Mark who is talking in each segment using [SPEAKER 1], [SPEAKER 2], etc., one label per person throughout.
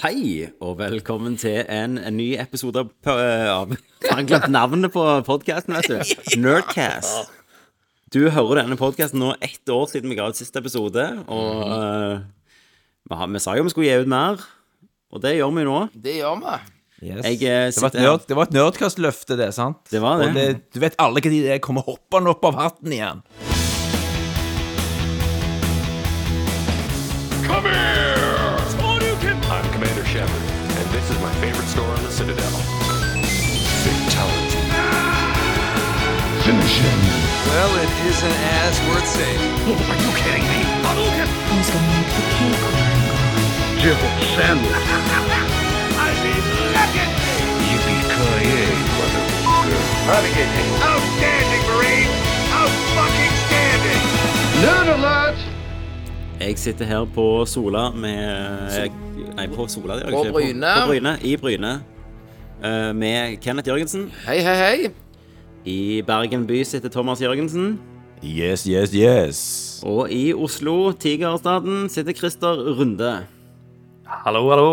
[SPEAKER 1] Hei, og velkommen til en, en ny episode av p- av Jeg har glemt navnet på podkasten, vet du. Nerdcast. Du hører denne podkasten nå ett år siden vi ga ut siste episode, og eh, vi, har, vi sa jo vi skulle gi ut mer, og det gjør vi nå.
[SPEAKER 2] Det gjør vi.
[SPEAKER 3] Yes.
[SPEAKER 1] Jeg, eh,
[SPEAKER 3] det, var et
[SPEAKER 1] sitter her.
[SPEAKER 3] nerd, det var et nerdkast-løfte, det, sant?
[SPEAKER 1] Det var det.
[SPEAKER 3] Og du vet alle når det kommer hoppende opp av hatten igjen.
[SPEAKER 4] Come here! I'm Commander Shepard, and this is my favorite store on the Citadel. Fatality.
[SPEAKER 5] Well, it isn't as worth saying.
[SPEAKER 6] Who's gonna make the cake?
[SPEAKER 4] Yippee-ki-yay, motherfucker.
[SPEAKER 7] Outstanding, Marine! Out fucking standing!
[SPEAKER 1] Jeg sitter her på Sola med Nei, på Sola, det gjør jeg
[SPEAKER 2] På
[SPEAKER 1] ikke.
[SPEAKER 2] Bryne.
[SPEAKER 1] På, på Bryne. I Bryne. eh, Med Kenneth Jørgensen.
[SPEAKER 2] Hei, hei, hei.
[SPEAKER 1] I Bergen by sitter Thomas Jørgensen.
[SPEAKER 3] Yes, yes, yes.
[SPEAKER 1] Og i Oslo, Tigerstaden, sitter Christer Runde.
[SPEAKER 8] Hallo, hallo.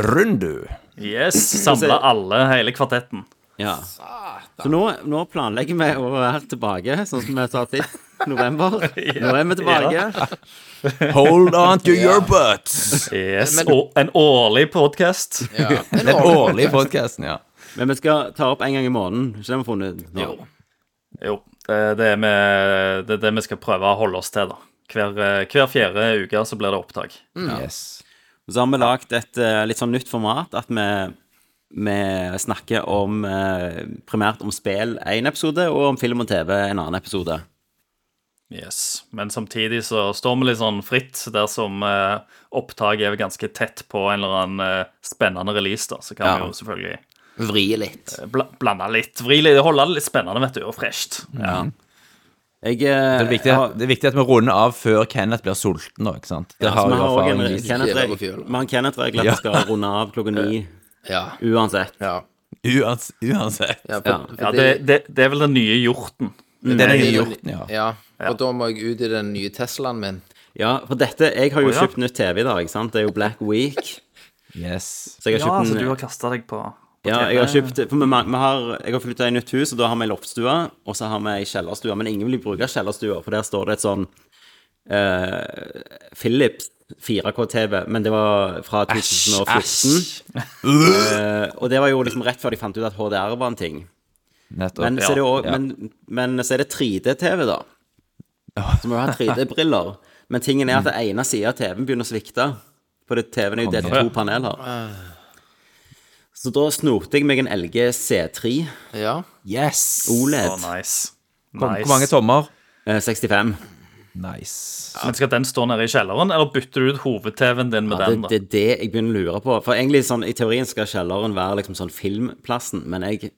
[SPEAKER 3] Rundu.
[SPEAKER 8] Yes, samla alle, hele kvartetten.
[SPEAKER 1] Ja. Så nå, nå planlegger vi å være tilbake, sånn som vi sa sist. November. Nå er vi tilbake.
[SPEAKER 3] Hold on to your butts.
[SPEAKER 8] Yes,
[SPEAKER 2] Men-
[SPEAKER 8] og En årlig podkast.
[SPEAKER 2] Ja.
[SPEAKER 3] Den årlige podkasten, ja.
[SPEAKER 1] Men vi skal ta opp en gang i måneden. Ikke det vi har funnet ut nå?
[SPEAKER 8] Jo, eh, det er, vi- det er det vi skal prøve å holde oss til, da. Hver, eh, hver fjerde uke så blir det opptak.
[SPEAKER 1] Mm.
[SPEAKER 3] Yes.
[SPEAKER 1] Så har vi lagd et eh, litt sånn nytt format. At vi, vi snakker om eh, primært om spill én episode, og om film og TV en annen episode.
[SPEAKER 8] Yes, Men samtidig så står vi litt sånn fritt dersom eh, opptaket er ganske tett på en eller annen eh, spennende release, da. Så kan
[SPEAKER 1] Ja.
[SPEAKER 8] vi jo selvfølgelig
[SPEAKER 2] Vri litt.
[SPEAKER 8] eh, bla blande litt, vri litt, holde det litt spennende, vet du, og fresht. Ja.
[SPEAKER 1] Jeg, eh,
[SPEAKER 3] Det er, viktig,
[SPEAKER 1] har-
[SPEAKER 3] det er viktig at vi runder av før Kenneth blir sulten, da. ikke sant? Det
[SPEAKER 1] Ja, så
[SPEAKER 3] har
[SPEAKER 1] vi
[SPEAKER 3] jo
[SPEAKER 1] har også en
[SPEAKER 3] erfaring vist.
[SPEAKER 1] Kenneth-regel
[SPEAKER 2] Kjære på
[SPEAKER 1] Vi har en Kenneth-regel at
[SPEAKER 3] Ja.
[SPEAKER 1] vi skal runde av klokka ni
[SPEAKER 2] Ja.
[SPEAKER 1] uansett.
[SPEAKER 2] Ja.
[SPEAKER 3] Uans, uansett.
[SPEAKER 2] ja, for,
[SPEAKER 1] Ja.
[SPEAKER 2] for
[SPEAKER 8] Ja, det, det, det er vel den nye hjorten.
[SPEAKER 3] Det er den
[SPEAKER 2] det-
[SPEAKER 3] hjorten, ja.
[SPEAKER 2] ja. Og da må jeg ut i den nye Teslaen min.
[SPEAKER 1] Ja, for dette Jeg har jo
[SPEAKER 8] Å, ja.
[SPEAKER 1] kjøpt nytt TV i dag, ikke sant? Det er jo Black Week.
[SPEAKER 3] Yes.
[SPEAKER 1] Så jeg har
[SPEAKER 8] Ja,
[SPEAKER 1] kjøpt
[SPEAKER 8] så
[SPEAKER 1] en,
[SPEAKER 8] du har kasta deg på, på
[SPEAKER 1] ja,
[SPEAKER 8] TV.
[SPEAKER 1] jeg har kjøpt For vi, man- vi har, jeg har flytta i nytt hus, og da har vi ei loftstue, og så har vi ei kjellerstue. Men ingen vil bruke kjellerstua, for der står det et sånn eh, Philips 4K-TV, men det var fra 2014. Eh, og det var jo liksom rett før de fant ut at HDR var en ting.
[SPEAKER 3] Nettopp.
[SPEAKER 1] Men, så, er det jo, også-
[SPEAKER 3] Ja.
[SPEAKER 1] men, men så er det 3D-TV, da. Så må du ha 3D-briller. Men tingen er at den ene sida av TV-en begynner å svikte. For det- TV-en er jo delt i to paneler. Så da snorte jeg meg en LG C3
[SPEAKER 2] Ja.
[SPEAKER 3] Yes!
[SPEAKER 1] OLED
[SPEAKER 8] Å, nice.
[SPEAKER 3] Kom,
[SPEAKER 8] Nice.
[SPEAKER 3] Hvor mange tommer?
[SPEAKER 1] E eh, 65.
[SPEAKER 3] Nice.
[SPEAKER 8] Men skal den stå nede i kjelleren, eller bytter du ut hoved-TV-en din med
[SPEAKER 1] Ja, det,
[SPEAKER 8] den? da?
[SPEAKER 1] det er det jeg begynner å lure på. For egentlig sånn, i teorien skal kjelleren være liksom sånn filmplassen, men jeg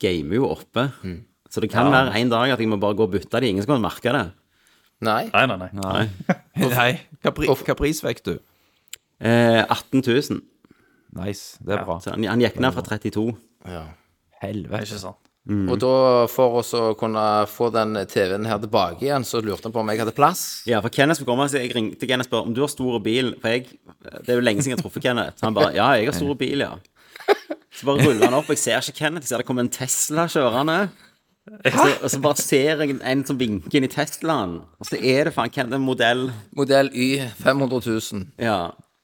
[SPEAKER 1] gamer jo oppe. Så det kan være en dag at jeg må bare gå og bytte de. Ingen som kommer til å merke det.
[SPEAKER 2] Nei.
[SPEAKER 8] Nei, nei, nei.
[SPEAKER 3] Nei, hva, pri, hva pris fikk du?
[SPEAKER 1] Eh, 18 000.
[SPEAKER 3] Nice, det er bra.
[SPEAKER 1] Så han, han gikk ned fra 32.
[SPEAKER 3] Helvete.
[SPEAKER 8] Ikke sant.
[SPEAKER 2] Og da, for oss å kunne få den TV-en her tilbake igjen, så lurte han på om jeg hadde plass.
[SPEAKER 1] Ja, for Kenneth skulle komme så jeg ringte Kenneth og spurte om du har stor bil. For jeg, det er jo lenge siden jeg har truffet Kenneth. Så han bare ja, jeg har stor bil, ja. Så bare ruller han opp. Jeg ser ikke Kenneth. Jeg ser det kommer en Tesla kjørende. Så, og så bare ser jeg en som vinker inn i Teslaen. Og så er det faen Kenneth en modell.
[SPEAKER 2] Modell Y 500 000.
[SPEAKER 1] Ja.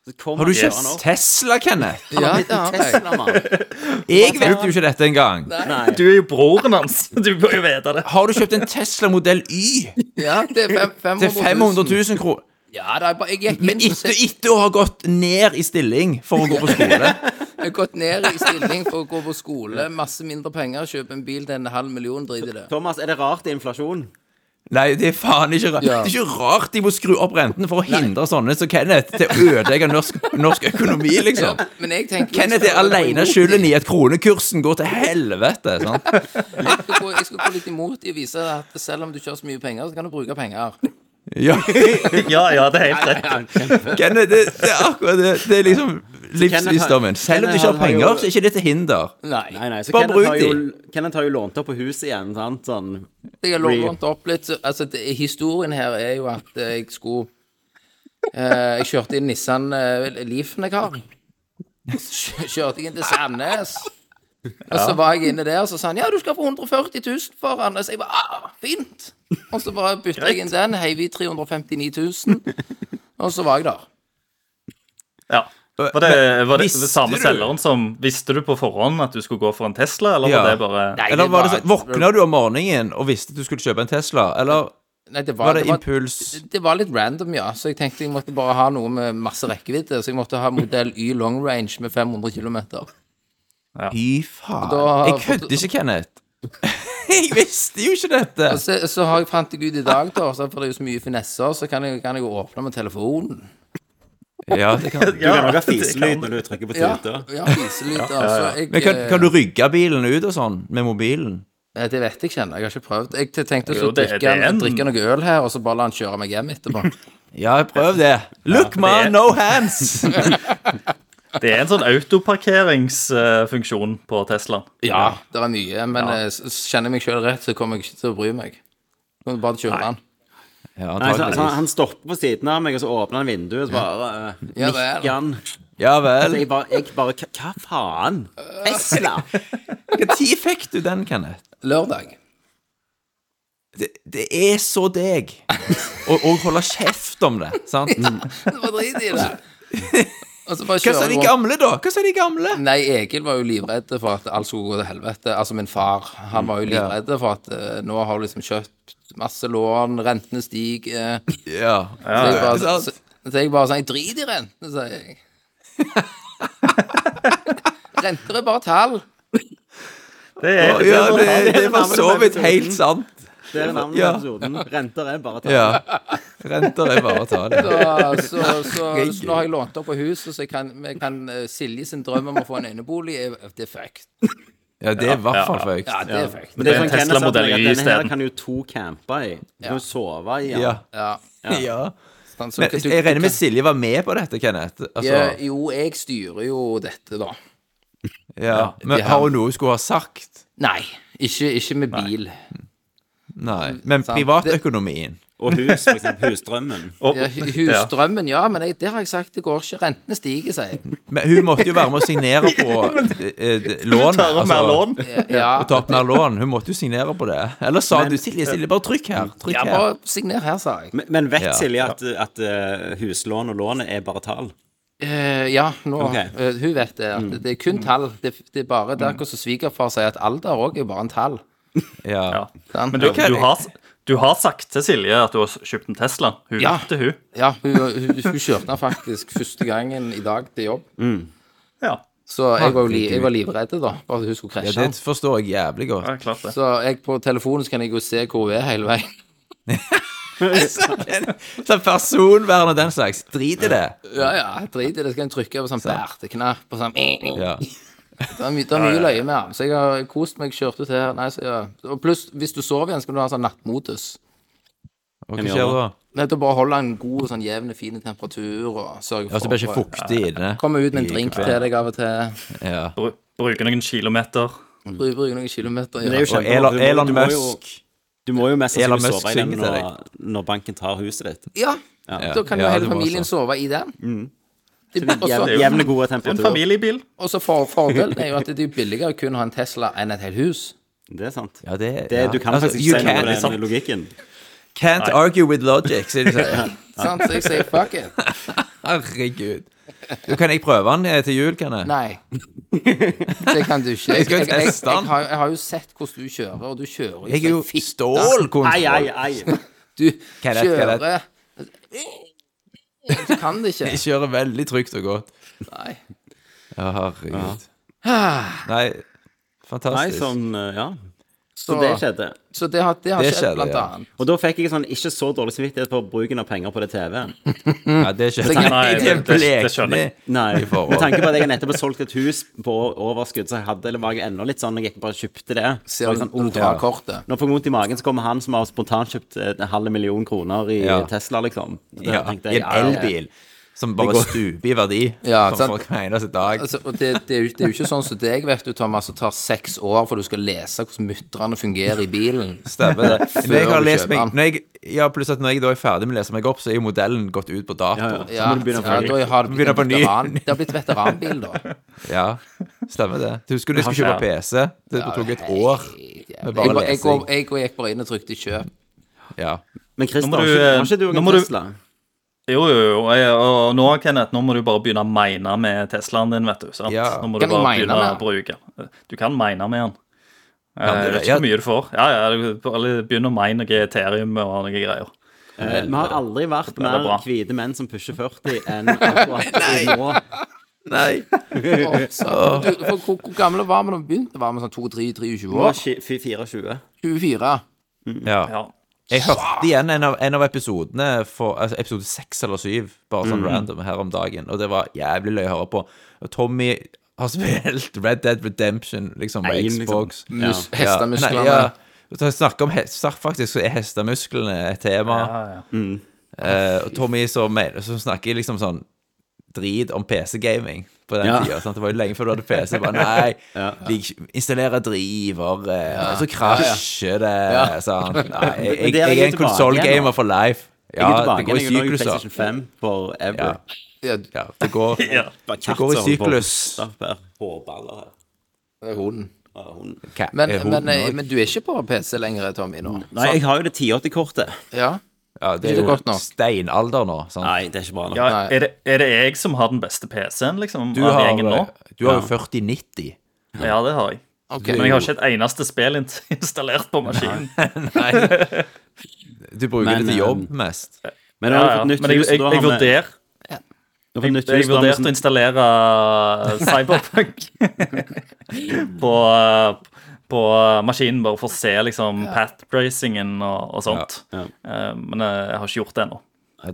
[SPEAKER 1] Så kommer
[SPEAKER 3] Har du
[SPEAKER 1] han
[SPEAKER 3] kjøpt
[SPEAKER 1] kjørende opp.
[SPEAKER 3] Tesla, Kenneth?
[SPEAKER 2] Ja, det har jeg.
[SPEAKER 1] Tesla, mann.
[SPEAKER 3] Jeg vet jo ikke dette engang.
[SPEAKER 1] Nei.
[SPEAKER 8] Du er jo broren hans! Du bør jo vite det.
[SPEAKER 3] Har du kjøpt en Tesla modell Y
[SPEAKER 2] Ja, det er fem- 500
[SPEAKER 3] til
[SPEAKER 2] 000.
[SPEAKER 3] 500 000 kroner?
[SPEAKER 2] Ja, det er bare, jeg gikk inn
[SPEAKER 3] Men
[SPEAKER 2] og
[SPEAKER 3] etter,
[SPEAKER 2] se-
[SPEAKER 3] etter å ha gått ned i stilling for å gå på skole?
[SPEAKER 2] Jeg har gått ned i stilling for å gå på skole, masse mindre penger, kjøpe en bil til en halv million, drit i det.
[SPEAKER 1] Thomas, er det rart det er inflasjon?
[SPEAKER 3] Nei, det er faen ikke rart.
[SPEAKER 2] Ja.
[SPEAKER 3] Det er ikke rart de må skru opp renten for å hindre sånne som Kenneth til å ødelegge norsk, norsk økonomi, liksom.
[SPEAKER 2] Men jeg tenker
[SPEAKER 3] Kenneth er alene skylden i at kronekursen går til helvete. sant?
[SPEAKER 2] Jeg skal, gå, jeg skal gå litt imot i å vise at selv om du ikke har så mye penger, så kan du bruke penger.
[SPEAKER 3] Ja,
[SPEAKER 8] Ja, ja, det er helt rett.
[SPEAKER 3] Kenneth, det, det er akkurat det. Det er liksom
[SPEAKER 1] har-
[SPEAKER 3] livsvisdommen. Selv om du ikke har
[SPEAKER 1] Kenneth har jo-
[SPEAKER 3] penger, så er ikke det til hinder.
[SPEAKER 2] Nei.
[SPEAKER 1] Nei, nei. Så
[SPEAKER 3] Bare
[SPEAKER 1] Kenneth har,
[SPEAKER 3] bruk
[SPEAKER 1] jo, Kenneth har jo lånt opp på huset igjen, sant? Sånn.
[SPEAKER 2] Jeg har lånt opp litt. så- Altså, det, historien her er jo at jeg skulle Eh, jeg kjørte inn Nissan eh, Leafen jeg har. Kjø- Kjørte jeg inn til Sandnes. Og så var jeg inne der, og så sa han ja, du skal få 140 000 for den. Og så jeg bare ah, fint. Og så bare bytta jeg inn den, heiv i 359 000. Og så var jeg der.
[SPEAKER 8] Ja. Var det, var det,
[SPEAKER 3] Visste
[SPEAKER 8] det samme
[SPEAKER 3] du-
[SPEAKER 8] selgeren som Visste du på forhånd at du skulle gå for en Tesla, eller
[SPEAKER 3] Ja.
[SPEAKER 8] var det bare
[SPEAKER 2] Nei,
[SPEAKER 3] Eller var det
[SPEAKER 2] var-
[SPEAKER 3] sånn, våkna du om morgenen og visste at du skulle kjøpe en Tesla, eller
[SPEAKER 2] Nei, det
[SPEAKER 3] var det
[SPEAKER 2] det var-
[SPEAKER 3] impuls
[SPEAKER 2] Det var litt random, ja. Så jeg tenkte jeg måtte bare ha noe med masse rekkevidde. Så jeg måtte ha modell Y long range med 500 km.
[SPEAKER 3] Fy faen.
[SPEAKER 2] Da-
[SPEAKER 3] Jeg kødder ikke, Kenneth. jeg visste jo ikke dette.
[SPEAKER 2] Og så, så har jeg fant jeg ut i dag, da, så for det er jo så mye finesser, så kan jeg, kan jeg jo åpne med telefonen.
[SPEAKER 3] Ja, det kan.
[SPEAKER 1] Du kan òg ha fiselyd når du trykker på
[SPEAKER 2] Ja,
[SPEAKER 1] tuta.
[SPEAKER 2] ja fiselyd. Altså, jeg,
[SPEAKER 3] Men kan,
[SPEAKER 2] eh,
[SPEAKER 3] kan du rygge bilen ut og sånn med mobilen?
[SPEAKER 2] eh, Det vet jeg ikke ennå, jeg har ikke prøvd. Jeg te- tenkte
[SPEAKER 8] Jo,
[SPEAKER 2] å
[SPEAKER 8] det- det
[SPEAKER 2] drikke,
[SPEAKER 8] er en-
[SPEAKER 2] drikke noe øl her, og så bare la han kjøre meg hjem etterpå.
[SPEAKER 3] Ja, prøv det. Look, man,
[SPEAKER 8] det-
[SPEAKER 3] no hands!
[SPEAKER 8] Det er en sånn autoparkeringsfunksjon på Teslaen.
[SPEAKER 2] Ja, det er mye, men eh, s- s- kjenner jeg meg sjøl rett, så kommer jeg ikke til å bry meg. Jeg Kommer bare til å kjøre han.
[SPEAKER 3] Ja,
[SPEAKER 1] Nei, så, så han,
[SPEAKER 3] antageligvis.
[SPEAKER 1] han stopper på siden av meg, og så åpner han vinduet, og så bare uh,
[SPEAKER 2] Ja, det er det.
[SPEAKER 1] nikker han.
[SPEAKER 3] Ja vel.
[SPEAKER 1] Altså, jeg bare, jeg bare "Hva- Hva faen? Tesla?
[SPEAKER 3] Når fikk du den, Kenneth?
[SPEAKER 2] Lørdag.
[SPEAKER 3] Det, det er så deg å å holde kjeft om det, sant?
[SPEAKER 2] Det var drit i det. Og så bare
[SPEAKER 3] Hva sa
[SPEAKER 2] kjører
[SPEAKER 3] de
[SPEAKER 2] jeg rundt.
[SPEAKER 3] gamle, da? Hva sa de gamle?
[SPEAKER 2] Nei, Egil var jo livredd for at alt skulle gå til helvete. Altså min far. Han
[SPEAKER 3] Mm,
[SPEAKER 2] var jo livredd for at eh, nå har du liksom kjøpt masse lån, rentene stiger. eh.
[SPEAKER 3] Ja.
[SPEAKER 2] så, jeg
[SPEAKER 3] det er
[SPEAKER 2] bare,
[SPEAKER 3] sant.
[SPEAKER 2] så, så jeg bare sånn Jeg driter i rentene, sier jeg. Renter er bare tall.
[SPEAKER 8] Det er,
[SPEAKER 3] Ja, det, det var så vidt helt sant.
[SPEAKER 1] Det er navnet
[SPEAKER 3] Ja.
[SPEAKER 1] på episoden. Renter er bare tall.
[SPEAKER 3] Ja. Renter er bare å ta det.
[SPEAKER 2] Så, så, så, så nå har jeg lånt opp på huset, så jeg kan, jeg kan eh, Silje sin drøm om å få en enebolig er det er fucked.
[SPEAKER 3] Ja, det er i hvert fall
[SPEAKER 8] ja.
[SPEAKER 3] føykt.
[SPEAKER 2] Ja, det er fucked.
[SPEAKER 1] Men det er
[SPEAKER 8] Det er
[SPEAKER 1] sånn Kenneth
[SPEAKER 8] Tesla
[SPEAKER 1] sa til
[SPEAKER 8] modell
[SPEAKER 1] meg,
[SPEAKER 8] Y
[SPEAKER 1] at denne her
[SPEAKER 8] isteden.
[SPEAKER 1] kan jo to campe i. Du kan jo sove i
[SPEAKER 3] Ja.
[SPEAKER 1] den.
[SPEAKER 2] Ja.
[SPEAKER 3] ja.
[SPEAKER 2] sant, så
[SPEAKER 3] Men
[SPEAKER 2] du- du-
[SPEAKER 3] jeg regner
[SPEAKER 2] du
[SPEAKER 3] med
[SPEAKER 2] kan-
[SPEAKER 3] Silje var med på dette, Kenneth.
[SPEAKER 2] Ja,
[SPEAKER 3] Altså,
[SPEAKER 2] eh, Jo, jeg styrer jo dette, da.
[SPEAKER 3] ja. Men
[SPEAKER 2] ja.
[SPEAKER 3] har hun noe hun skulle ha sagt?
[SPEAKER 2] Nei, ikke, ikke med bil.
[SPEAKER 3] Nei. Men
[SPEAKER 2] Sant.
[SPEAKER 3] privatøkonomien
[SPEAKER 1] Og hus, for eksempel. Husdrømmen.
[SPEAKER 8] og-
[SPEAKER 2] Ja, hu- husdrømmen, ja, men jeg, det har jeg sagt, det går ikke. Rentene stiger, sier jeg.
[SPEAKER 3] men Hun måtte jo være med å signere på eh, eh, lån.
[SPEAKER 8] Tørre mer lån.
[SPEAKER 2] Ja,
[SPEAKER 3] Og ta opp mer lån. Hun måtte jo signere på det. Eller sa du Silje, Silje, bare trykk her. Trykk
[SPEAKER 2] ja
[SPEAKER 3] her.
[SPEAKER 2] bare signer her, sa jeg.
[SPEAKER 1] Men, men vet
[SPEAKER 3] Ja.
[SPEAKER 1] Silje at, at eh, huslån og lånet er bare tall?
[SPEAKER 2] Eh, ja, nå
[SPEAKER 1] Ok.
[SPEAKER 2] eh, Hun vet det. At det er kun tall. Det, det er bare der hvor svigerfar sier at alder òg er bare en tall.
[SPEAKER 3] Ja.
[SPEAKER 8] Ja.
[SPEAKER 2] sant?
[SPEAKER 8] Men du, du, har, du har sagt til Silje at du har kjøpt en Tesla. Hun
[SPEAKER 2] Ja.
[SPEAKER 8] vet det, hun.
[SPEAKER 2] Ja, hun, hun, hun kjørte den faktisk første gangen i dag til jobb.
[SPEAKER 8] Ja,
[SPEAKER 2] Så jeg var, jo li, jeg var livredd, da. Bare at hun skulle
[SPEAKER 3] ja,
[SPEAKER 2] krasje.
[SPEAKER 3] det
[SPEAKER 2] den.
[SPEAKER 3] forstår jeg jævlig godt.
[SPEAKER 8] ja klart det.
[SPEAKER 2] Så jeg på telefonen så kan jeg jo se hvor hun er hele veien.
[SPEAKER 3] Så personvern og den slags. Drit i det.
[SPEAKER 2] Ja, ja, drit i det. Så kan jeg trykke på sånn berteknapp og sånn
[SPEAKER 3] Ja.
[SPEAKER 2] Det er, my det er mye løye med den. Så jeg har kost meg, kjørt ut her. Nei, så jeg, og pluss, hvis du sover igjen, skal du ha sånn nattmodus.
[SPEAKER 3] Og hva skjer da?
[SPEAKER 2] Nei, Da bare holder den god, sånn jevne, fin temperatur og sørger
[SPEAKER 3] Ja, så blir Altså, det ikke
[SPEAKER 2] for
[SPEAKER 3] fuktig inne.
[SPEAKER 2] Kommer ut med en drink til deg av og til.
[SPEAKER 3] Ja.
[SPEAKER 8] Bru- Bruker noen kilometer.
[SPEAKER 3] Mm.
[SPEAKER 2] Bru- Bruker noen kilometer.
[SPEAKER 1] Det er
[SPEAKER 2] Ja.
[SPEAKER 1] jo
[SPEAKER 3] Og
[SPEAKER 1] kjempebra.
[SPEAKER 3] Elon,
[SPEAKER 1] Du må-
[SPEAKER 3] Elon
[SPEAKER 1] du må jo-
[SPEAKER 3] Musk
[SPEAKER 1] Du må jo mest
[SPEAKER 3] Elon
[SPEAKER 1] sannsynlig
[SPEAKER 3] Musk
[SPEAKER 1] sove i den
[SPEAKER 3] synger til
[SPEAKER 1] når, når banken tar huset ditt.
[SPEAKER 2] ja, da kan jo
[SPEAKER 3] Ja,
[SPEAKER 2] hele
[SPEAKER 3] det var
[SPEAKER 2] familien
[SPEAKER 3] så.
[SPEAKER 2] sove i den. Det er også-
[SPEAKER 1] Jevne, jevne gode
[SPEAKER 8] En
[SPEAKER 1] temperaturer.
[SPEAKER 8] familiebil.
[SPEAKER 2] Og så for, fordelen er jo at det er billigere å kun ha en Tesla enn et helt hus.
[SPEAKER 1] Det er sant.
[SPEAKER 3] Ja, det,
[SPEAKER 1] Det,
[SPEAKER 3] ja.
[SPEAKER 1] Du kan
[SPEAKER 3] Altså,
[SPEAKER 1] faktisk
[SPEAKER 3] you
[SPEAKER 1] ikke si noe liksom.
[SPEAKER 3] can't,
[SPEAKER 1] om den logikken.
[SPEAKER 3] can't argue with logic, sier de. sier.
[SPEAKER 2] Sant? Så jeg sier fuck it.
[SPEAKER 3] Herregud. Du, kan jeg prøve den eh, til jul, kan jeg?
[SPEAKER 2] Nei. Det kan du ikke. Jeg,
[SPEAKER 3] skal
[SPEAKER 2] jeg, jeg,
[SPEAKER 3] teste den.
[SPEAKER 2] jeg, har, jeg har jo sett hvordan du kjører, og du kjører
[SPEAKER 3] Jeg er jo
[SPEAKER 2] som en fitte.
[SPEAKER 1] Ai, ai,
[SPEAKER 3] stålkontroll.
[SPEAKER 1] ai.
[SPEAKER 2] Du
[SPEAKER 3] Hva er det, hva er
[SPEAKER 2] kjører Du kan det ikke.
[SPEAKER 3] Jeg kjører veldig trygt og godt.
[SPEAKER 2] Nei.
[SPEAKER 3] Ja, herregud. Nei,
[SPEAKER 1] Nei,
[SPEAKER 3] fantastisk.
[SPEAKER 1] sånn, eh, ja.
[SPEAKER 2] Så,
[SPEAKER 1] Så det skjedde.
[SPEAKER 2] så det har, det har
[SPEAKER 3] Det
[SPEAKER 2] skjedd,
[SPEAKER 3] skjedde,
[SPEAKER 2] blant
[SPEAKER 3] ja.
[SPEAKER 2] annet.
[SPEAKER 1] Og da fikk jeg sånn ikke så dårlig samvittighet for bruken av penger på det TV-en.
[SPEAKER 3] Ja, det er ikke
[SPEAKER 8] Nei,
[SPEAKER 3] Det er
[SPEAKER 8] det- det- det skjønner
[SPEAKER 3] blekne.
[SPEAKER 8] jeg.
[SPEAKER 1] Nei,
[SPEAKER 3] I forhold.
[SPEAKER 1] med tanke på at jeg nettopp har solgt et hus på overskudd, så jeg hadde, eller var jeg ennå litt sånn, jeg gikk bare og kjøpte det. Så
[SPEAKER 2] Ser
[SPEAKER 1] var
[SPEAKER 2] du
[SPEAKER 1] jeg sånn,
[SPEAKER 2] når du
[SPEAKER 1] oh,
[SPEAKER 2] drar kortet.
[SPEAKER 1] Når jeg får vondt i magen, så kommer han som har spontankjøpt en eh, halv million kroner i
[SPEAKER 3] Ja.
[SPEAKER 1] Tesla, liksom. Da
[SPEAKER 3] Ja,
[SPEAKER 1] tenkte
[SPEAKER 3] I
[SPEAKER 1] jeg,
[SPEAKER 3] en
[SPEAKER 1] ja, ja, ja.
[SPEAKER 3] elbil. som bare stuper i verdi
[SPEAKER 2] Ja,
[SPEAKER 3] for,
[SPEAKER 2] sant.
[SPEAKER 3] for hver eneste dag.
[SPEAKER 2] Altså, og det, det, er jo, det er jo ikke sånn som deg, vet du, Thomas, som tar seks år for du skal lese hvordan mutterne fungerer i bilen.
[SPEAKER 3] Stemmer det. Når jeg
[SPEAKER 2] Før
[SPEAKER 3] har
[SPEAKER 2] du
[SPEAKER 3] lest
[SPEAKER 2] kjøper den.
[SPEAKER 3] meg, når jeg, ja, pluss at når jeg da er ferdig med å lese meg opp, så er jo modellen gått ut på dato.
[SPEAKER 1] Ja,
[SPEAKER 3] Ja,
[SPEAKER 1] ja. Så
[SPEAKER 2] Ja,
[SPEAKER 1] må du begynne
[SPEAKER 2] ja,
[SPEAKER 1] på
[SPEAKER 2] da
[SPEAKER 1] nytt.
[SPEAKER 2] har det blitt
[SPEAKER 3] Begynner på
[SPEAKER 2] en
[SPEAKER 3] ny.
[SPEAKER 2] veteran, det har blitt veteranbil, da.
[SPEAKER 3] Stemmer det. Du husker du jeg skulle kjøpe PC? Det tok et år med
[SPEAKER 2] Jeg, jeg,
[SPEAKER 3] bare
[SPEAKER 2] går,
[SPEAKER 3] lesing.
[SPEAKER 2] jeg, går- jeg gikk bare inn og trykte 'kjøp'.
[SPEAKER 3] Ja.
[SPEAKER 1] Men Christer,
[SPEAKER 8] Nå må
[SPEAKER 1] har
[SPEAKER 8] du,
[SPEAKER 1] ikke-
[SPEAKER 8] eh,
[SPEAKER 1] har ikke du
[SPEAKER 8] nå
[SPEAKER 1] òg
[SPEAKER 8] må
[SPEAKER 1] en
[SPEAKER 8] du-
[SPEAKER 1] Tesla?
[SPEAKER 8] Jo, jo, jo. Og, jeg, og nå, Kenneth, nå må du bare begynne å mine med Teslaen din, vet du. Sant?
[SPEAKER 3] Ja.
[SPEAKER 8] Nå må
[SPEAKER 2] Kan
[SPEAKER 8] du
[SPEAKER 2] jeg
[SPEAKER 8] bare
[SPEAKER 2] mine
[SPEAKER 8] begynne å
[SPEAKER 2] med
[SPEAKER 8] bruke den. Du kan mine med den. Eh,
[SPEAKER 3] men det-
[SPEAKER 8] Jeg vet ikke
[SPEAKER 3] ja.
[SPEAKER 8] hvor mye du får. Ja, ja, du- Bare begynn å mine noe Eterium og noe greier.
[SPEAKER 1] Eh, Vi har aldri vært
[SPEAKER 8] er bra.
[SPEAKER 1] mer hvite menn som pusher 40 enn akkurat nå.
[SPEAKER 3] Nei.
[SPEAKER 2] Å, så- du, for Hvor hvor gamle var vi da vi begynte? Var vi sånn 22-23
[SPEAKER 1] Nå
[SPEAKER 2] år?
[SPEAKER 1] er det 24.
[SPEAKER 2] 24?
[SPEAKER 3] Ja.
[SPEAKER 8] Ja.
[SPEAKER 3] Jeg hørte igjen en av, en av episodene, for, altså episode seks eller syv, bare sånn random her om dagen, og det var jævlig løye å høre på. Og Tommy har spilt Red Dead Redemption, liksom, på
[SPEAKER 1] Nei, liksom.
[SPEAKER 3] Xbox.
[SPEAKER 2] Mus,
[SPEAKER 3] Ja.
[SPEAKER 2] Hestemusklene?
[SPEAKER 3] Nei, ja. Så jeg snakker om he- sak- faktisk så er hestemusklene et tema.
[SPEAKER 1] Mm.
[SPEAKER 3] Eh, og Tommy som, mener- som snakker liksom sånn drit om PC-gaming på den
[SPEAKER 1] Ja.
[SPEAKER 3] tida. Sant? Det var jo lenge før du hadde PC. Bare nei, lik- installere driver, eh, og så krasjer det. Sant? Nei, jeg,
[SPEAKER 1] Men
[SPEAKER 3] jeg,
[SPEAKER 1] det er
[SPEAKER 3] jeg er en
[SPEAKER 1] jo tilbake igjen nå.
[SPEAKER 3] konsollgamer for life.
[SPEAKER 1] Jeg er
[SPEAKER 3] Ja, det
[SPEAKER 1] tilbake
[SPEAKER 3] går i
[SPEAKER 1] igjen. Jeg er nå i
[SPEAKER 3] sykluser.
[SPEAKER 1] PlayStation 5 forever.
[SPEAKER 3] Ja.
[SPEAKER 2] Ja,
[SPEAKER 3] Ja, det går,
[SPEAKER 8] Ja.
[SPEAKER 3] det går i syklus.
[SPEAKER 1] Hårballer her.
[SPEAKER 2] det er hoden.
[SPEAKER 1] Ja, hun-
[SPEAKER 3] Ka-
[SPEAKER 2] Men,
[SPEAKER 3] eh,
[SPEAKER 2] men,
[SPEAKER 3] hoden også.
[SPEAKER 2] men du er ikke på PC lenger, Tommy, nå?
[SPEAKER 1] Nei, jeg har jo det 1080-kortet.
[SPEAKER 2] Ja?
[SPEAKER 3] ja, det
[SPEAKER 2] ikke
[SPEAKER 3] er
[SPEAKER 2] godt
[SPEAKER 3] jo
[SPEAKER 2] nok.
[SPEAKER 3] steinalder nå. Sant?
[SPEAKER 1] Nei, det er ikke bra nok.
[SPEAKER 8] Ja,
[SPEAKER 2] Nei.
[SPEAKER 8] er, det, er det jeg som har den beste PC-en, liksom?
[SPEAKER 3] Du
[SPEAKER 8] av
[SPEAKER 3] har,
[SPEAKER 8] gjengen nå?
[SPEAKER 3] du har jo 4090.
[SPEAKER 8] Ja, det har jeg.
[SPEAKER 2] Ok.
[SPEAKER 8] Men jeg har ikke et eneste spill inn- installert på maskinen.
[SPEAKER 3] Nei. Du bruker
[SPEAKER 1] Men,
[SPEAKER 3] det til jobb
[SPEAKER 1] eh,
[SPEAKER 3] mest.
[SPEAKER 1] Men nå
[SPEAKER 8] Ja,
[SPEAKER 1] har vi
[SPEAKER 8] ja.
[SPEAKER 1] fått
[SPEAKER 8] Men
[SPEAKER 1] nytt
[SPEAKER 8] jeg,
[SPEAKER 1] hus,
[SPEAKER 8] jeg,
[SPEAKER 1] og da har
[SPEAKER 8] jeg,
[SPEAKER 1] vi
[SPEAKER 8] vurder,
[SPEAKER 1] nå har vi fått nytt hus, da
[SPEAKER 8] jeg
[SPEAKER 1] har vi
[SPEAKER 8] vurderte å
[SPEAKER 1] sånn
[SPEAKER 8] installere Cyberpunk på, eh, på maskinen, bare for å se liksom path-bracingen og, og sånt.
[SPEAKER 1] Ja.
[SPEAKER 8] Eh, Men eh, jeg har ikke gjort det ennå.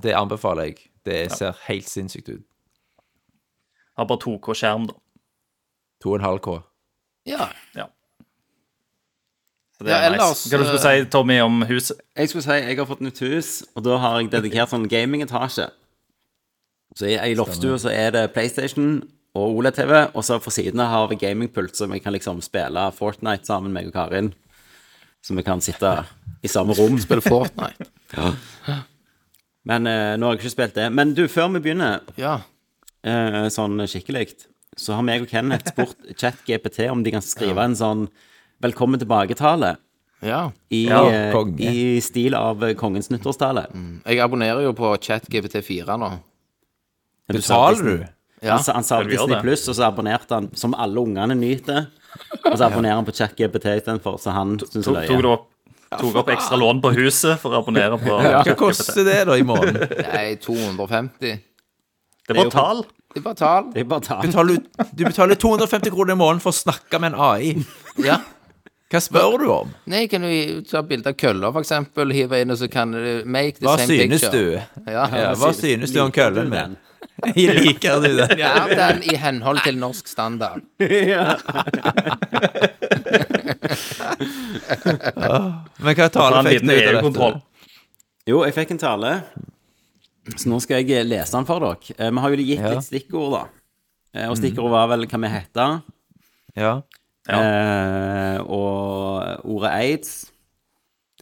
[SPEAKER 3] Det anbefaler jeg. Det ser helt sinnssykt ut.
[SPEAKER 8] Jeg har bare 2K-skjerm, da.
[SPEAKER 3] 2,5K.
[SPEAKER 2] Ja.
[SPEAKER 8] Så det
[SPEAKER 2] Ja,
[SPEAKER 8] er
[SPEAKER 2] ellers, eh,
[SPEAKER 8] nice. Hva du skulle si, Tommy, om huset?
[SPEAKER 1] Jeg skulle si jeg har fått nytt hus, og da har jeg dedikert sånn gamingetasje. Så i ei loftstue så er det PlayStation og OLED-TV, og så på siden har vi gamingpult, så vi kan liksom spille Fortnite sammen, meg og Karin. Så vi kan sitte i samme rom.
[SPEAKER 2] Spiller Fortnite.
[SPEAKER 1] Men eh, nå har jeg ikke spilt det. Men du, før vi begynner
[SPEAKER 2] Ja.
[SPEAKER 1] eh, sånn skikkelig, så har meg og Kenneth spurt ChatGPT om de kan skrive en sånn velkommen tilbake-tale
[SPEAKER 2] ja.
[SPEAKER 1] i,
[SPEAKER 8] Ja,
[SPEAKER 1] eh,
[SPEAKER 3] konge.
[SPEAKER 1] i stil av eh, kongens nyttårstale.
[SPEAKER 2] Jeg abonnerer jo på ChatGPT4 nå.
[SPEAKER 3] Betaler du?
[SPEAKER 2] Ja.
[SPEAKER 1] Han, sa- han sa
[SPEAKER 8] Skal du gjøre
[SPEAKER 1] Disney
[SPEAKER 8] det?
[SPEAKER 1] Pluss, og så abonnerte han, som alle ungene nyter. Og så abonnerer han på ChatGPT istedenfor, så han syns det
[SPEAKER 8] Tok,
[SPEAKER 1] er
[SPEAKER 8] tok
[SPEAKER 1] løye.
[SPEAKER 8] du opp, tok opp ekstra lån på huset for å abonnere på
[SPEAKER 3] Hva koster det da i måneden?
[SPEAKER 2] Nei, 250.
[SPEAKER 8] Det var tall.
[SPEAKER 2] Det er bare tall.
[SPEAKER 1] Det er bare å ta den.
[SPEAKER 3] Betaler, du- du betaler 250 kroner i måneden for å snakke med en AI.
[SPEAKER 2] Ja.
[SPEAKER 3] Hva spør du om?
[SPEAKER 2] Nei, kan du ta bilde av køller, for eksempel, hive inn, og så kan du make the
[SPEAKER 3] Hva
[SPEAKER 2] same
[SPEAKER 3] synes
[SPEAKER 2] picture.
[SPEAKER 3] du?
[SPEAKER 2] Ja.
[SPEAKER 3] Ja, hva synes du om køllen min? Liker du den?
[SPEAKER 2] Er den i henhold til norsk standard?
[SPEAKER 3] Men hva
[SPEAKER 8] Ta
[SPEAKER 3] tale
[SPEAKER 8] Sånn en
[SPEAKER 3] fikk
[SPEAKER 8] liten
[SPEAKER 3] du ut av
[SPEAKER 8] EU-kontroll.
[SPEAKER 3] dette?
[SPEAKER 1] Jo, jeg fikk en tale, så nå skal jeg lese den for dere. Eh, Vi har jo gitt
[SPEAKER 3] Ja.
[SPEAKER 1] litt stikkord, da. Eh, Og stikkord var vel hva vi heter,
[SPEAKER 3] Ja.
[SPEAKER 1] eh, og ordet aids,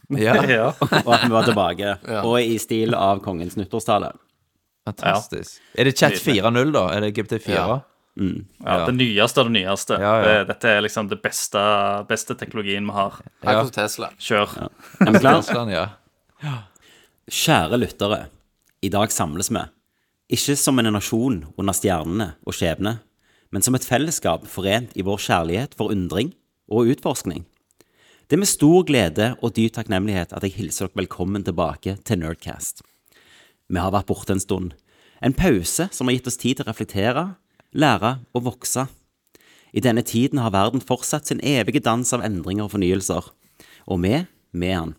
[SPEAKER 3] ja.
[SPEAKER 8] Ja.
[SPEAKER 1] og at vi var tilbake. Og i stil av kongens nyttårstale.
[SPEAKER 3] Fantastisk. Er det chat 4.0, da? Er det GPT4?
[SPEAKER 8] Ja, det nyeste av det nyeste.
[SPEAKER 3] Ja, ja.
[SPEAKER 8] Det- Dette er liksom det beste, beste teknologien vi har.
[SPEAKER 3] Ja.
[SPEAKER 2] Akkurat Tesla.
[SPEAKER 8] Kjør.
[SPEAKER 1] Er vi klar?
[SPEAKER 3] Sånn, ja.
[SPEAKER 1] Kjære lyttere. I dag samles vi. Ikke som en nasjon under stjernene og skjebne, men som et fellesskap forent i vår kjærlighet for undring og utforskning. Det er med stor glede og dyp takknemlighet at jeg hilser dere velkommen tilbake til Nerdcast. Vi har vært borte en stund. En pause som har gitt oss tid til å reflektere, lære og vokse. I denne tiden har verden fortsatt sin evige dans av endringer og fornyelser. Og vi med han.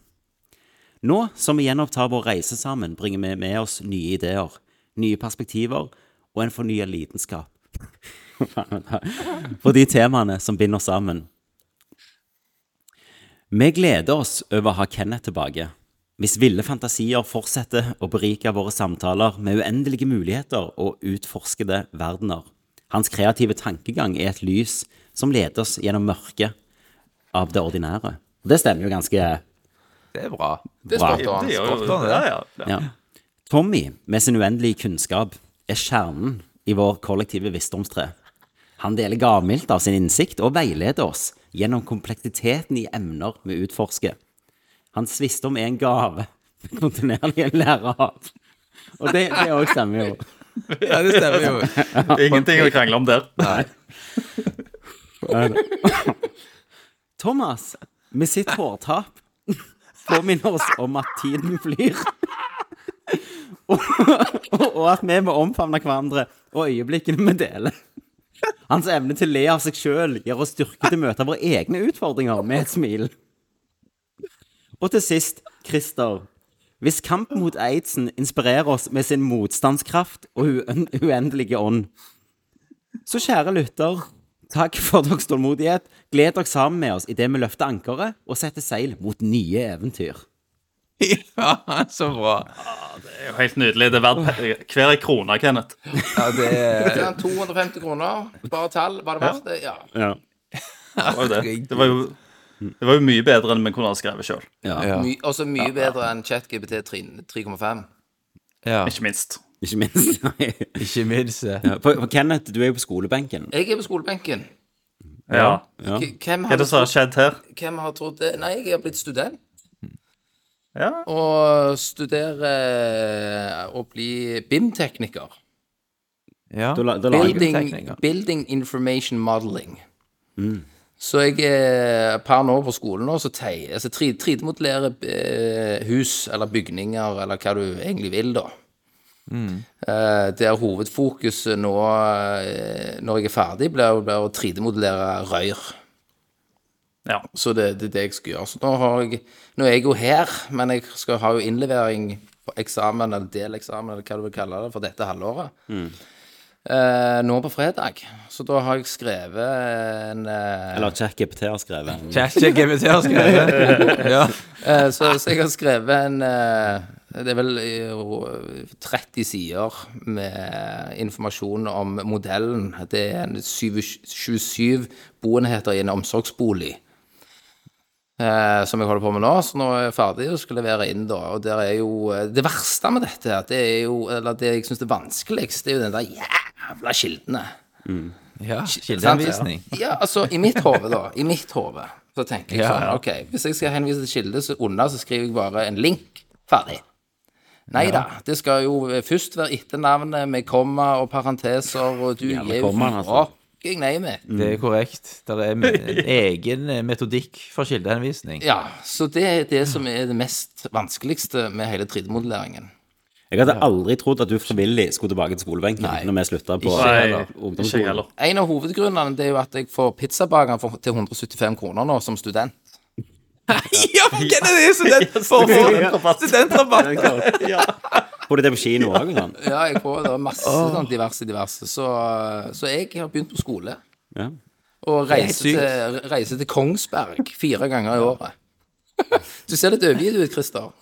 [SPEAKER 1] Nå som vi gjenopptar vår reise sammen, bringer vi med oss nye ideer, nye perspektiver og en fornyet lidenskap. For de temaene som binder oss sammen. Vi gleder oss over å ha Kenneth tilbake. Hvis ville fantasier fortsetter å berike våre samtaler med uendelige muligheter og utforskede verdener. Hans kreative tankegang er et lys som leder oss gjennom mørket av det ordinære. Det stemmer jo ganske
[SPEAKER 3] Det er bra.
[SPEAKER 2] Det
[SPEAKER 1] bra.
[SPEAKER 2] spurte han.
[SPEAKER 8] Det er
[SPEAKER 3] Spot on,
[SPEAKER 8] jo
[SPEAKER 3] det.
[SPEAKER 8] ja, ja, ja.
[SPEAKER 1] Ja. Tommy, med sin uendelige kunnskap, er kjernen i vår kollektive visdomstre. Han deler gavmildt av sin innsikt og veileder oss gjennom kompleksiteten i emner vi utforsker. Hans visdom er en gave vi kontinuerlig lærer av. Og det, det også stemmer jo.
[SPEAKER 3] Ja, det stemmer jo.
[SPEAKER 8] Ingenting å krangle om der.
[SPEAKER 1] Thomas, med sitt hårtap, påminner oss om at tiden flyr. og, og at vi må omfavne hverandre og øyeblikkene vi deler. Hans evne til å le av seg sjøl gir oss styrke til å møte våre egne utfordringer med et smil. Og til sist, Christer. Hvis kampen mot aidsen inspirerer oss med sin motstandskraft og uen- uendelige ånd, så kjære lytter, takk for deres tålmodighet. Gled dere sammen med oss idet vi løfter ankeret og setter seil mot nye eventyr.
[SPEAKER 3] Ja, så bra.
[SPEAKER 8] Det er jo helt nydelig. Det er verdt pe- hver ei krone, Kenneth.
[SPEAKER 3] Ja, det er
[SPEAKER 2] Det er 250 kroner, bare tall. Var det verdt det? Ja.
[SPEAKER 1] Ja.
[SPEAKER 8] Det var jo det. Det var jo, det var jo mye bedre enn vi kunne ha skrevet sjøl.
[SPEAKER 3] Ja.
[SPEAKER 2] My, også mye bedre enn ChatGPT 3,5.
[SPEAKER 3] ja.
[SPEAKER 8] Ikke minst.
[SPEAKER 1] Ikke minst. Nei.
[SPEAKER 3] Ikke minst.
[SPEAKER 1] Ja, For, for Kenneth, du er jo på skolebenken.
[SPEAKER 2] Jeg er på skolebenken.
[SPEAKER 8] Ja.
[SPEAKER 1] Ja.
[SPEAKER 2] K- Hvem
[SPEAKER 8] Hva er
[SPEAKER 2] hadde,
[SPEAKER 8] det som har skjedd her?
[SPEAKER 2] hvem har trodd det? Nei, jeg har blitt student.
[SPEAKER 8] Ja.
[SPEAKER 2] Og studerer å bli BIM-tekniker.
[SPEAKER 3] Ja.
[SPEAKER 1] Da, la- da lager du
[SPEAKER 2] Building,
[SPEAKER 3] BIM-tekniker.
[SPEAKER 2] building Information Modeling. Så jeg er per nå på skolen nå, så tei- altså, tre- 3D-modellerer eh, hus eller bygninger eller hva du egentlig vil, da. Eh, der hovedfokuset nå, eh, når jeg er ferdig, blir jo- blir å 3D-modellere røyr.
[SPEAKER 8] ja.
[SPEAKER 2] Så det, det er det jeg skal gjøre. Så nå, har jeg, nå er jeg jo her, men jeg skal ha jo innlevering på eksamen, eller deleksamen, eller hva du vil kalle det, for dette halvåret. Eh, nå på fredag. Så da har jeg skrevet en eh,
[SPEAKER 1] Eller ChatGPT har
[SPEAKER 8] Mm.
[SPEAKER 1] skrevet.
[SPEAKER 3] ChatGPT har skrevet. Ja.
[SPEAKER 2] eh, så, så jeg har skrevet en eh, Det er vel eh, ro- 30 sider med informasjon om modellen. Det er en 27 27 boenheter i en omsorgsbolig. eh, som jeg holder på med nå. Så nå er jeg ferdig og skal levere inn, da. Og der er jo eh, Det verste med dette, her, det er jo Eller det jeg syns er vanskeligst, det er jo den der jævla kildene.
[SPEAKER 3] ja.
[SPEAKER 2] Sant?
[SPEAKER 3] Kildeanvisning.
[SPEAKER 2] Ja, altså, i mitt hode, da. I mitt hode. Så tenker jeg
[SPEAKER 3] Ja,
[SPEAKER 2] sånn,
[SPEAKER 3] ja.
[SPEAKER 2] OK, hvis jeg skal henvise til kilde, så under så skriver jeg bare en link. Ferdig. Nei da, det skal jo først være etternavnet med komma og parenteser, og du
[SPEAKER 1] Ja, med
[SPEAKER 2] gir jo
[SPEAKER 1] kommaen, altså.
[SPEAKER 2] fucking nei med.
[SPEAKER 3] Det er korrekt. Det er en egen eh, metodikk for kildeanvisning.
[SPEAKER 2] Ja, så det er det som er det mest vanskeligste med hele 3D-modelleringen.
[SPEAKER 1] Jeg hadde aldri trodd at du frivillig skulle tilbake til skolebenken
[SPEAKER 2] Nei.
[SPEAKER 1] når vi slutta på
[SPEAKER 8] Nei, ikke jeg
[SPEAKER 1] ungdomsskolen.
[SPEAKER 8] heller.
[SPEAKER 2] En av hovedgrunnene det er jo at jeg får pizzabaker for- til 175 kroner nå som student.
[SPEAKER 3] Ja, men hvem er det student for? Studentrabatt!
[SPEAKER 8] Ja.
[SPEAKER 1] Får du det på kino òg? Sånn?
[SPEAKER 2] Ja, jeg får da masse sånn diverse, diverse. Så, så jeg har begynt på skole.
[SPEAKER 1] Ja.
[SPEAKER 2] Og reise
[SPEAKER 3] sykt.
[SPEAKER 2] til, reise til Kongsberg fire ganger i året. Du ser litt overgitt ut, Christer.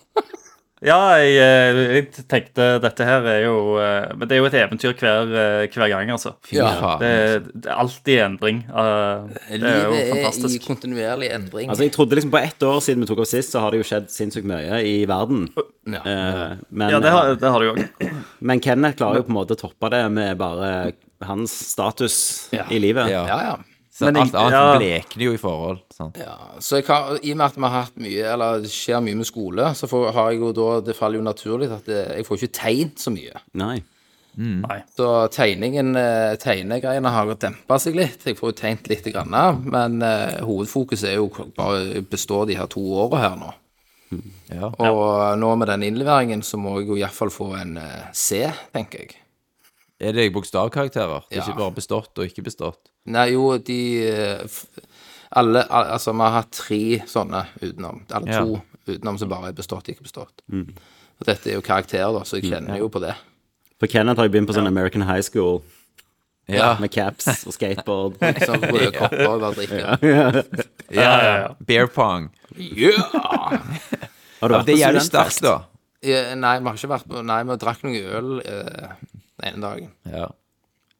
[SPEAKER 8] Ja, jeg, eh, jeg tenkte dette her er jo eh, Men det er jo et eventyr hver, eh, hver gang, altså.
[SPEAKER 2] Ja.
[SPEAKER 8] Det, er- det er alltid endring. eh, Det er jo
[SPEAKER 2] Livet er i
[SPEAKER 8] fantastisk.
[SPEAKER 2] kontinuerlig endring.
[SPEAKER 1] Altså, jeg trodde liksom På ett år siden vi tok opp sist, så har det jo skjedd sinnssykt mye i verden.
[SPEAKER 2] Ja.
[SPEAKER 1] Eh, men,
[SPEAKER 8] Ja, det har, det har du òg.
[SPEAKER 1] men Kenneth klarer jo på en måte å toppe det med bare hans status
[SPEAKER 2] Ja.
[SPEAKER 1] i livet.
[SPEAKER 3] Ja.
[SPEAKER 2] Ja, ja.
[SPEAKER 3] Så alt annet
[SPEAKER 8] ja.
[SPEAKER 3] blekner jo i forhold. sånn. Sant?
[SPEAKER 2] ja. Så jeg har, i og med at vi har hatt mye, eller det skjer mye med skole, så får, har jeg jo da Det faller jo naturlig at det, jeg får ikke tegnet så mye.
[SPEAKER 1] Nei.
[SPEAKER 2] Så tegningen, eh, tegnegreiene har dempa seg litt. Jeg får jo tegnet litt, grann, men eh, hovedfokuset er jo bare å bestå de her to åra her nå.
[SPEAKER 3] Ja.
[SPEAKER 2] Og nå med den innleveringen så må jeg jo iallfall få en eh, C, tenker jeg.
[SPEAKER 3] Er det bokstavkarakterer? Det er
[SPEAKER 2] Ja.
[SPEAKER 3] ikke bare bestått og ikke bestått.
[SPEAKER 2] Nei, jo, de eh, f- Alle al- Altså, vi har hatt tre sånne utenom. Eller
[SPEAKER 3] Ja. Mm.
[SPEAKER 2] to utenom som bare er bestått, ikke bestått. Og dette er jo karakterer, da, så jeg kjenner jo på det.
[SPEAKER 1] For Kenneth har jo begynt på sånn American High School
[SPEAKER 3] Ja.
[SPEAKER 1] med caps og skateboard.
[SPEAKER 2] Sånn røde kopper over drikke.
[SPEAKER 8] Ja, ja, ja.
[SPEAKER 3] Beer pong.
[SPEAKER 2] Ja!
[SPEAKER 1] Har du vært
[SPEAKER 3] Det er
[SPEAKER 1] på
[SPEAKER 3] jævlig
[SPEAKER 1] studentfest?
[SPEAKER 3] sterkt, da.
[SPEAKER 2] Eh, Nei, vi har ikke vært på Nei, vi drakk noe øl eh, den ene dagen.
[SPEAKER 3] Ja.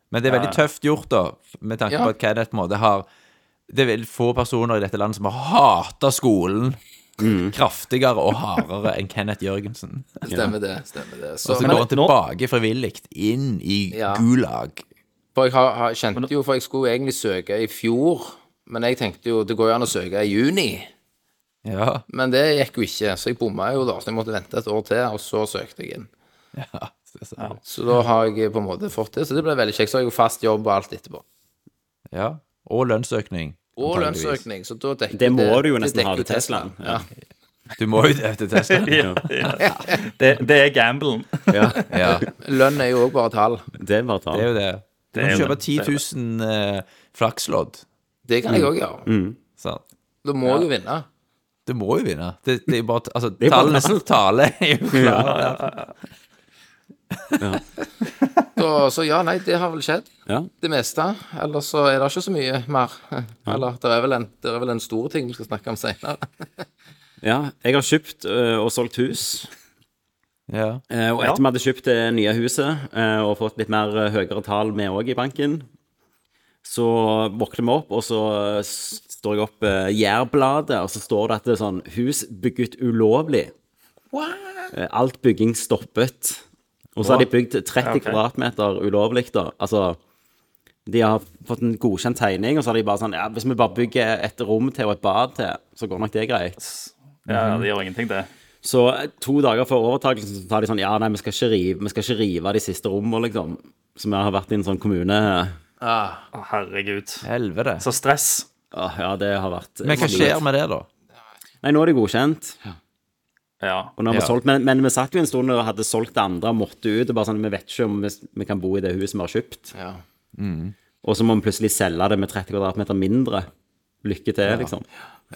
[SPEAKER 3] Men det er veldig tøft gjort, da, med tanke
[SPEAKER 2] Ja.
[SPEAKER 3] på at Kenneth på en måte har Det er vel få personer i dette landet som har hata skolen kraftigere og hardere enn Kenneth Jørgensen.
[SPEAKER 2] Stemmer det. stemmer det Så,
[SPEAKER 3] Og så
[SPEAKER 2] men,
[SPEAKER 3] går han tilbake frivillig inn i
[SPEAKER 2] Ja.
[SPEAKER 3] Gulag.
[SPEAKER 2] for jeg har, har, kjente jo For jeg skulle egentlig søke i fjor, men jeg tenkte jo det går jo an å søke i juni.
[SPEAKER 3] Ja.
[SPEAKER 2] Men det gikk jo ikke, så jeg bomma jo da. Så jeg måtte vente et år til, og så søkte jeg inn.
[SPEAKER 3] ja. det er sant.
[SPEAKER 2] Så da har jeg på en måte fått det, så det ble veldig kjekt. Så har jeg jo fast jobb og alt etterpå.
[SPEAKER 3] ja. Og lønnsøkning.
[SPEAKER 2] Og
[SPEAKER 3] antageligvis.
[SPEAKER 2] lønnsøkning, så da dekker
[SPEAKER 1] Det må du jo nesten
[SPEAKER 2] dekker
[SPEAKER 1] ha til Teslaen.
[SPEAKER 2] Ja.
[SPEAKER 3] Du må jo det til testen.
[SPEAKER 8] Ja, ja. Det, det er gamblen.
[SPEAKER 1] Ja,
[SPEAKER 3] Ja.
[SPEAKER 2] Lønn er jo òg bare tall.
[SPEAKER 1] det er bare
[SPEAKER 3] Det er
[SPEAKER 1] tall.
[SPEAKER 3] jo det. Du
[SPEAKER 8] er
[SPEAKER 3] kan
[SPEAKER 8] jo
[SPEAKER 3] kjøpe
[SPEAKER 8] det.
[SPEAKER 3] 10 000 eh, flakslodd.
[SPEAKER 2] Det kan jeg òg gjøre.
[SPEAKER 3] Sant?
[SPEAKER 2] Da må jeg jo vinne.
[SPEAKER 3] Du må jo vinne. Det, det er bare, t- altså,
[SPEAKER 1] er bare
[SPEAKER 3] tallenes tale er jo klar.
[SPEAKER 2] Så, så ja, nei, det har vel skjedd.
[SPEAKER 1] Ja.
[SPEAKER 2] Det meste. Ellers så er det ikke så mye mer. Eller det er vel en, det er vel en stor ting vi skal snakke om seinere.
[SPEAKER 1] ja. Jeg har kjøpt øh, og solgt hus.
[SPEAKER 3] Ja.
[SPEAKER 1] Eh, og etter vi hadde kjøpt det nye huset eh, og fått litt mer eh, høyere tall med òg i banken, så våkner vi opp, og så eh, s- står jeg opp eh, Jærbladet, og så står det at det er sånn Hus bygget ulovlig. Eh, alt bygging stoppet. Og så har de bygd 30 kvadratmeter ulovlig, da. Altså De har fått en godkjent tegning, og så har de bare sånn Ja, hvis vi bare bygger et rom til og et bad til, så går nok det greit.
[SPEAKER 8] Ja, det gjør ingenting, det.
[SPEAKER 1] Så eh, to dager før overtakelsen så tar de sånn Ja, nei, vi skal ikke rive, vi skal ikke rive de siste rommene, liksom. Som jeg har vært i en sånn kommune Åh,
[SPEAKER 8] Å, Herregud.
[SPEAKER 3] Helvete.
[SPEAKER 8] Så stress.
[SPEAKER 1] ah, Ja, det har vært
[SPEAKER 3] Men hva skjer med det, da?
[SPEAKER 1] Nei, nå er det godkjent.
[SPEAKER 8] Ja.
[SPEAKER 1] Og nå har vi
[SPEAKER 3] Ja.
[SPEAKER 1] solgt, men, men vi satt jo en stund og hadde solgt det andre, måtte ut. Og bare sånn, Vi vet ikke om vi, vi kan bo i det huset vi har kjøpt.
[SPEAKER 2] Ja.
[SPEAKER 1] Og så må vi plutselig selge det med 30 kvadratmeter mindre. Lykke til, liksom.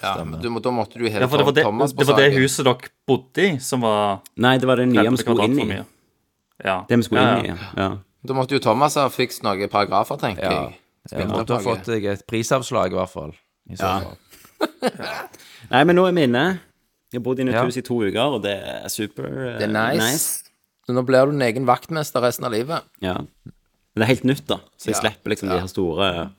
[SPEAKER 2] Ja, men du, må- da måtte du heve
[SPEAKER 8] Ja, for det var det,
[SPEAKER 2] Thomas på
[SPEAKER 8] det var det
[SPEAKER 2] saken.
[SPEAKER 8] huset dere bodde i, som var
[SPEAKER 1] Nei, det var det nye
[SPEAKER 8] 30
[SPEAKER 1] vi skulle
[SPEAKER 8] kvadrat
[SPEAKER 1] inn
[SPEAKER 8] for
[SPEAKER 1] i.
[SPEAKER 8] mye. Ja.
[SPEAKER 1] Det vi skulle
[SPEAKER 8] ja,
[SPEAKER 1] inn
[SPEAKER 8] ja.
[SPEAKER 1] i, ja.
[SPEAKER 2] Da måtte jo Thomas ha fikst noen paragrafer, tenker
[SPEAKER 3] Ja.
[SPEAKER 2] jeg.
[SPEAKER 3] Jeg måtte ha
[SPEAKER 2] Spilleoppdraget.
[SPEAKER 3] fått deg et prisavslag, i hvert fall. I så fall.
[SPEAKER 1] Nei, men nå er vi inne. Jeg har bodd i nytt
[SPEAKER 3] Ja.
[SPEAKER 1] hus i to uker, og det er super eh,
[SPEAKER 2] Det er nice. Så nå blir du din egen vaktmester resten av livet.
[SPEAKER 1] Ja. Men det er helt nytt, da. Så jeg
[SPEAKER 2] Ja.
[SPEAKER 1] slipper liksom de her store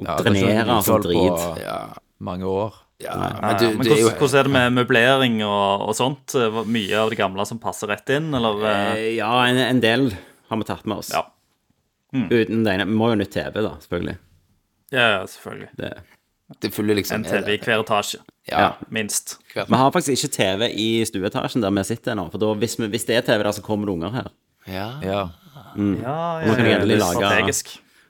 [SPEAKER 1] Å
[SPEAKER 3] Ja, det er ikke
[SPEAKER 1] drenere
[SPEAKER 3] noe
[SPEAKER 1] og sånn
[SPEAKER 3] utfall
[SPEAKER 1] drit.
[SPEAKER 3] på eh,
[SPEAKER 2] Ja,
[SPEAKER 3] Mange år.
[SPEAKER 2] ja. Men
[SPEAKER 8] Ja,
[SPEAKER 2] du,
[SPEAKER 8] men
[SPEAKER 2] det er
[SPEAKER 8] hvordan,
[SPEAKER 2] jo
[SPEAKER 8] hvordan er det med møblering og, og sånt? Var Mye av det gamle som passer rett inn, eller? eh,
[SPEAKER 1] Eh, Ja, en, en del har vi tatt med oss.
[SPEAKER 8] Ja.
[SPEAKER 3] Mm.
[SPEAKER 1] Uten det ene. Vi må jo ha nytt TV, da, selvfølgelig.
[SPEAKER 8] Ja, ja, selvfølgelig.
[SPEAKER 1] Det.
[SPEAKER 2] Det følger liksom
[SPEAKER 8] En
[SPEAKER 2] med
[SPEAKER 8] TV i
[SPEAKER 2] det.
[SPEAKER 8] hver etasje,
[SPEAKER 2] Ja.
[SPEAKER 8] minst.
[SPEAKER 1] Vi har faktisk ikke TV i stueetasjen der vi sitter nå. For da, hvis, vi, hvis det er TV der, så kommer det unger her.
[SPEAKER 2] ja.
[SPEAKER 3] Ja.
[SPEAKER 8] Ja,
[SPEAKER 1] Nå kan jeg endelig
[SPEAKER 8] det er
[SPEAKER 1] lage-
[SPEAKER 8] strategisk.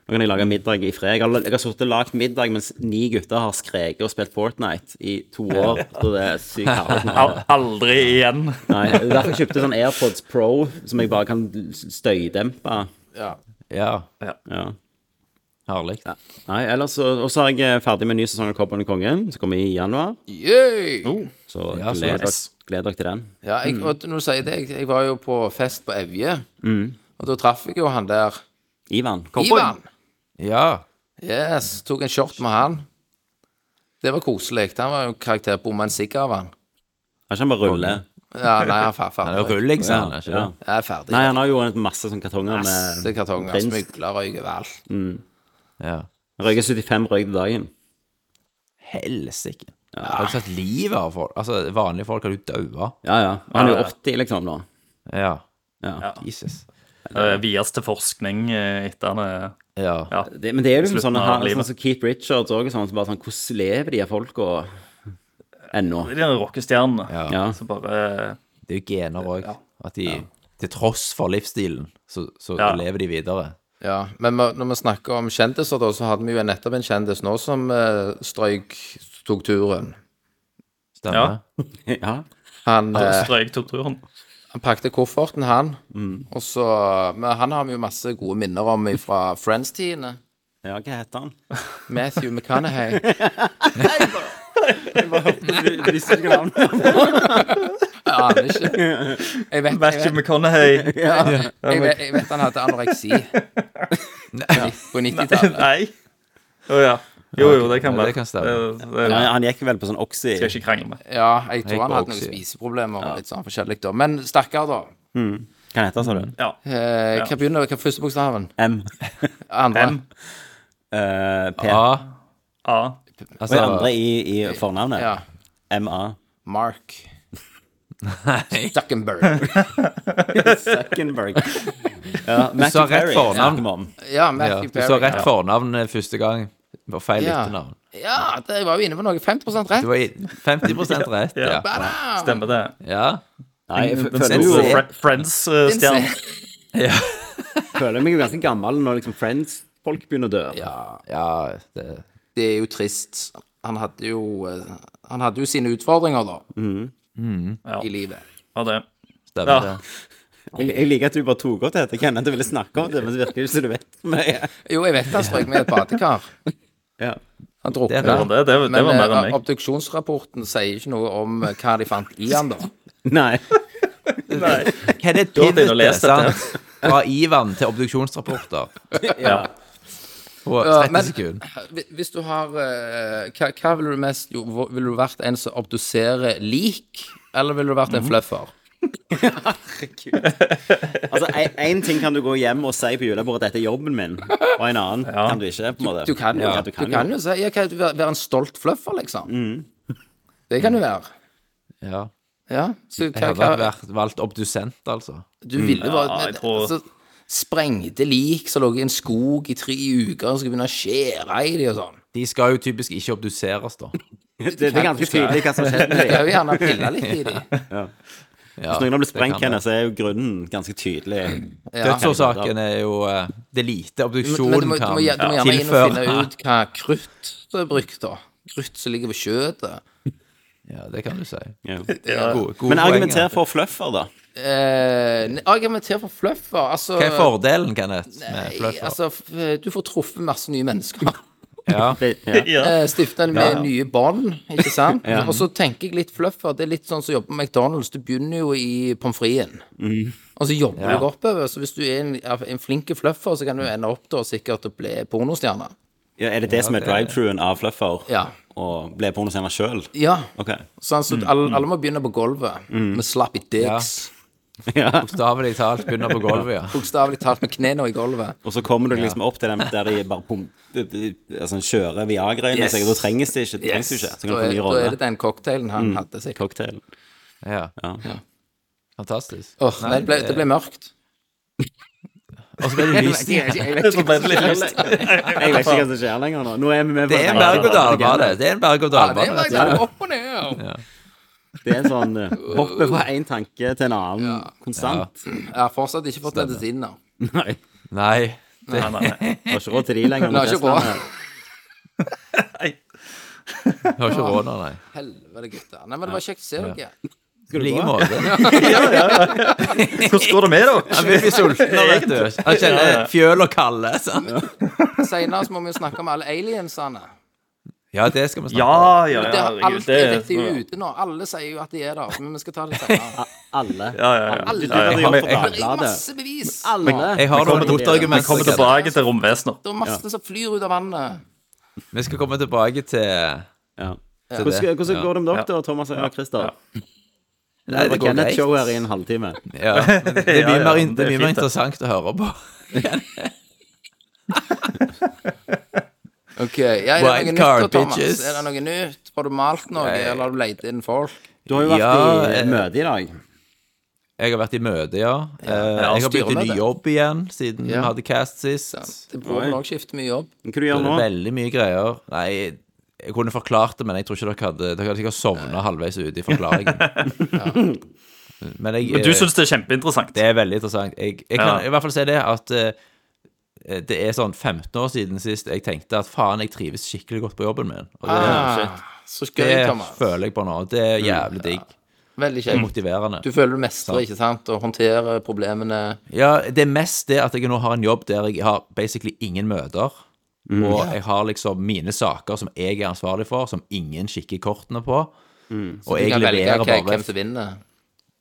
[SPEAKER 1] Nå kan jeg lage middag i fred. Jeg har, jeg har sittet og lagd middag mens ni gutter har skreket og spilt Fortnite i to år. Så det er sykt herlig. nå.
[SPEAKER 8] Al- Aldri igjen.
[SPEAKER 1] Nei, det er Derfor jeg kjøpte sånn AirPods Pro, som jeg bare kan støydempe.
[SPEAKER 2] Ja.
[SPEAKER 3] ja.
[SPEAKER 1] Ja.
[SPEAKER 3] Herlig.
[SPEAKER 1] Nei, ellers så, og så er jeg eh, ferdig med en ny sesong av Cowboyen og kongen, som kommer i januar.
[SPEAKER 2] Yay!
[SPEAKER 1] Så
[SPEAKER 3] Ja, så
[SPEAKER 1] gled, dere,
[SPEAKER 3] nice.
[SPEAKER 1] gled dere til den.
[SPEAKER 2] Ja, jeg, og når du sier det, jeg, jeg var jo på fest på Evje, og da traff jeg jo han der
[SPEAKER 1] Ivan.
[SPEAKER 2] Ivan.
[SPEAKER 3] Ja.
[SPEAKER 2] Yes, tok en short med han. Det var koselig. Han var jo karakter bomma en sigg av han.
[SPEAKER 1] Har ikke han bare rulle?
[SPEAKER 2] Ja, nei, han er
[SPEAKER 3] Han er jo
[SPEAKER 2] ferdig.
[SPEAKER 3] rulling, sa han. er Ikke
[SPEAKER 1] Ja.
[SPEAKER 3] det?
[SPEAKER 2] Jeg er ferdig.
[SPEAKER 1] Nei, han har jo en masse sånne kartonger med
[SPEAKER 2] Masse kartonger,
[SPEAKER 1] prins.
[SPEAKER 2] smugler, røyk overalt.
[SPEAKER 3] Ja.
[SPEAKER 1] Han Røyker 75 røyk til dagen.
[SPEAKER 3] Helsike. Har du sett livet av folk? Altså, vanlige folk har du daua.
[SPEAKER 1] Ja, ja. Og Han er
[SPEAKER 8] Ja,
[SPEAKER 1] jo
[SPEAKER 8] ja.
[SPEAKER 1] 80, liksom, nå.
[SPEAKER 3] Ja.
[SPEAKER 1] Ja.
[SPEAKER 3] Jesus.
[SPEAKER 8] Eh, Vies til forskning eh, etter han er
[SPEAKER 3] Ja.
[SPEAKER 8] Ja.
[SPEAKER 1] Det, men det er jo liksom
[SPEAKER 8] Slutten
[SPEAKER 1] sånn
[SPEAKER 8] av
[SPEAKER 1] han-
[SPEAKER 8] livet.
[SPEAKER 1] sånn som Keith Richards og sånn, som bare sånn Hvordan lever de av folk og ennå?
[SPEAKER 8] De der rockestjernene
[SPEAKER 1] Ja.
[SPEAKER 8] som bare eh,
[SPEAKER 3] Det er jo gener òg. At de, til tross for livsstilen, så, så
[SPEAKER 8] Ja.
[SPEAKER 3] lever de videre.
[SPEAKER 2] Ja, men vi- når vi snakker om kjendiser, da, så hadde vi jo nettopp en kjendis nå som eh, strøyk tok turen.
[SPEAKER 3] Stemmer?
[SPEAKER 1] Ja.
[SPEAKER 2] Han eh,
[SPEAKER 8] strøk torturen.
[SPEAKER 2] Han pakket kofferten, han.
[SPEAKER 8] Mm.
[SPEAKER 2] Og så, men han har vi jo masse gode minner om fra Friends-tidene.
[SPEAKER 1] ja, hva heter han?
[SPEAKER 2] Matthew McConaughey.
[SPEAKER 1] Visste du ikke navnet?
[SPEAKER 2] Jeg aner ikke. Jeg vet, jeg
[SPEAKER 8] Matthew
[SPEAKER 2] vet,
[SPEAKER 8] McConaughey.
[SPEAKER 2] jeg vet, jeg vet han hadde anoreksi. På 90-tallet.
[SPEAKER 8] Nei. Å ja. Jo, jo, det kan
[SPEAKER 3] Ja,
[SPEAKER 8] være.
[SPEAKER 3] det kan stemme.
[SPEAKER 8] Det- det-
[SPEAKER 1] Han, han gikk vel på sånn Oxy.
[SPEAKER 8] skal jeg ikke krangle med.
[SPEAKER 2] Ja, jeg tror
[SPEAKER 3] Helt
[SPEAKER 2] han hadde noen
[SPEAKER 3] oxy.
[SPEAKER 2] spiseproblemer og litt sånn forskjellig, da. Men stakkar, da.
[SPEAKER 1] Hva heter han, sa du?
[SPEAKER 8] Ja.
[SPEAKER 2] Eh, Hva begynner hva er første bokstaven?
[SPEAKER 1] M.
[SPEAKER 2] Andre?
[SPEAKER 8] M.
[SPEAKER 1] Eh, P.
[SPEAKER 3] Ja,
[SPEAKER 8] A.
[SPEAKER 1] Og
[SPEAKER 3] altså
[SPEAKER 1] det andre i, i fornavnet.
[SPEAKER 2] Ja.
[SPEAKER 1] MA.
[SPEAKER 2] Mark.
[SPEAKER 3] Nei.
[SPEAKER 2] Zuckerberg.
[SPEAKER 1] Zuckerberg. Ja, Matthew
[SPEAKER 3] sa rett
[SPEAKER 1] Perry
[SPEAKER 3] fornavn.
[SPEAKER 1] snakker vi om.
[SPEAKER 2] Ja,
[SPEAKER 3] Ja,
[SPEAKER 2] Matthew
[SPEAKER 3] du sa
[SPEAKER 2] Perry.
[SPEAKER 3] rett fornavn eh, første gang. Det var feil
[SPEAKER 2] Ja.
[SPEAKER 3] etternavn.
[SPEAKER 2] Ja, det var jo inne på noe. 50 rett.
[SPEAKER 3] Du var i- 50 rett, ja.
[SPEAKER 2] Bada!
[SPEAKER 8] Stemmer det.
[SPEAKER 3] ja.
[SPEAKER 1] Nei, jeg f- føler
[SPEAKER 8] Sånn
[SPEAKER 1] jo
[SPEAKER 8] som Fre- eh, Friends-stjerne.
[SPEAKER 1] føler meg jo ganske gammel når liksom Friends-folk begynner å dø.
[SPEAKER 3] Ja, det
[SPEAKER 2] Det er jo trist. Han hadde jo, eh, han hadde jo sine utfordringer, da,
[SPEAKER 8] Ja.
[SPEAKER 2] i livet.
[SPEAKER 8] Ja, det.
[SPEAKER 3] stemmer,
[SPEAKER 8] Ja.
[SPEAKER 3] det.
[SPEAKER 1] Jeg, jeg liker at du bare tok opp dette. Jeg kjenner at du ville snakke om det, men det virker ikke som du vet så mye.
[SPEAKER 2] Jo, jeg vet han strøk med et badekar.
[SPEAKER 1] Ja.
[SPEAKER 2] Han
[SPEAKER 3] Det er
[SPEAKER 8] Det, var-
[SPEAKER 2] drukna.
[SPEAKER 8] det, det, var- det
[SPEAKER 2] Men
[SPEAKER 8] var mer
[SPEAKER 2] eh,
[SPEAKER 8] enn meg.
[SPEAKER 2] obduksjonsrapporten sier ikke noe om eh, hva de fant i han, da.
[SPEAKER 1] Nei.
[SPEAKER 3] Hva er det
[SPEAKER 8] har vært inne og
[SPEAKER 3] pivotet,
[SPEAKER 8] lest dette.
[SPEAKER 3] sant? Fra Ivan til obduksjonsrapporter
[SPEAKER 8] Ja.
[SPEAKER 3] på
[SPEAKER 2] Ja,
[SPEAKER 3] 30
[SPEAKER 2] men-
[SPEAKER 3] sekunder.
[SPEAKER 2] Hvi- Hvis du har eh, Hva, hva ville du mest jo, hva- Ville du vært en som obduserer lik, eller ville du vært en fluffer?
[SPEAKER 1] Altså, én ting kan du gå hjem og si på julebordet at dette er jobben min, og en annen kan du ikke. på en måte.
[SPEAKER 2] Du kan jo,
[SPEAKER 1] Ja,
[SPEAKER 2] du kan jo si ja, hva, være, være en stolt fluffer, liksom.
[SPEAKER 3] Mm.
[SPEAKER 2] Det kan du være.
[SPEAKER 3] Ja.
[SPEAKER 2] Ja. Så
[SPEAKER 3] Jeg
[SPEAKER 2] hva,
[SPEAKER 3] hadde
[SPEAKER 2] hva
[SPEAKER 3] vært, valgt obdusent, altså.
[SPEAKER 2] Du ville bare
[SPEAKER 8] Ja, jeg
[SPEAKER 2] men,
[SPEAKER 8] tror-
[SPEAKER 2] altså, Sprengte lik som lå i en skog i tre uker, og skulle begynne å skjære i de og sånn.
[SPEAKER 3] De skal jo typisk ikke obduseres, da.
[SPEAKER 1] Det, det er ganske tydelig hva som skjedde med
[SPEAKER 2] Jeg
[SPEAKER 1] dem.
[SPEAKER 2] vil gjerne pille litt i de.
[SPEAKER 3] Ja,
[SPEAKER 1] Hvis noen har blitt
[SPEAKER 3] det kan
[SPEAKER 1] sprengt, Kenneth, så er jo grunnen ganske tydelig.
[SPEAKER 3] det. Dødsårsaken er jo eh, Det er lite obduksjon
[SPEAKER 2] Men du må, du
[SPEAKER 3] kan
[SPEAKER 2] må, du må gjerne inn og
[SPEAKER 3] tilføre.
[SPEAKER 2] finne ut hva krutt som er brukt, da. Krutt som ligger på kjøttet.
[SPEAKER 3] Ja, det kan du si.
[SPEAKER 1] Ja.
[SPEAKER 3] Gode, gode
[SPEAKER 1] Men argumenter
[SPEAKER 3] poenger.
[SPEAKER 1] for fluffer, da.
[SPEAKER 2] Eh, ne- argumenter for fluffer. Altså,
[SPEAKER 3] Hva er fordelen, Kenneth, med fluffer?
[SPEAKER 2] altså f- du får truffet masse nye mennesker.
[SPEAKER 3] ja.
[SPEAKER 1] Ja.
[SPEAKER 2] Eh, Stifter en med nye bånd, ikke sant? Og så tenker jeg litt fluffer. Det er litt sånn som å jobbe på McDonald's. Du begynner jo i pommes fritesen. Og så jobber du deg oppover. Så hvis du er en, er en flink fluffer, så kan du ende opp da sikkert å bli pornostjerne.
[SPEAKER 1] Ja, er det det som er drive-truen av fluffer?
[SPEAKER 2] Ja.
[SPEAKER 1] Og ble pornoscena sjøl?
[SPEAKER 2] Ja.
[SPEAKER 1] OK.
[SPEAKER 2] Sånn, så alle, alle må begynne på gulvet med slappy dicks.
[SPEAKER 1] Ja.
[SPEAKER 3] Bokstavelig talt begynner på gulvet, ja.
[SPEAKER 2] Bokstavelig talt med knærne i gulvet.
[SPEAKER 1] Og så kommer du liksom opp til dem der de bare pum- de- de- altså, kjører Viagra inn i
[SPEAKER 2] Yes.
[SPEAKER 1] seg, og da trenges det ikke. Det trengs jo ikke. Så kan du
[SPEAKER 2] Da
[SPEAKER 1] få ny
[SPEAKER 2] er, da er det
[SPEAKER 1] rolle.
[SPEAKER 2] den cocktailen han hadde, sikkert.
[SPEAKER 1] Cocktail.
[SPEAKER 3] ja.
[SPEAKER 1] Ja.
[SPEAKER 3] Fantastisk. eh,
[SPEAKER 2] Åh, nei, det, ble, det ble mørkt.
[SPEAKER 3] Og så ble det lyst.
[SPEAKER 8] Så ble det litt lyst.
[SPEAKER 1] Jeg vet ikke hva som skjer lenger nå. Nå er vi med på
[SPEAKER 3] Det er en
[SPEAKER 1] dette.
[SPEAKER 3] berg-og-dal-bane. Det er en
[SPEAKER 2] Ja, det
[SPEAKER 3] berg-og-dal-bane.
[SPEAKER 2] ble det opp og ned.
[SPEAKER 1] Det er sånn eh, hoppe fra én tanke til en annen konstant.
[SPEAKER 2] Jeg har fortsatt ikke fått medisiner.
[SPEAKER 1] Nei.
[SPEAKER 3] Nei.
[SPEAKER 8] Nei, nei, nei.
[SPEAKER 1] Jeg har ikke råd til de lenger.
[SPEAKER 2] Nei, ikke råd.
[SPEAKER 3] Jeg har ikke råd nå, nei.
[SPEAKER 2] Helvete, gutter. Nei, men det var kjekt å se dere.
[SPEAKER 3] I like måte.
[SPEAKER 8] Hvordan går det med dere?
[SPEAKER 3] Han blir blir sulten nå, vet du. Han kjenner fjøl og kalde. sant?
[SPEAKER 2] Senere så må vi jo snakke om alle aliensene.
[SPEAKER 3] Ja, det skal vi snakke om.
[SPEAKER 8] Ja, ja, ja.
[SPEAKER 2] Det har
[SPEAKER 8] herregud,
[SPEAKER 2] alt er dette
[SPEAKER 8] ja,
[SPEAKER 2] jo ute nå. Alle sier jo at de er der, men vi skal ta det senere.
[SPEAKER 1] Alle.
[SPEAKER 8] ja, ja, ja.
[SPEAKER 1] Du
[SPEAKER 8] Ja,
[SPEAKER 1] burde
[SPEAKER 8] ja.
[SPEAKER 1] jobbet for
[SPEAKER 2] Det
[SPEAKER 3] jeg-
[SPEAKER 2] er jo
[SPEAKER 1] Dagbladet.
[SPEAKER 2] masse bevis.
[SPEAKER 1] Alle.
[SPEAKER 3] Jeg har noen
[SPEAKER 8] Vi kommer
[SPEAKER 3] motargumenter.
[SPEAKER 8] tilbake til romvesener.
[SPEAKER 2] Det er masse som flyr ut av vannet.
[SPEAKER 3] Kenneth. Vi skal komme tilbake til
[SPEAKER 1] Ja.
[SPEAKER 3] til
[SPEAKER 1] Hvordan,
[SPEAKER 3] det.
[SPEAKER 1] hvordan
[SPEAKER 3] Ja.
[SPEAKER 1] går det med dere, da, Thomas og Christer?
[SPEAKER 3] Nei,
[SPEAKER 1] Det
[SPEAKER 3] det
[SPEAKER 1] var
[SPEAKER 3] går greit.
[SPEAKER 1] Kenneth-show her i en halvtime.
[SPEAKER 3] Ja, men det er mye
[SPEAKER 8] ja,
[SPEAKER 3] mer,
[SPEAKER 8] men
[SPEAKER 3] in-
[SPEAKER 8] det
[SPEAKER 3] det er mye mer
[SPEAKER 8] er fint, det.
[SPEAKER 3] interessant å høre på.
[SPEAKER 2] Ok, ja, Er det noe
[SPEAKER 3] Wildcard,
[SPEAKER 2] nytt, da, Thomas?
[SPEAKER 3] bitches.
[SPEAKER 2] Er det noe nytt? Har du malt noe, eller har du leid inn folk?
[SPEAKER 1] Du har jo vært
[SPEAKER 3] Ja,
[SPEAKER 1] i
[SPEAKER 3] eh,
[SPEAKER 1] møte i dag.
[SPEAKER 3] Jeg har vært i møte, ja. Eh,
[SPEAKER 8] ja,
[SPEAKER 3] Jeg har begynt i ny
[SPEAKER 2] styremøte.
[SPEAKER 3] jobb igjen, siden vi
[SPEAKER 2] Ja.
[SPEAKER 3] hadde cast sist.
[SPEAKER 2] Det burde vel også skifte mye jobb.
[SPEAKER 1] Hva du gjør
[SPEAKER 3] Det
[SPEAKER 1] nå?
[SPEAKER 3] er veldig mye greier. Nei, jeg kunne forklart det, men jeg tror ikke dere hadde Dere hadde sikkert sovna halvveis ute i forklaringen. Men jeg,
[SPEAKER 8] Men du
[SPEAKER 3] eh,
[SPEAKER 8] syns det er kjempeinteressant?
[SPEAKER 3] det er veldig interessant. Jeg, jeg kan
[SPEAKER 8] Ja.
[SPEAKER 3] i hvert fall si det at eh, det er sånn 15 år siden sist jeg tenkte at faen, jeg trives skikkelig godt på jobben min. Og det,
[SPEAKER 2] Ah, så
[SPEAKER 3] det
[SPEAKER 2] gøy, Thomas.
[SPEAKER 3] føler Mm. jeg på nå. Det er
[SPEAKER 8] Mm.
[SPEAKER 3] jævlig digg.
[SPEAKER 2] Veldig kjekt.
[SPEAKER 3] Motiverende.
[SPEAKER 2] Du føler du
[SPEAKER 3] Sånn.
[SPEAKER 2] mestrer, ikke sant? Og håndterer problemene.
[SPEAKER 3] Ja, det er mest det at jeg nå har en jobb der jeg har basically ingen møter.
[SPEAKER 2] Mm.
[SPEAKER 3] Og jeg har liksom mine saker som jeg er ansvarlig for, som ingen kikker kortene på. Og
[SPEAKER 2] Mm. Du
[SPEAKER 3] jeg
[SPEAKER 2] kan velge
[SPEAKER 3] leverer
[SPEAKER 2] hva- hvem
[SPEAKER 3] bare
[SPEAKER 2] som vinner.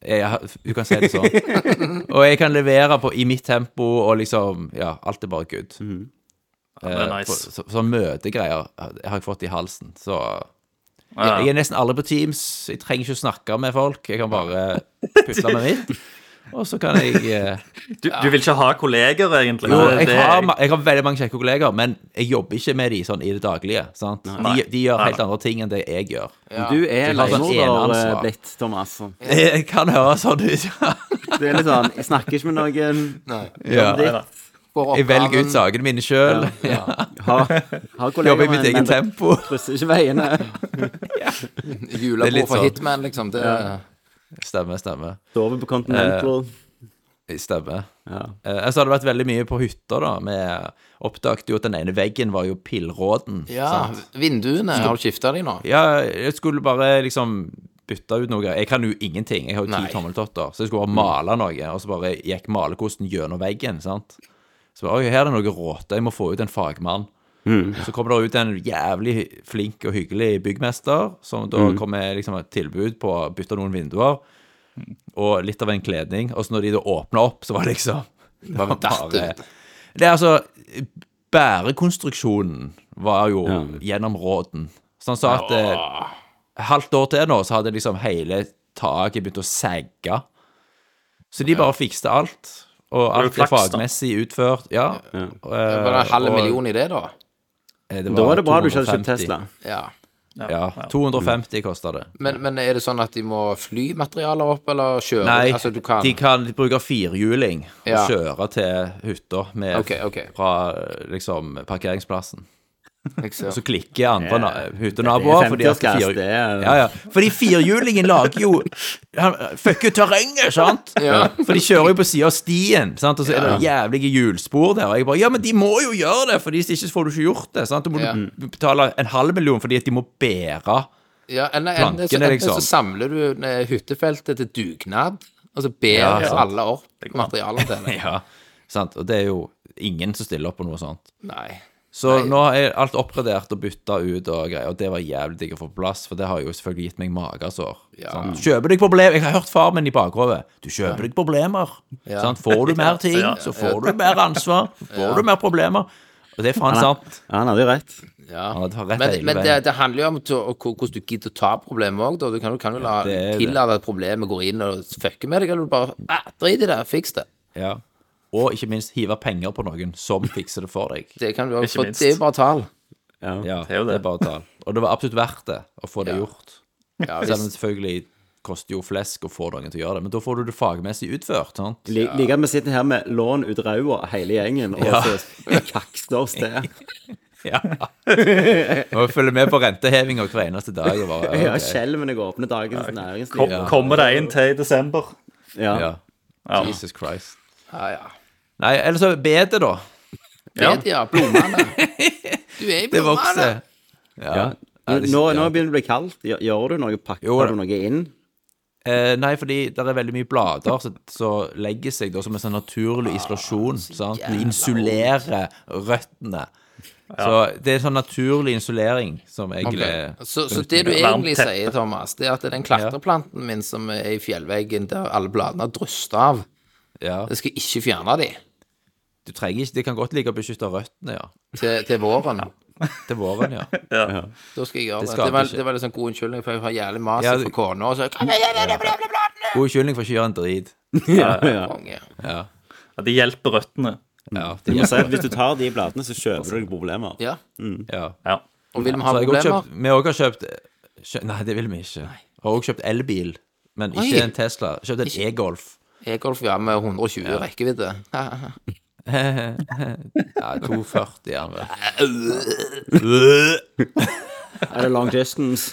[SPEAKER 3] jeg, har- Du kan si det sånn.
[SPEAKER 2] Mm.
[SPEAKER 3] og jeg kan levere på i mitt tempo, og liksom Ja, alt er bare good.
[SPEAKER 8] det er
[SPEAKER 3] Eh,
[SPEAKER 8] nice.
[SPEAKER 3] på- så, så møtegreier har jeg fått i halsen. Så
[SPEAKER 8] Ja.
[SPEAKER 3] jeg er nesten aldri på Teams. Jeg trenger ikke å snakke med folk. Jeg kan bare putle med mitt. Og så kan jeg eh,
[SPEAKER 8] Du, du vil ikke ha kolleger, egentlig?
[SPEAKER 3] Jo,
[SPEAKER 8] Det-
[SPEAKER 3] jeg
[SPEAKER 8] det-
[SPEAKER 3] har, ma- jeg har veldig mange kjekke kolleger, men jeg jobber ikke med de sånn i det daglige. Sant? De, de gjør helt andre ting enn det jeg gjør.
[SPEAKER 1] Du er
[SPEAKER 3] Det er sånn
[SPEAKER 1] leiemorder eh,
[SPEAKER 3] eneansvar.
[SPEAKER 1] blitt, Thomas. Du
[SPEAKER 3] Jeg kan høre sånn ut. ja.
[SPEAKER 1] er litt sånn Jeg snakker ikke med noen. eh,
[SPEAKER 3] Ja.
[SPEAKER 8] Nei da.
[SPEAKER 2] Får
[SPEAKER 3] Jeg velger ut
[SPEAKER 2] oppgaven.
[SPEAKER 3] sakene mine sjøl.
[SPEAKER 1] Har, har kollegaer,
[SPEAKER 3] Jobber i
[SPEAKER 1] men-
[SPEAKER 3] mitt
[SPEAKER 1] men
[SPEAKER 3] eget tempo.
[SPEAKER 1] Krysser ikke veiene.
[SPEAKER 3] Det er
[SPEAKER 2] Julebord
[SPEAKER 3] litt
[SPEAKER 2] for
[SPEAKER 3] sånn.
[SPEAKER 2] Hitman, liksom. Det,
[SPEAKER 3] Stemmer, stemmer.
[SPEAKER 1] Sover på Continental.
[SPEAKER 3] Eh, Stemmer.
[SPEAKER 1] Ja.
[SPEAKER 3] Eh, altså, det har vært veldig mye på hytta, da. Vi oppdaget jo at den ene veggen var jo pillråden.
[SPEAKER 2] ja,
[SPEAKER 3] sant?
[SPEAKER 2] vinduene Har du skifta de nå?
[SPEAKER 3] ja, jeg skulle bare liksom bytte ut noe. Jeg kan jo ingenting. Jeg har jo
[SPEAKER 2] Nei.
[SPEAKER 3] ti tommeltotter. Så jeg skulle bare male noe, og så bare gikk malerkosten gjennom veggen. sant? Så bare, Oi, her er det noe råte. Jeg må få ut en fagmann.
[SPEAKER 8] Mm.
[SPEAKER 3] Så kommer det ut en jævlig hy- flink og hyggelig byggmester, som da
[SPEAKER 8] Mm.
[SPEAKER 3] kommer med liksom et tilbud på å bytte noen vinduer og litt av en kledning. Og så når de da åpna opp, så var det liksom Det var
[SPEAKER 2] datt ut.
[SPEAKER 3] Det er altså Bærekonstruksjonen var jo gjennom råden. Så han sa at eh, halvt år til nå, så hadde liksom hele taket begynt å sagge. Så de bare fikste alt. Og
[SPEAKER 8] det
[SPEAKER 3] alt er
[SPEAKER 8] flaks, da?
[SPEAKER 3] fagmessig utført. Ja. eh,
[SPEAKER 2] Var det en halv
[SPEAKER 3] og,
[SPEAKER 2] million i det, da?
[SPEAKER 3] eh,
[SPEAKER 1] Da var det bra du ikke hadde kjøpt
[SPEAKER 3] 250.
[SPEAKER 1] Tesla.
[SPEAKER 2] Ja.
[SPEAKER 3] Ja. 250 kosta det.
[SPEAKER 2] Men, men er det sånn at de må fly materialer opp, eller kjøre?
[SPEAKER 3] Nei,
[SPEAKER 2] altså, du kan...
[SPEAKER 3] de kan bruke firhjuling og
[SPEAKER 2] Ja.
[SPEAKER 3] kjøre til hytta med-
[SPEAKER 2] Ok, ok.
[SPEAKER 3] fra liksom parkeringsplassen.
[SPEAKER 2] Jeg ser.
[SPEAKER 3] Og så klikker andre na hyttenaboer fordi at
[SPEAKER 1] 50-årskast,
[SPEAKER 3] fire...
[SPEAKER 1] det er-
[SPEAKER 3] ja, ja. Fordi firhjulingen lager jo Han fucker terrenget, sant?
[SPEAKER 2] Ja.
[SPEAKER 3] For de kjører jo på sida av stien, sant? og så er det jævlige hjulspor der. Og jeg bare Ja, men de må jo gjøre det, for hvis ikke så får du ikke gjort det. Sant? Da må
[SPEAKER 2] Ja.
[SPEAKER 3] du betale en halv million fordi at de må bære
[SPEAKER 2] Ja, enten, enten, så,
[SPEAKER 3] Plankene,
[SPEAKER 2] enten
[SPEAKER 3] liksom.
[SPEAKER 2] så samler du eh, hyttefeltet til dugnad, og så ber
[SPEAKER 3] Ja, sant.
[SPEAKER 2] alle opp materialer til det.
[SPEAKER 3] Ja. Sant? Og det er jo ingen som stiller opp på noe sånt.
[SPEAKER 2] Nei.
[SPEAKER 3] Så nå er alt oppgradert og bytta ut og greier, og det var jævlig digg å få på plass, for det har jo selvfølgelig gitt meg magesår.
[SPEAKER 2] Ja.
[SPEAKER 3] sant? Kjøper deg problemer Jeg har hørt far min i bakhodet. Du kjøper deg problemer. Sant? Får du mer ting,
[SPEAKER 8] Ja.
[SPEAKER 3] så får du mer ansvar. Så får du mer problemer. Og det er faen sant.
[SPEAKER 1] Ja, han hadde jo rett.
[SPEAKER 2] Ja.
[SPEAKER 3] Han hadde rett
[SPEAKER 2] Men,
[SPEAKER 3] hele
[SPEAKER 2] men det,
[SPEAKER 3] veien.
[SPEAKER 2] det handler jo om to, og hvor- hvordan du gidder å ta problemet òg. Du kan du kan jo la
[SPEAKER 3] det er det.
[SPEAKER 2] tillate at problemet går inn og fucker med deg, eller du bare ah, drit i det, fiks det.
[SPEAKER 3] Ja. Og ikke minst hive penger på noen som fikser det for deg.
[SPEAKER 2] Det kan du også,
[SPEAKER 8] Ikke
[SPEAKER 2] for
[SPEAKER 8] minst.
[SPEAKER 2] det er jo bare tall.
[SPEAKER 3] Ja, det
[SPEAKER 8] er jo det.
[SPEAKER 3] er bare tall. Og det var absolutt verdt det å få det
[SPEAKER 2] Ja.
[SPEAKER 3] gjort. Selv om det selvfølgelig koster jo flesk å få noen til å gjøre det, men da får du det fagmessig utført. sant?
[SPEAKER 1] Li- Liker at vi sitter her med lån ut ræva, hele gjengen, og
[SPEAKER 3] Ja.
[SPEAKER 1] så kakster oss det.
[SPEAKER 3] Ja. Må følge med på rentehevinga hver eneste dag. Og bare,
[SPEAKER 1] Ja,
[SPEAKER 3] ok.
[SPEAKER 1] skjelven jeg åpner Dagens Næringsliv.
[SPEAKER 8] Kom, Kommer det en til i desember?
[SPEAKER 1] Ja.
[SPEAKER 3] ja. Jesus Christ.
[SPEAKER 2] Ja, ja.
[SPEAKER 3] Nei, eller så bedet, da.
[SPEAKER 8] Ja.
[SPEAKER 2] Media, blommene. Du er i
[SPEAKER 3] Det
[SPEAKER 2] blommene.
[SPEAKER 3] vokser. Ja. Ja, det-
[SPEAKER 1] Nå, nå
[SPEAKER 3] ja.
[SPEAKER 1] begynner det å bli kaldt. Gjør- Gjør du noe?
[SPEAKER 3] Jo,
[SPEAKER 1] Pakker du noe inn?
[SPEAKER 3] Eh, nei, fordi det er veldig mye blader som så legger seg da som en sånn naturlig isolasjon. sant? De insulerer røttene. Så det er sånn naturlig insulering som jeg eh,
[SPEAKER 2] Så, så det du
[SPEAKER 8] Varmt
[SPEAKER 2] egentlig
[SPEAKER 8] teppe.
[SPEAKER 2] sier, Thomas, det er at den klatreplanten min som er i fjellveggen, der alle bladene har drøst av,
[SPEAKER 3] Ja.
[SPEAKER 2] jeg skal ikke fjerne de
[SPEAKER 3] Du trenger ikke De kan godt like å beskytte røttene, ja.
[SPEAKER 2] til, til våren.
[SPEAKER 3] Til våren, ja.
[SPEAKER 2] Da skal jeg gjøre
[SPEAKER 3] Det
[SPEAKER 2] det.
[SPEAKER 3] skaper
[SPEAKER 2] Det var,
[SPEAKER 3] ikke-
[SPEAKER 2] det var litt sånn god unnskyldning, for jeg har jævlig mas
[SPEAKER 3] Ja,
[SPEAKER 2] fra
[SPEAKER 3] det-
[SPEAKER 2] kona. Og så kan jeg gjøre det, bla, bla, bla, bla.
[SPEAKER 3] God unnskyldning for ikke å gjøre en drit.
[SPEAKER 2] Konge.
[SPEAKER 8] Ja, de hjelper røttene.
[SPEAKER 3] Mm. Ja,
[SPEAKER 1] Du
[SPEAKER 3] det
[SPEAKER 1] må si at Hvis du tar de bladene, så kjøper du deg problemer.
[SPEAKER 2] Ja.
[SPEAKER 3] ja.
[SPEAKER 8] Ja.
[SPEAKER 2] Og vil vi ha
[SPEAKER 3] Så har jeg også
[SPEAKER 2] problemer?
[SPEAKER 3] kjøpt, vi har også kjøpt kjø, Nei, det vil vi ikke. Har også kjøpt elbil, men ikke
[SPEAKER 2] Oi.
[SPEAKER 3] en Tesla. Kjøpt en e-Golf.
[SPEAKER 2] E-golf ja, med 120 rekkevidde.
[SPEAKER 3] Nei, 240 er den vel.
[SPEAKER 1] Er det long distance?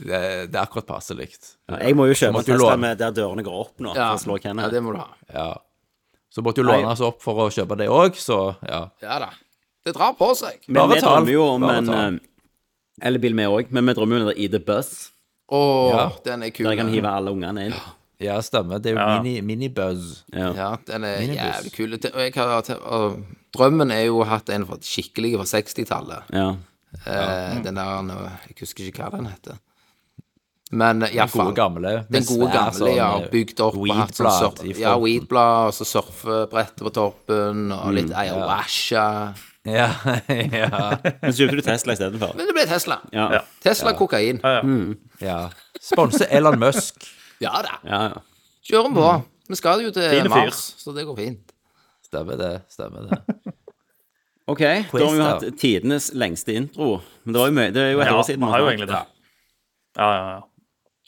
[SPEAKER 3] Det, det er akkurat passe likt.
[SPEAKER 1] Ja, Jeg må jo kjøpe
[SPEAKER 3] må
[SPEAKER 1] en
[SPEAKER 3] du
[SPEAKER 1] Tesla
[SPEAKER 3] låne.
[SPEAKER 1] med der dørene går opp nå,
[SPEAKER 2] Ja.
[SPEAKER 1] for å slå
[SPEAKER 2] ja,
[SPEAKER 1] Kenneth.
[SPEAKER 2] det må du ha.
[SPEAKER 3] Så måtte jo låne oss opp for å kjøpe det òg, så ja.
[SPEAKER 2] Ja da. Det drar på seg.
[SPEAKER 1] Men
[SPEAKER 3] Bare
[SPEAKER 1] vi
[SPEAKER 3] ta den.
[SPEAKER 1] drømmer jo om
[SPEAKER 3] Bare
[SPEAKER 1] en
[SPEAKER 3] ta
[SPEAKER 1] eh,
[SPEAKER 3] den.
[SPEAKER 1] elbil, vi òg, men vi drømmer jo om en ID Buzz,
[SPEAKER 2] Å,
[SPEAKER 3] Ja.
[SPEAKER 2] den er kul.
[SPEAKER 1] der jeg kan hive alle ungene inn.
[SPEAKER 3] Ja, stemmer. Det er jo
[SPEAKER 8] Ja.
[SPEAKER 3] mini, minibuzz.
[SPEAKER 1] Ja.
[SPEAKER 2] Ja, den er
[SPEAKER 3] Minibuss.
[SPEAKER 2] jævlig kul. Det- Og jeg har, til- og drømmen er jo å ha hatt en fra- skikkelig fra 60-tallet.
[SPEAKER 1] Ja.
[SPEAKER 2] Eh, den der nå, Jeg husker ikke hva den heter. Men
[SPEAKER 3] Gode,
[SPEAKER 2] iallfall
[SPEAKER 3] gamle.
[SPEAKER 2] Den gode gamle, ja. Bygd opp og hatt sånn surf-
[SPEAKER 3] weedblad eh, i
[SPEAKER 2] ja,
[SPEAKER 3] fronten.
[SPEAKER 2] weedblad, og så surfebrettet på toppen, og litt ayahuasca.
[SPEAKER 3] Ja, ja,
[SPEAKER 1] Men så kjøpte du Tesla istedenfor.
[SPEAKER 2] Men det ble Tesla.
[SPEAKER 1] Ja.
[SPEAKER 8] Ja.
[SPEAKER 2] Tesla kokain.
[SPEAKER 3] ja. Sponse Elon Musk.
[SPEAKER 2] Ja da.
[SPEAKER 1] Ja, ja.
[SPEAKER 2] Kjør den på. Vi skal jo til
[SPEAKER 8] Fine fyr.
[SPEAKER 2] Mars, så det går fint.
[SPEAKER 3] Stemmer det. stemmer det
[SPEAKER 1] Ok, da har vi jo
[SPEAKER 3] da.
[SPEAKER 1] hatt tidenes lengste intro. Men det, var jo mye, det er jo et
[SPEAKER 8] Ja,
[SPEAKER 1] år siden.
[SPEAKER 8] vi
[SPEAKER 1] vi
[SPEAKER 8] har jo
[SPEAKER 1] hatt.
[SPEAKER 8] egentlig det. Ja, ja, ja.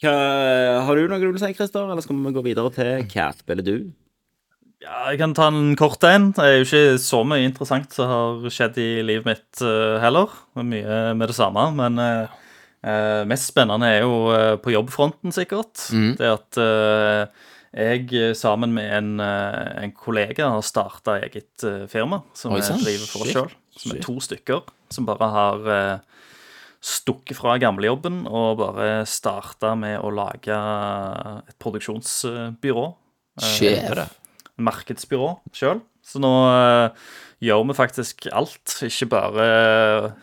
[SPEAKER 1] Hva, har du noe du vil si, Christer? Eller skal vi gå videre til hva spiller du?
[SPEAKER 8] ja, jeg kan ta en kort en. Det er jo ikke så mye interessant som har skjedd i livet mitt eh, heller. Det er Mye med det samme, men eh, eh, mest spennende er jo eh, på jobbfronten, sikkert.
[SPEAKER 2] Mm.
[SPEAKER 8] Det at eh, jeg eh, sammen med en, eh, en kollega har starta eget eh, firma, som
[SPEAKER 2] Oi,
[SPEAKER 8] jeg
[SPEAKER 2] sant?
[SPEAKER 8] driver for
[SPEAKER 2] Shit.
[SPEAKER 8] sjøl. Som er to stykker som bare har eh, stukket fra gamlejobben og bare starta med å lage et produksjonsbyrå.
[SPEAKER 2] Sjef.
[SPEAKER 8] Markedsbyrå sjøl. Så nå eh, gjør vi faktisk alt. Ikke bare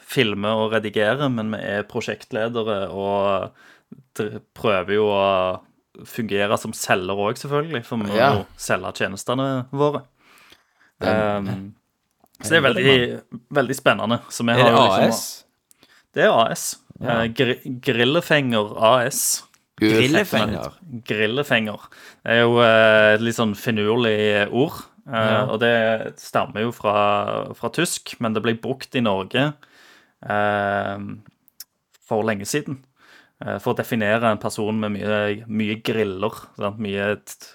[SPEAKER 8] filme og redigere, men vi er prosjektledere og eh, dr- prøver jo å fungere som selger òg, selvfølgelig. For vi må
[SPEAKER 2] Ja.
[SPEAKER 8] jo selge tjenestene våre. Ehm, så det er veldig, veldig spennende. Så vi
[SPEAKER 3] Er
[SPEAKER 8] har
[SPEAKER 3] det
[SPEAKER 8] jo liksom-
[SPEAKER 3] AS?
[SPEAKER 8] det er AS. Eh, gri grillefenger AS.
[SPEAKER 3] Grillefenger?
[SPEAKER 8] Grillefenger. Det er jo eh, et litt sånn finurlig ord. eh, Og det stammer jo fra, fra tysk, men det ble brukt i Norge eh, for lenge siden. eh, for å definere en person med mye, mye griller. Sant? Mye t-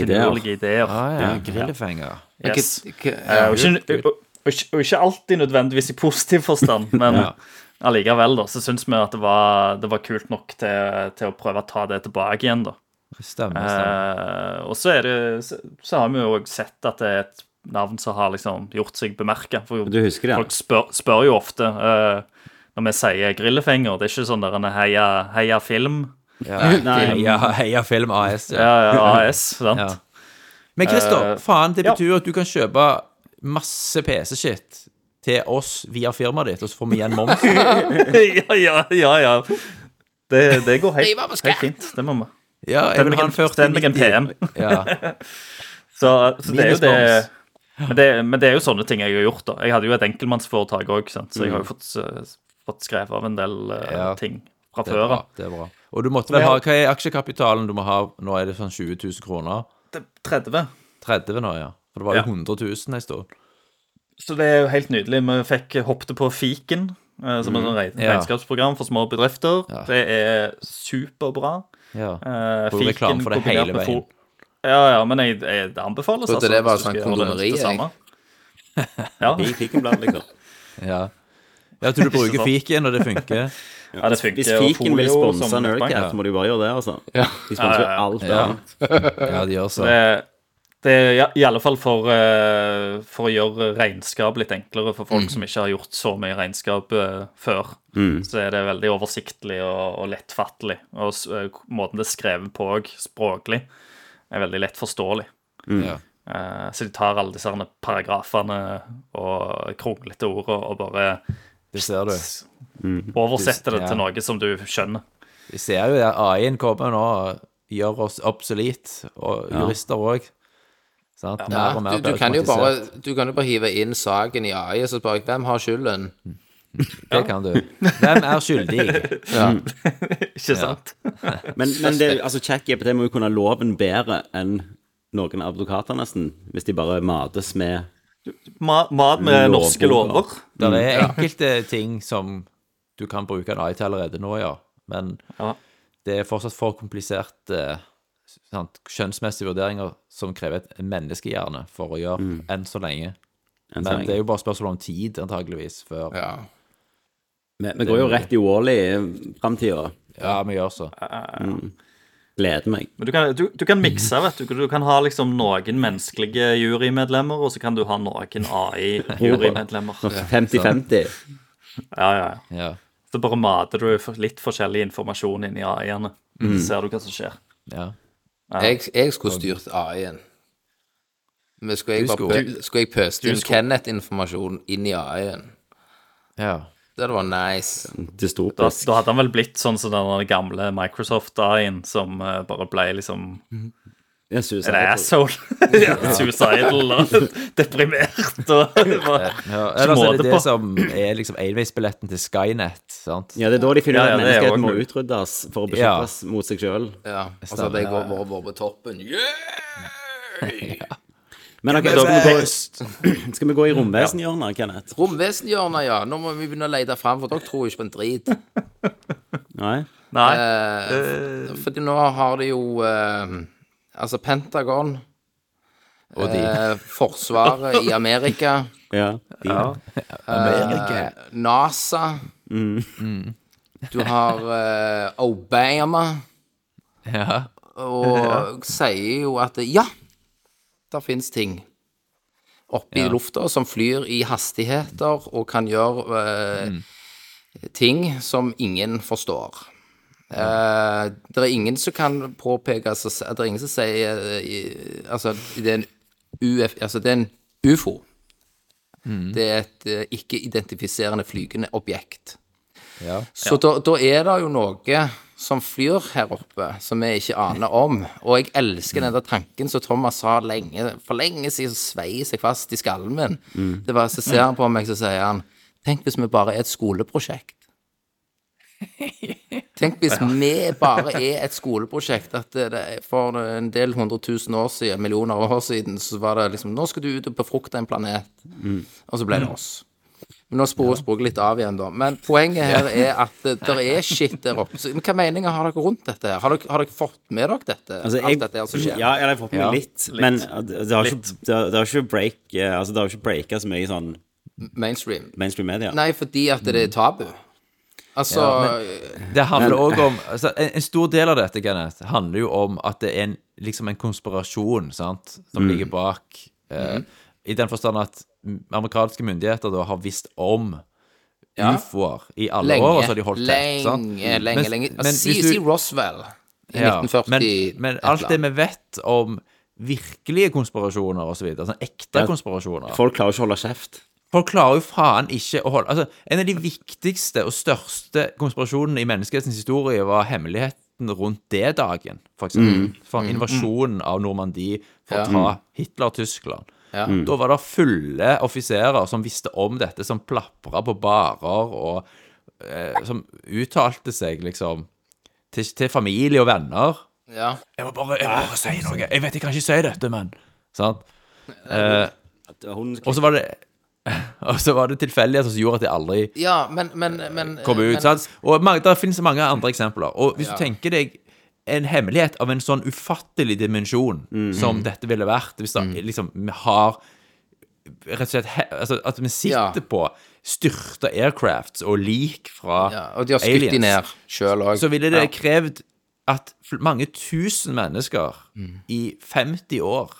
[SPEAKER 1] Ideer.
[SPEAKER 8] finurlige ideer.
[SPEAKER 3] Ah, ja, grillefenger.
[SPEAKER 8] Yes.
[SPEAKER 2] K- k-
[SPEAKER 8] Eh, og, ikke, og, og, ikke- og ikke alltid nødvendigvis i positiv forstand, men allikevel, da, så syns vi at det var, det var kult nok til, til å prøve å ta det tilbake igjen, da.
[SPEAKER 3] Stemmer. stemmer.
[SPEAKER 8] Eh, og så, er det, så, så har vi jo òg sett at det er et navn som har liksom gjort seg bemerka. For
[SPEAKER 1] Du husker det?
[SPEAKER 8] folk spør, spør jo ofte eh, når vi sier 'grillefenger', det er ikke sånn der en heia, heia film,
[SPEAKER 3] Ja. Heia, heia Film AS. Ja.
[SPEAKER 8] ja, ja, AS, sant?
[SPEAKER 3] Ja. Men Christer,
[SPEAKER 8] Eh,
[SPEAKER 3] faen, det
[SPEAKER 8] ja.
[SPEAKER 3] betyr jo at du kan kjøpe masse PC-shit til oss via firmaet ditt, og så får vi igjen moms.
[SPEAKER 8] ja, ja, ja. ja. Det, det går
[SPEAKER 2] Nei,
[SPEAKER 8] helt,
[SPEAKER 2] hva med skatt?
[SPEAKER 8] helt fint. Det må vi.
[SPEAKER 3] Ja, jeg
[SPEAKER 8] Send
[SPEAKER 3] vil
[SPEAKER 8] meg
[SPEAKER 3] ha en
[SPEAKER 8] en- send meg en
[SPEAKER 3] 4090. Ja,
[SPEAKER 8] Så, så det er
[SPEAKER 3] Minus
[SPEAKER 8] jo det men, det men det er jo sånne ting jeg har gjort. da Jeg hadde jo et enkeltmannsforetak òg, så jeg har jo fått, eh, fått skrevet av en del eh,
[SPEAKER 3] Mm. Ja.
[SPEAKER 8] ting fra
[SPEAKER 3] det er
[SPEAKER 8] før
[SPEAKER 3] bra.
[SPEAKER 8] av.
[SPEAKER 3] Det er bra. Og du måtte vel ha Hva er aksjekapitalen du må ha? Nå er det sånn 20 000 kroner.
[SPEAKER 8] 30.
[SPEAKER 3] 30 nå, ja. For det var jo
[SPEAKER 8] Ja.
[SPEAKER 3] 100 000 en stund.
[SPEAKER 8] Så det er jo helt nydelig. Vi fikk hoppet på Fiken, eh, som er et sånt reg-
[SPEAKER 3] Mm. Ja.
[SPEAKER 8] regnskapsprogram for små bedrifter.
[SPEAKER 3] Ja.
[SPEAKER 8] Det er superbra.
[SPEAKER 3] Ja.
[SPEAKER 8] Eh,
[SPEAKER 3] Får jo reklame for det
[SPEAKER 8] kombinert
[SPEAKER 3] hele veien.
[SPEAKER 8] med fo- Ja, ja, men jeg, jeg, det anbefales.
[SPEAKER 2] Trodde det var
[SPEAKER 8] hvis
[SPEAKER 2] sånn
[SPEAKER 8] du skal gjøre det-
[SPEAKER 2] kondomeri,
[SPEAKER 8] det
[SPEAKER 2] jeg.
[SPEAKER 8] samme. Ja,
[SPEAKER 1] I Fikenblad, liksom.
[SPEAKER 3] Ja. ja, til du bruker fiken, og det funker.
[SPEAKER 8] ja, det funker.
[SPEAKER 1] Hvis
[SPEAKER 8] og
[SPEAKER 1] Fiken vil
[SPEAKER 8] folio som
[SPEAKER 1] sponse
[SPEAKER 8] nettbank.
[SPEAKER 1] Nerdcat, så må de jo bare gjøre det, altså. De sponser jo alt
[SPEAKER 3] Ja.
[SPEAKER 1] annet.
[SPEAKER 3] Ja, de gjør så.
[SPEAKER 8] Det, det er i- i alle fall for, eh, for å gjøre regnskap litt enklere for folk som ikke har gjort så mye regnskap eh, før. Så er det veldig oversiktlig og, og lettfattelig. Og s- eh, måten det er skrevet på òg, språklig, er veldig lett forståelig.
[SPEAKER 3] Ja.
[SPEAKER 8] Eh, så de tar alle disse herne paragrafene og kronglete ord og, og bare
[SPEAKER 3] Det ser du.
[SPEAKER 8] s- oversetter det
[SPEAKER 3] Ja.
[SPEAKER 8] til noe som du skjønner.
[SPEAKER 3] Vi ser jo at AI-en kommer nå og gjør oss obsolete, og jurister òg. Sant? Mer og
[SPEAKER 2] Ja,
[SPEAKER 3] mer
[SPEAKER 2] du, du, kan jo bare, du kan jo bare hive inn saken i AI og så spørre jeg, hvem har skylden.
[SPEAKER 3] Det kan du. Hvem er skyldig?
[SPEAKER 8] Ikke sant?
[SPEAKER 1] Men, men det, altså, ChatGPT må jo kunne loven bedre enn noen advokater, nesten. Hvis de bare mates med
[SPEAKER 8] Ma- Mat med
[SPEAKER 1] Lover.
[SPEAKER 8] norske lover.
[SPEAKER 3] Det er enkelte ting som du kan bruke en AI til allerede nå, ja. Men
[SPEAKER 8] Ja.
[SPEAKER 3] det er fortsatt for komplisert eh, sant? skjønnsmessige vurderinger som krever et menneskehjerne for å gjøre, enn Mm. så lenge.
[SPEAKER 1] en
[SPEAKER 3] Men
[SPEAKER 1] sånn.
[SPEAKER 3] det er jo bare spørsmål om tid, antageligvis, før
[SPEAKER 2] Ja.
[SPEAKER 1] Vi vi går jo rett i Wall-E-framtida.
[SPEAKER 3] Ja, vi gjør så.
[SPEAKER 1] Gleder meg.
[SPEAKER 8] Men du kan, du, du kan mikse,
[SPEAKER 2] Mhm.
[SPEAKER 8] vet du. Du kan ha liksom noen menneskelige jurymedlemmer, og så kan du ha noen AI-jurymedlemmer.
[SPEAKER 1] 50-50.
[SPEAKER 8] Ja, ja. ja.
[SPEAKER 3] Ja.
[SPEAKER 8] Så bare mater du for- litt forskjellig informasjon inn i AI-ene.
[SPEAKER 2] Mhm.
[SPEAKER 8] Så ser du hva som skjer.
[SPEAKER 3] ja.
[SPEAKER 2] Jeg, jeg skulle styrt AI-en. Men skulle jeg,
[SPEAKER 3] Du
[SPEAKER 2] bare
[SPEAKER 3] skulle.
[SPEAKER 2] pø, skulle jeg pøst inn
[SPEAKER 8] skulle.
[SPEAKER 2] Kenneth-informasjon inn i AI-en?
[SPEAKER 3] ja.
[SPEAKER 2] Det hadde vært nice.
[SPEAKER 8] Da,
[SPEAKER 1] Dystopisk.
[SPEAKER 8] da hadde han vel blitt sånn som den gamle Microsoft-AI-en, som eh, bare ble liksom
[SPEAKER 1] En suicide.
[SPEAKER 8] En asshole. Suicidal og deprimert og bare
[SPEAKER 3] Ja,
[SPEAKER 2] altså
[SPEAKER 3] Eller så er
[SPEAKER 8] måte
[SPEAKER 3] det
[SPEAKER 8] på.
[SPEAKER 3] det som er liksom enveisbilletten til Skynet. sant?
[SPEAKER 1] Ja, det er da de finner
[SPEAKER 8] Ja,
[SPEAKER 1] ut
[SPEAKER 8] ja,
[SPEAKER 1] at
[SPEAKER 8] det er jo
[SPEAKER 1] menneskeheten må
[SPEAKER 8] også-
[SPEAKER 1] utryddes for å
[SPEAKER 3] Ja.
[SPEAKER 1] beskyttes mot seg sjøl.
[SPEAKER 2] Ja, og så hadde jeg vært vært- vært på toppen.
[SPEAKER 1] Men ok, da skal vi, gå, skal vi gå i romvesenhjørnet, Kenneth?
[SPEAKER 2] Romvesenhjørnet, ja. Nå må vi begynne å lete fram, for dere tror jo ikke på en drit.
[SPEAKER 1] Nei?
[SPEAKER 8] Nei.
[SPEAKER 2] Eh, fordi nå har de jo eh, Altså Pentagon,
[SPEAKER 3] Og de
[SPEAKER 2] eh, Forsvaret i Amerika,
[SPEAKER 1] Ja. De,
[SPEAKER 3] Amerika.
[SPEAKER 2] NASA Du har eh, Obama,
[SPEAKER 3] Ja.
[SPEAKER 2] og sier jo at ja, der fins ting oppe i lufta som flyr i hastigheter og kan gjøre eh, ting som ingen forstår. Eh, det er ingen som kan påpeke altså, s- Det er ingen som sier eh, i- Altså, det er en UF... Altså, det er en ufo. Det er et eh, ikke-identifiserende flygende objekt.
[SPEAKER 3] Ja.
[SPEAKER 2] Så da, da er det jo noe som flyr her oppe, som vi ikke aner om. Og jeg elsker den der tanken som Thomas sa lenge, for lenge siden, som svei seg fast i skallen min. Det var, Så ser han på meg, så sier han Tenk hvis vi bare er et skoleprosjekt. Tenk hvis vi bare er et skoleprosjekt. At det, det, er- for en del hundre tusen år siden, millioner år siden, så var det liksom Nå skal du ut og befrukte en planet.
[SPEAKER 3] Mm.
[SPEAKER 2] Og så ble det oss. Men nå sporer sporet litt av igjen, da. Men poenget her er at det der er shit der oppe. Så, men hva meninger har dere rundt dette? her? Har dere, har dere fått med dere dette?
[SPEAKER 1] altså, jeg,
[SPEAKER 2] Alt dette her som skjer?
[SPEAKER 1] Ja, jeg har fått med
[SPEAKER 3] Ja.
[SPEAKER 1] meg litt, men uh, det det har ikke, det har, det har ikke break eh, Altså, det har ikke breaka så mye i sånn
[SPEAKER 2] Mainstream.
[SPEAKER 1] mainstream media.
[SPEAKER 2] Nei, fordi at det er tabu. Altså
[SPEAKER 3] Det handler òg om altså, en, en stor del av dette Kenneth, handler jo om at det er en, liksom en konspirasjon sant, som ligger bak. Eh, I den forstand at m- amerikanske myndigheter da har visst om ufoer i alle
[SPEAKER 2] lenge,
[SPEAKER 3] år. Og så har de holdt tett. sant?
[SPEAKER 2] lenge, lenge,
[SPEAKER 3] Men-
[SPEAKER 2] lenge.
[SPEAKER 3] men
[SPEAKER 2] Altså,
[SPEAKER 3] hvis
[SPEAKER 2] CC
[SPEAKER 3] du-
[SPEAKER 2] Roswell i
[SPEAKER 3] Ja,
[SPEAKER 2] 1940
[SPEAKER 3] Men, men alt det vi vet om virkelige konspirasjoner osv., så videre, sånn ekte
[SPEAKER 1] Ja.
[SPEAKER 3] konspirasjoner
[SPEAKER 1] Folk klarer ikke å holde kjeft.
[SPEAKER 3] Folk klarer jo faen ikke å holde Altså, En av de viktigste og største konspirasjonene i menneskehetens historie var hemmeligheten rundt D-dagen, for eksempel. For invasjonen av Normandie for å ta Hitler-Tyskland.
[SPEAKER 2] Ja.
[SPEAKER 3] Da var det fulle offiserer som visste om dette, som plapra på barer og eh, som uttalte seg, liksom, til, til familie og venner.
[SPEAKER 2] ja.
[SPEAKER 3] Jeg må bare, jeg må bare si noe. Jeg vet jeg kan ikke si dette, men Sant?
[SPEAKER 1] At Hun
[SPEAKER 3] Og så var det Og så var det tilfeldigheter som gjorde at jeg aldri
[SPEAKER 2] ja, men, men, men
[SPEAKER 3] kom ut.
[SPEAKER 2] men-
[SPEAKER 3] sant? Og mange, der finnes mange andre eksempler. Og hvis
[SPEAKER 2] Ja.
[SPEAKER 3] du tenker deg en hemmelighet av en sånn ufattelig dimensjon
[SPEAKER 2] Mhm.
[SPEAKER 3] som dette ville vært hvis da, liksom, vi har Rett og slett he, altså, At vi sitter
[SPEAKER 2] Ja.
[SPEAKER 3] på styrta aircrafts og lik fra
[SPEAKER 2] ja, Og de har skutt de ned sjøl òg.
[SPEAKER 3] så ville det krevd at fl- mange tusen mennesker
[SPEAKER 2] Mhm.
[SPEAKER 3] i 50 år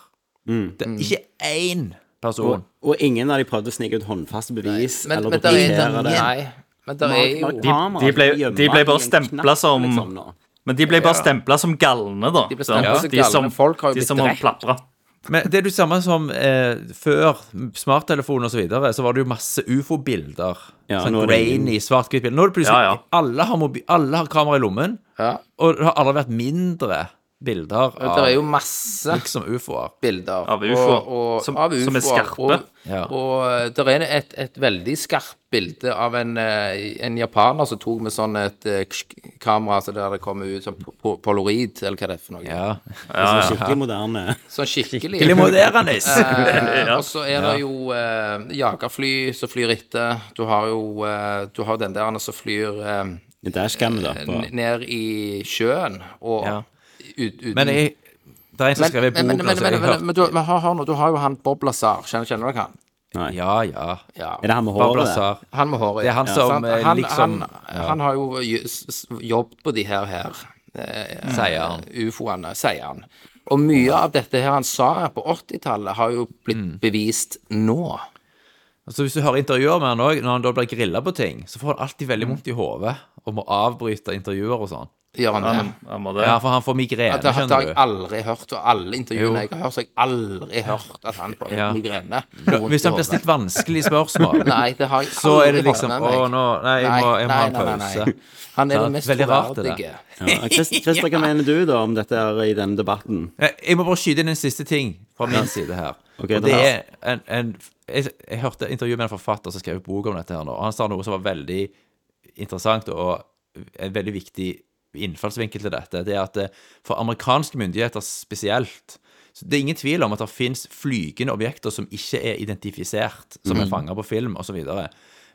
[SPEAKER 3] det, Ikke én person
[SPEAKER 1] Og ingen av de prøvde å snike ut håndfaste bevis
[SPEAKER 2] Men,
[SPEAKER 1] eller
[SPEAKER 2] men der er,
[SPEAKER 1] dokumentere det.
[SPEAKER 2] nei, men der er jo
[SPEAKER 1] Mark Hammer,
[SPEAKER 8] de ble-
[SPEAKER 1] gjemmer
[SPEAKER 8] de ble
[SPEAKER 1] i
[SPEAKER 8] bare
[SPEAKER 1] en
[SPEAKER 8] stemplet
[SPEAKER 1] knapp,
[SPEAKER 8] som-
[SPEAKER 1] liksom, nå.
[SPEAKER 8] Men de ble bare stempla som galne, da.
[SPEAKER 2] De ble
[SPEAKER 8] sant?
[SPEAKER 2] stemplet som
[SPEAKER 8] De
[SPEAKER 2] galne.
[SPEAKER 8] som-
[SPEAKER 2] Folk har jo
[SPEAKER 8] De
[SPEAKER 2] blitt
[SPEAKER 8] som har
[SPEAKER 2] drept.
[SPEAKER 8] plapra.
[SPEAKER 3] Men det er det samme som eh, før smarttelefon og så videre, så var det jo masse ufo-bilder.
[SPEAKER 1] Ja,
[SPEAKER 3] sånn
[SPEAKER 1] nå er det ingen.
[SPEAKER 3] grainy, svart-hvitt bilde. Nå er det plutselig
[SPEAKER 8] Ja, ja.
[SPEAKER 3] Alle, har mobi alle har kamera i lommen,
[SPEAKER 2] Ja.
[SPEAKER 3] og det har aldri vært mindre bilder av
[SPEAKER 2] Der er jo masse
[SPEAKER 3] liksom ufoer.
[SPEAKER 2] bilder
[SPEAKER 8] Av ufoer,
[SPEAKER 2] og, og,
[SPEAKER 8] som-
[SPEAKER 2] av
[SPEAKER 8] som er
[SPEAKER 2] ufoer,
[SPEAKER 8] skarpe.
[SPEAKER 2] Og,
[SPEAKER 3] Ja.
[SPEAKER 2] og eh, der er et, et veldig skarpt bilde av en, eh, en japaner som tok med sånn et eh, ksk- kamera så der det kommer ut sånn po- po- polaroid, eller hva det er for noe.
[SPEAKER 3] Ja.
[SPEAKER 1] Sånn skikkelig moderne.
[SPEAKER 2] Sånn skikkelig.
[SPEAKER 3] Skikkelig moderne.
[SPEAKER 2] Eh, Og så er det jo eh, jagerfly som flyr etter. Du har jo eh, du har den der som flyr eh,
[SPEAKER 1] Dashcam, da. På.
[SPEAKER 2] n- ned i sjøen og
[SPEAKER 3] Ja.
[SPEAKER 2] ut, uten
[SPEAKER 3] Men jeg, det er en som skrev i
[SPEAKER 2] men, men,
[SPEAKER 3] boka,
[SPEAKER 2] men,
[SPEAKER 3] så jeg
[SPEAKER 2] men, men,
[SPEAKER 3] hørte
[SPEAKER 2] men du, men hør, hør nå, du har jo han Bob Lazar. Kjenner, kjenner dere han?
[SPEAKER 3] Ja, ja.
[SPEAKER 2] Ja.
[SPEAKER 1] Er det han med
[SPEAKER 3] Babla
[SPEAKER 1] håret? der?
[SPEAKER 3] Sar.
[SPEAKER 2] Han med håret.
[SPEAKER 3] Det er han som,
[SPEAKER 2] sant?
[SPEAKER 3] eh,
[SPEAKER 2] han,
[SPEAKER 3] liksom-
[SPEAKER 2] han, han har jo jo- s- s- jobbet på de her her eh,
[SPEAKER 3] Sier han.
[SPEAKER 2] ufoene, sier han. Og
[SPEAKER 3] Mm.
[SPEAKER 2] mye av dette her han sa her på 80-tallet, har jo blitt bevist nå.
[SPEAKER 3] Altså Hvis du hører intervjuer med han òg, når han da blir grilla på ting, så får han alltid
[SPEAKER 2] Mm.
[SPEAKER 3] veldig vondt i hodet og må avbryte intervjuer og sånn.
[SPEAKER 2] Gjør han det?
[SPEAKER 8] Jeg må det.
[SPEAKER 3] Ja, for han får migrene,
[SPEAKER 2] Det har det har jeg
[SPEAKER 3] skjønner du.
[SPEAKER 2] aldri hørt, og alle
[SPEAKER 3] Jo.
[SPEAKER 2] intervjuene jeg har hørt, så har jeg aldri hørt at han får
[SPEAKER 3] Ja.
[SPEAKER 2] migrene.
[SPEAKER 3] Hvis han blir stilt vanskelige spørsmål,
[SPEAKER 2] Nei, det har jeg
[SPEAKER 3] så er det
[SPEAKER 2] aldri
[SPEAKER 3] liksom
[SPEAKER 2] fått
[SPEAKER 3] Å,
[SPEAKER 2] med meg.
[SPEAKER 3] nå Nei, jeg må, jeg må ha en
[SPEAKER 2] Nei, nei, nei, nei.
[SPEAKER 3] pause.
[SPEAKER 2] Han er
[SPEAKER 3] Ja,
[SPEAKER 2] den mest
[SPEAKER 3] veldig rart, det der.
[SPEAKER 2] troverdige.
[SPEAKER 1] Ja, Chris- Christer, hva mener du da om dette her i denne debatten?
[SPEAKER 3] Jeg jeg må bare skyte inn en siste ting fra min side her.
[SPEAKER 1] Ok,
[SPEAKER 3] og
[SPEAKER 1] den
[SPEAKER 3] det er
[SPEAKER 1] her.
[SPEAKER 3] en, en, jeg, jeg hørte et intervju med en forfatter som skrev en bok om dette her nå, og han sa noe som var veldig interessant og en veldig viktig innfallsvinkel til dette. Det er at eh, for amerikanske myndigheter spesielt så Det er ingen tvil om at det fins flygende objekter som ikke er identifisert, som
[SPEAKER 1] Mhm.
[SPEAKER 3] er fanga på film osv.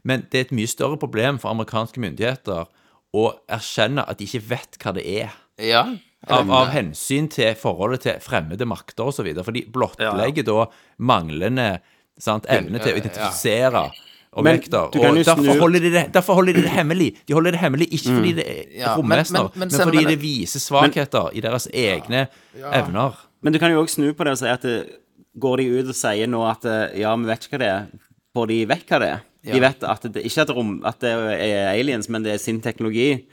[SPEAKER 3] Men det er et mye større problem for amerikanske myndigheter å erkjenne at de ikke vet hva det er
[SPEAKER 2] Ja.
[SPEAKER 3] av, av hensyn til forholdet til fremmede makter osv. For de blottlegger da manglende sant, evne til å identifisere objekter.
[SPEAKER 1] du kan
[SPEAKER 3] Og
[SPEAKER 1] jo
[SPEAKER 3] derfor
[SPEAKER 1] snu-
[SPEAKER 3] holder, de det, derfor holder de det hemmelig. De holder det hemmelig ikke fordi det er
[SPEAKER 2] Mm. Ja, men-
[SPEAKER 3] romvesener,
[SPEAKER 2] men- men
[SPEAKER 3] men,
[SPEAKER 2] selv om
[SPEAKER 3] fordi
[SPEAKER 2] det-
[SPEAKER 3] det viser svakheter i deres egne evner.
[SPEAKER 1] Men du kan jo òg snu på det og si at eh, går de ut og sier nå at eh, ja, vi vet ikke hva det er, får de vekk hva det er? De vet at det ikke at, rom, at det er aliens, men det er sin teknologi.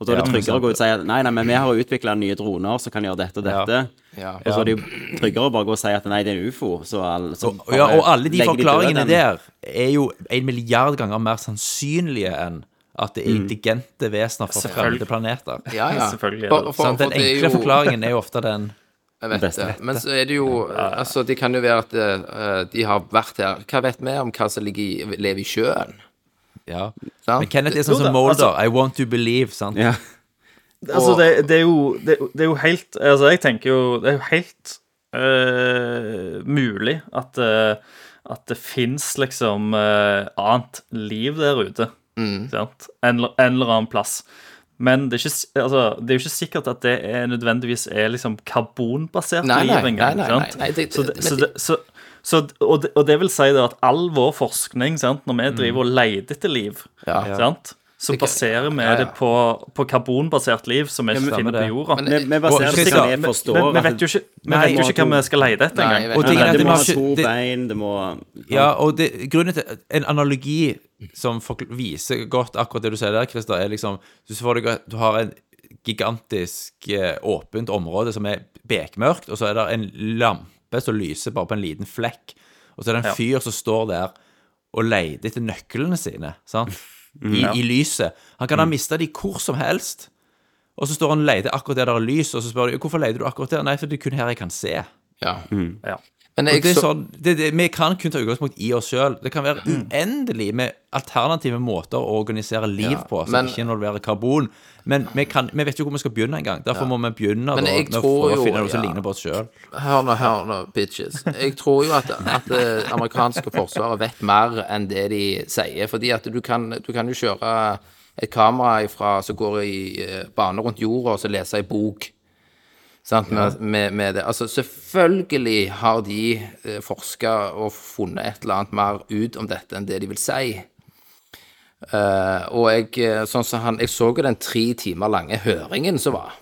[SPEAKER 1] Og da er det tryggere å gå ut og si at nei, nei, men vi har utvikla nye droner som kan gjøre dette og dette.
[SPEAKER 2] Ja.
[SPEAKER 1] Og så er det jo tryggere å bare gå og si at nei, det er en ufo. Så alle, så
[SPEAKER 3] Og, ja,
[SPEAKER 1] bare
[SPEAKER 3] og alle de
[SPEAKER 1] legger døde
[SPEAKER 3] forklaringene
[SPEAKER 1] den.
[SPEAKER 3] der er jo en milliard ganger mer sannsynlige enn at det er intelligente vesener fra fremmede
[SPEAKER 8] Selvfølgelig.
[SPEAKER 3] planeter.
[SPEAKER 2] Mm. Ja, ja.
[SPEAKER 8] Selvfølgelig er det
[SPEAKER 2] For, for, for,
[SPEAKER 3] Sant? Sånn, den
[SPEAKER 2] det er
[SPEAKER 3] enkle
[SPEAKER 2] jo-
[SPEAKER 3] forklaringen er jo ofte den
[SPEAKER 2] Jeg vet
[SPEAKER 1] Beste
[SPEAKER 2] det.
[SPEAKER 1] vettet.
[SPEAKER 2] Men så er det jo Altså, det kan jo være at eh, de har vært her. Hva vet vi om hva som ligger i, lever i sjøen?
[SPEAKER 3] Ja.
[SPEAKER 2] Sant?
[SPEAKER 3] Men Kenneth er
[SPEAKER 8] Jo
[SPEAKER 3] sånn som
[SPEAKER 8] da,
[SPEAKER 3] Molder. I want to believe, sant?
[SPEAKER 1] Ja.
[SPEAKER 8] Altså, det, det, er jo, det, det er jo helt Altså, jeg tenker jo Det er jo helt eh, mulig at, eh, at det fins liksom eh, annet liv der ute.
[SPEAKER 2] Mm.
[SPEAKER 8] Sant? En, eller- en eller annen plass. Men det er, ikke, s- altså, det er jo ikke sikkert at det er, nødvendigvis er liksom karbonbasert
[SPEAKER 2] Nei, nei,
[SPEAKER 8] liv engang.
[SPEAKER 2] nei, nei,
[SPEAKER 8] sant?
[SPEAKER 2] nei, nei, det-
[SPEAKER 8] Så det-
[SPEAKER 2] men
[SPEAKER 8] så
[SPEAKER 2] det-
[SPEAKER 8] det- så- så- Og det- og det vil si det at all vår forskning, sant, når vi driver og leter etter liv
[SPEAKER 2] Ja.
[SPEAKER 8] sant? Så
[SPEAKER 2] Det kan-
[SPEAKER 8] baserer vi
[SPEAKER 2] ja, ja.
[SPEAKER 8] det på, på karbonbasert liv som vi ikke
[SPEAKER 3] stemmer
[SPEAKER 8] finner på
[SPEAKER 3] det.
[SPEAKER 8] jorda.
[SPEAKER 2] Men-
[SPEAKER 1] Vi, vi baserer
[SPEAKER 3] Og
[SPEAKER 1] det på
[SPEAKER 3] Christian,
[SPEAKER 1] hva vi
[SPEAKER 3] men-
[SPEAKER 1] forstår.
[SPEAKER 8] Men vi
[SPEAKER 1] at-
[SPEAKER 8] vet jo ikke, vi
[SPEAKER 1] Nei,
[SPEAKER 8] vet jo
[SPEAKER 1] må
[SPEAKER 8] ikke hva
[SPEAKER 1] ha
[SPEAKER 8] vi skal lete etter
[SPEAKER 2] Nei, jeg
[SPEAKER 8] engang.
[SPEAKER 2] vet
[SPEAKER 3] Og
[SPEAKER 1] Nei,
[SPEAKER 3] tingen
[SPEAKER 1] nei,
[SPEAKER 3] er at
[SPEAKER 1] det
[SPEAKER 3] vi
[SPEAKER 1] må
[SPEAKER 3] har
[SPEAKER 1] ha to
[SPEAKER 3] ikke- det-
[SPEAKER 1] bein, det må
[SPEAKER 3] Ja, og det, grunnen til En analogi som folk viser godt akkurat det du sier der, Christer, er liksom Du, får det, godt- du har en gigantisk eh, åpent område som er bekmørkt, og så er det en lampe som lyser bare på en liten flekk, og så er det en
[SPEAKER 8] Ja.
[SPEAKER 3] fyr som står der og leter etter nøklene sine, sant? I, I lyset. Han kan ha mista de hvor som helst, og så står han og leter akkurat der det er lys, og så spør de hvorfor leter du akkurat der? Nei, for det er kun her jeg kan se.
[SPEAKER 2] Ja.
[SPEAKER 8] Ja.
[SPEAKER 2] Men
[SPEAKER 3] Og det
[SPEAKER 2] jeg
[SPEAKER 3] er
[SPEAKER 2] så
[SPEAKER 3] sånn, det, det, vi kan kun ta utgangspunkt i oss sjøl. Det kan være
[SPEAKER 2] Mm.
[SPEAKER 3] uendelig med alternative måter å organisere liv
[SPEAKER 2] Ja,
[SPEAKER 3] på som
[SPEAKER 2] men-
[SPEAKER 3] ikke involverer karbon. Men vi, kan, vi vet jo hvor vi skal begynne engang. Derfor må vi begynne da,
[SPEAKER 2] Men jeg
[SPEAKER 3] med å
[SPEAKER 2] tror
[SPEAKER 3] prøve
[SPEAKER 2] jo-
[SPEAKER 3] å finne noe som
[SPEAKER 2] ja.
[SPEAKER 3] ligner på oss sjøl.
[SPEAKER 2] Hør nå, hør nå, bitches. Jeg tror jo at, at det amerikanske forsvaret vet mer enn det de sier. Fordi at du kan, du kan jo kjøre et kamera ifra, som går i eh, bane rundt jorda, og så lese ei bok. Sant, med, med, med det. Altså, selvfølgelig har de eh, forska og funnet et eller annet mer ut om dette enn det de vil si. Eh, og jeg, eh, sånn som han, jeg så jo den tre timer lange høringen som var.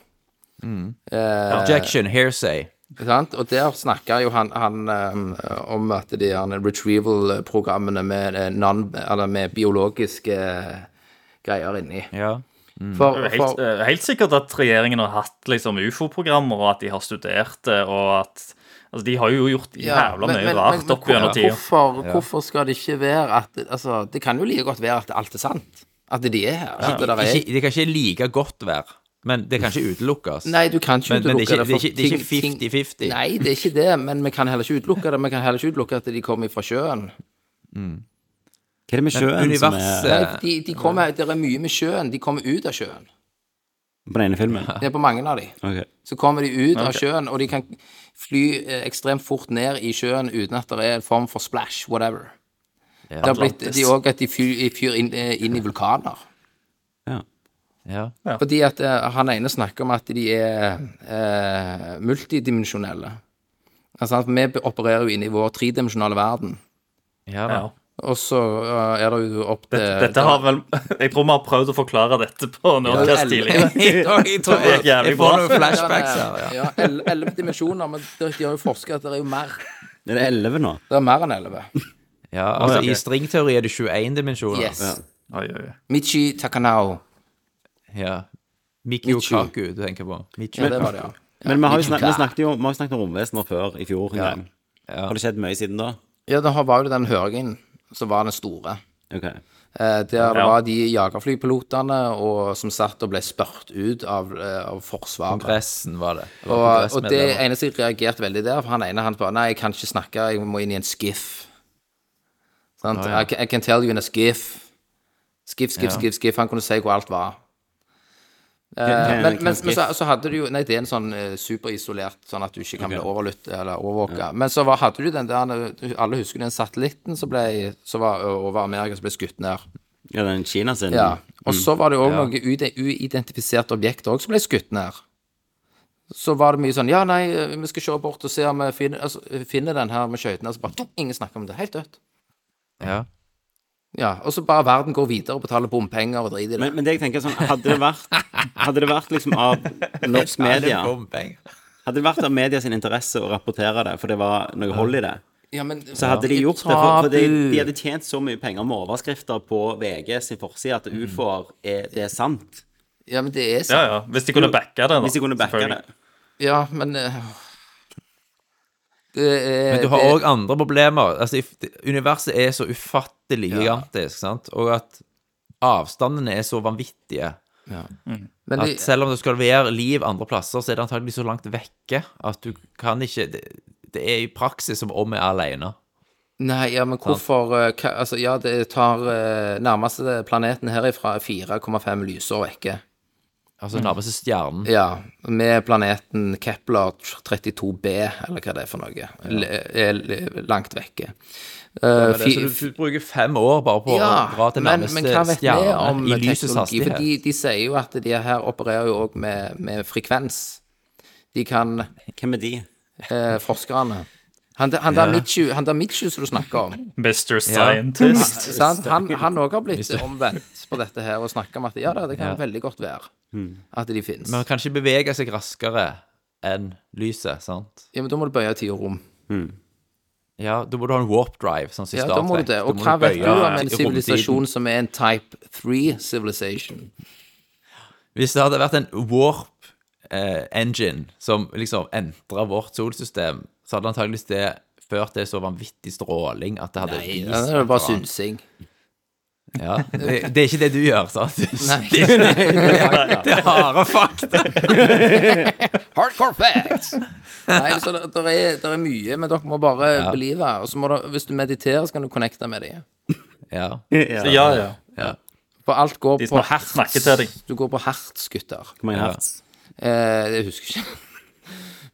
[SPEAKER 3] Objection, hearsay.
[SPEAKER 2] Ikke Sant? Og der snakker jo han, han eh, om at de han, retrieval-programmene med, eh, non, eller med biologiske eh, greier inni.
[SPEAKER 3] Ja. Mm.
[SPEAKER 2] For,
[SPEAKER 8] Det er jo Helt,
[SPEAKER 2] for,
[SPEAKER 8] eh, helt sikkert at regjeringen har hatt liksom ufo-programmer, og at de har studert det, og at Altså, de har jo gjort
[SPEAKER 2] ja,
[SPEAKER 8] jævla
[SPEAKER 2] men-
[SPEAKER 8] mye
[SPEAKER 2] men-
[SPEAKER 8] rart
[SPEAKER 2] men-
[SPEAKER 8] opp gjennom
[SPEAKER 2] men
[SPEAKER 8] tida.
[SPEAKER 2] Hvorfor, hvorfor skal det ikke være at altså, Det kan jo like godt være at alt er sant. At de er her. At det der er,
[SPEAKER 3] Ikke, det kan ikke like godt være, men det kan ikke utelukkes.
[SPEAKER 2] nei, du kan ikke
[SPEAKER 3] Men- men det
[SPEAKER 2] utelukke
[SPEAKER 3] er ikke-
[SPEAKER 2] for
[SPEAKER 3] det er ikke- det er ikke
[SPEAKER 2] ting- ting-
[SPEAKER 3] 50-50.
[SPEAKER 2] Nei, det er ikke det, men vi kan heller ikke utelukke det. Vi kan heller ikke utelukke at de kommer fra sjøen.
[SPEAKER 1] Hva er det med
[SPEAKER 3] Men
[SPEAKER 1] sjøen som
[SPEAKER 3] universet
[SPEAKER 1] er
[SPEAKER 2] De, de kommer, det er mye med sjøen. De kommer ut av sjøen.
[SPEAKER 1] på den ene filmen?
[SPEAKER 2] Det er på mange av de.
[SPEAKER 1] Ok.
[SPEAKER 2] Så kommer de ut av sjøen, og de kan fly eh, ekstremt fort ned i sjøen uten at det er en form for splash, whatever. Det har blitt de òg at de fyr, fyr inn, eh, inn i vulkaner.
[SPEAKER 1] Ja.
[SPEAKER 3] ja.
[SPEAKER 2] Fordi at eh, han ene snakker om at de er eh, multidimensjonelle. Altså, at vi opererer jo inne i vår tredimensjonale verden.
[SPEAKER 3] Ja, da.
[SPEAKER 8] Ja.
[SPEAKER 2] Og så eh, er det jo opp til
[SPEAKER 8] Dette har vel Jeg tror vi har prøvd å forklare dette på Nordkast tidligere.
[SPEAKER 3] Jeg tror jeg,
[SPEAKER 8] Det er jævlig
[SPEAKER 3] jeg får
[SPEAKER 8] bra.
[SPEAKER 3] noen flashbacks her. Ja.
[SPEAKER 2] Ja, el- elleve dimensjoner, men de har jo forsket at det er jo mer.
[SPEAKER 1] Det er elleve nå.
[SPEAKER 2] Det er mer enn elleve.
[SPEAKER 3] Ja, altså
[SPEAKER 8] ja, ok.
[SPEAKER 3] I stringteori er det 21 dimensjoner.
[SPEAKER 2] Yes.
[SPEAKER 1] Ja.
[SPEAKER 8] Oi, oi, oi.
[SPEAKER 2] Michi Takanao.
[SPEAKER 3] Ja.
[SPEAKER 2] Michu.
[SPEAKER 3] Mikio Kaku du tenker på. Michu.
[SPEAKER 2] Ja, det var det, ja.
[SPEAKER 1] Men vi har jo
[SPEAKER 2] Michi
[SPEAKER 1] snakket,
[SPEAKER 2] Ka.
[SPEAKER 1] vi snakket jo vi har jo snakket om romvesener før i fjor en gang.
[SPEAKER 3] Ja.
[SPEAKER 1] Har det skjedd mye siden da?
[SPEAKER 2] Ja, det har- var jo den høringen som var den store.
[SPEAKER 1] Ok.
[SPEAKER 2] Eh, der
[SPEAKER 8] Ja.
[SPEAKER 2] var de jagerflypilotene og, som satt og ble spørt ut av, eh, av Forsvaret.
[SPEAKER 3] Kongressen var det. det var
[SPEAKER 2] Og, og det
[SPEAKER 3] kongressmedlemmer.
[SPEAKER 2] eneste jeg reagerte veldig der, for han ene han bare Nei, jeg kan ikke snakke, jeg må inn i en skiff. Sant?
[SPEAKER 3] Å, ja.
[SPEAKER 2] I, can, I can tell you in a skiff. Skiff, skiff, skiff, skiff. Han kunne si hvor alt var. Eh,
[SPEAKER 1] Can- can
[SPEAKER 2] men men, men så,
[SPEAKER 1] skiff?
[SPEAKER 2] så hadde du jo Nei, det er en sånn eh, superisolert, sånn at du ikke kan bli overlytt eller overvåka. Men så var, hadde du den der eh, Alle husker den satellitten som ble som var over Amerika, som ble skutt ned.
[SPEAKER 1] Ja, den Kina sin.
[SPEAKER 2] Ja.
[SPEAKER 1] Mm.
[SPEAKER 2] Og så var det òg noe uide- uidentifiserte objekter også som ble skutt ned. Så var det mye sånn Ja, nei, vi skal se bort og se om vi finner, altså, finner den her med skøytene. Altså bare «Tok!» Ingen snakker om det. Helt dødt.
[SPEAKER 3] ja.
[SPEAKER 2] Ja. Og så bare verden går videre og betaler bompenger og driter i det.
[SPEAKER 1] Men, men det jeg tenker sånn, hadde det vært, hadde det vært liksom av norsk media Hadde det vært av media sin interesse å rapportere det, for det var noe hold i det,
[SPEAKER 2] ja, men,
[SPEAKER 1] så hadde de
[SPEAKER 2] Ja.
[SPEAKER 1] gjort det. For, for de,
[SPEAKER 2] Tabu.
[SPEAKER 1] de hadde tjent så mye penger med overskrifter på VG sin forside at
[SPEAKER 2] Mm.
[SPEAKER 1] ufoer er, det er sant.
[SPEAKER 2] ja, men det er
[SPEAKER 8] Ja,
[SPEAKER 2] sant.
[SPEAKER 8] ja. Hvis de kunne backa det, da.
[SPEAKER 1] Hvis de kunne backa det.
[SPEAKER 8] selvfølgelig.
[SPEAKER 2] Ja, men eh, Det er
[SPEAKER 3] Men du har
[SPEAKER 2] det-
[SPEAKER 3] òg andre problemer. Altså, if- det- universet er så ufattelig gigantisk, sant? og at avstandene er så vanvittige.
[SPEAKER 2] men
[SPEAKER 3] At
[SPEAKER 2] det-
[SPEAKER 3] selv om det skal være liv andre plasser, så er det antagelig så langt vekke at du kan ikke Det, det er i praksis som om vi er alene.
[SPEAKER 2] Nei, ja, men hvorfor eh, hva, Altså, ja, det tar eh, nærmeste planeten herifra er 4,5 lysår vekke.
[SPEAKER 3] Altså nærmeste stjernen.
[SPEAKER 2] Mm. Ja, med planeten Kepler 32b, eller hva det er for noe, l- er l- langt vekke. Eh,
[SPEAKER 3] Så
[SPEAKER 2] fi-
[SPEAKER 3] du, du bruker fem år bare på
[SPEAKER 2] ja,
[SPEAKER 3] å dra til
[SPEAKER 2] men,
[SPEAKER 3] nærmeste
[SPEAKER 2] men hva vet vi om
[SPEAKER 3] stjerne i lysets
[SPEAKER 2] teknologi? For
[SPEAKER 3] hastighet.
[SPEAKER 2] de, de sier jo at de her opererer jo òg med, med frekvens. De kan
[SPEAKER 1] Hvem er de?
[SPEAKER 2] eh, Forskerne. Han, der- han der Michu, han der Michu som du snakker om,
[SPEAKER 8] Mr. Scientist.
[SPEAKER 2] sant? han han òg har blitt omvendt på dette her og snakker om at ja da, det kan veldig godt være at de finnes.
[SPEAKER 3] Men man kan ikke bevege seg raskere enn lyset, sant?
[SPEAKER 2] Ja, men da må du bøye tid og rom.
[SPEAKER 3] Ja, da må du ha en warp drive, sånn som i
[SPEAKER 2] Ja,
[SPEAKER 3] Star
[SPEAKER 2] da må du
[SPEAKER 3] Trek.
[SPEAKER 2] det. Og
[SPEAKER 3] må
[SPEAKER 2] hva vet
[SPEAKER 3] bøye
[SPEAKER 2] du om en
[SPEAKER 3] romtiden.
[SPEAKER 2] sivilisasjon som er en type 3 civilization?
[SPEAKER 3] Hvis det hadde vært en warp eh, engine som liksom entra vårt solsystem, så hadde antageligvis det ført til så vanvittig stråling at det hadde vist
[SPEAKER 2] Ja, det er jo bare
[SPEAKER 3] et eller annet.
[SPEAKER 2] synsing.
[SPEAKER 3] Ja, det, det er ikke det du gjør, sant?
[SPEAKER 2] Nei.
[SPEAKER 3] Det, det, det er harde fakta.
[SPEAKER 2] Hardcore facts! Nei, så det, der er, der er mye, men dere må bare believe. Og så må dere, hvis du mediterer, så kan du connecte med dem.
[SPEAKER 3] Ja,
[SPEAKER 8] Ja, ja.
[SPEAKER 2] For alt går
[SPEAKER 8] De
[SPEAKER 2] på
[SPEAKER 8] snak-
[SPEAKER 2] hertz.
[SPEAKER 8] snakker til deg.
[SPEAKER 2] Du går på hertz, gutter.
[SPEAKER 1] Hvor mange hertz?
[SPEAKER 2] Eh, jeg husker ikke.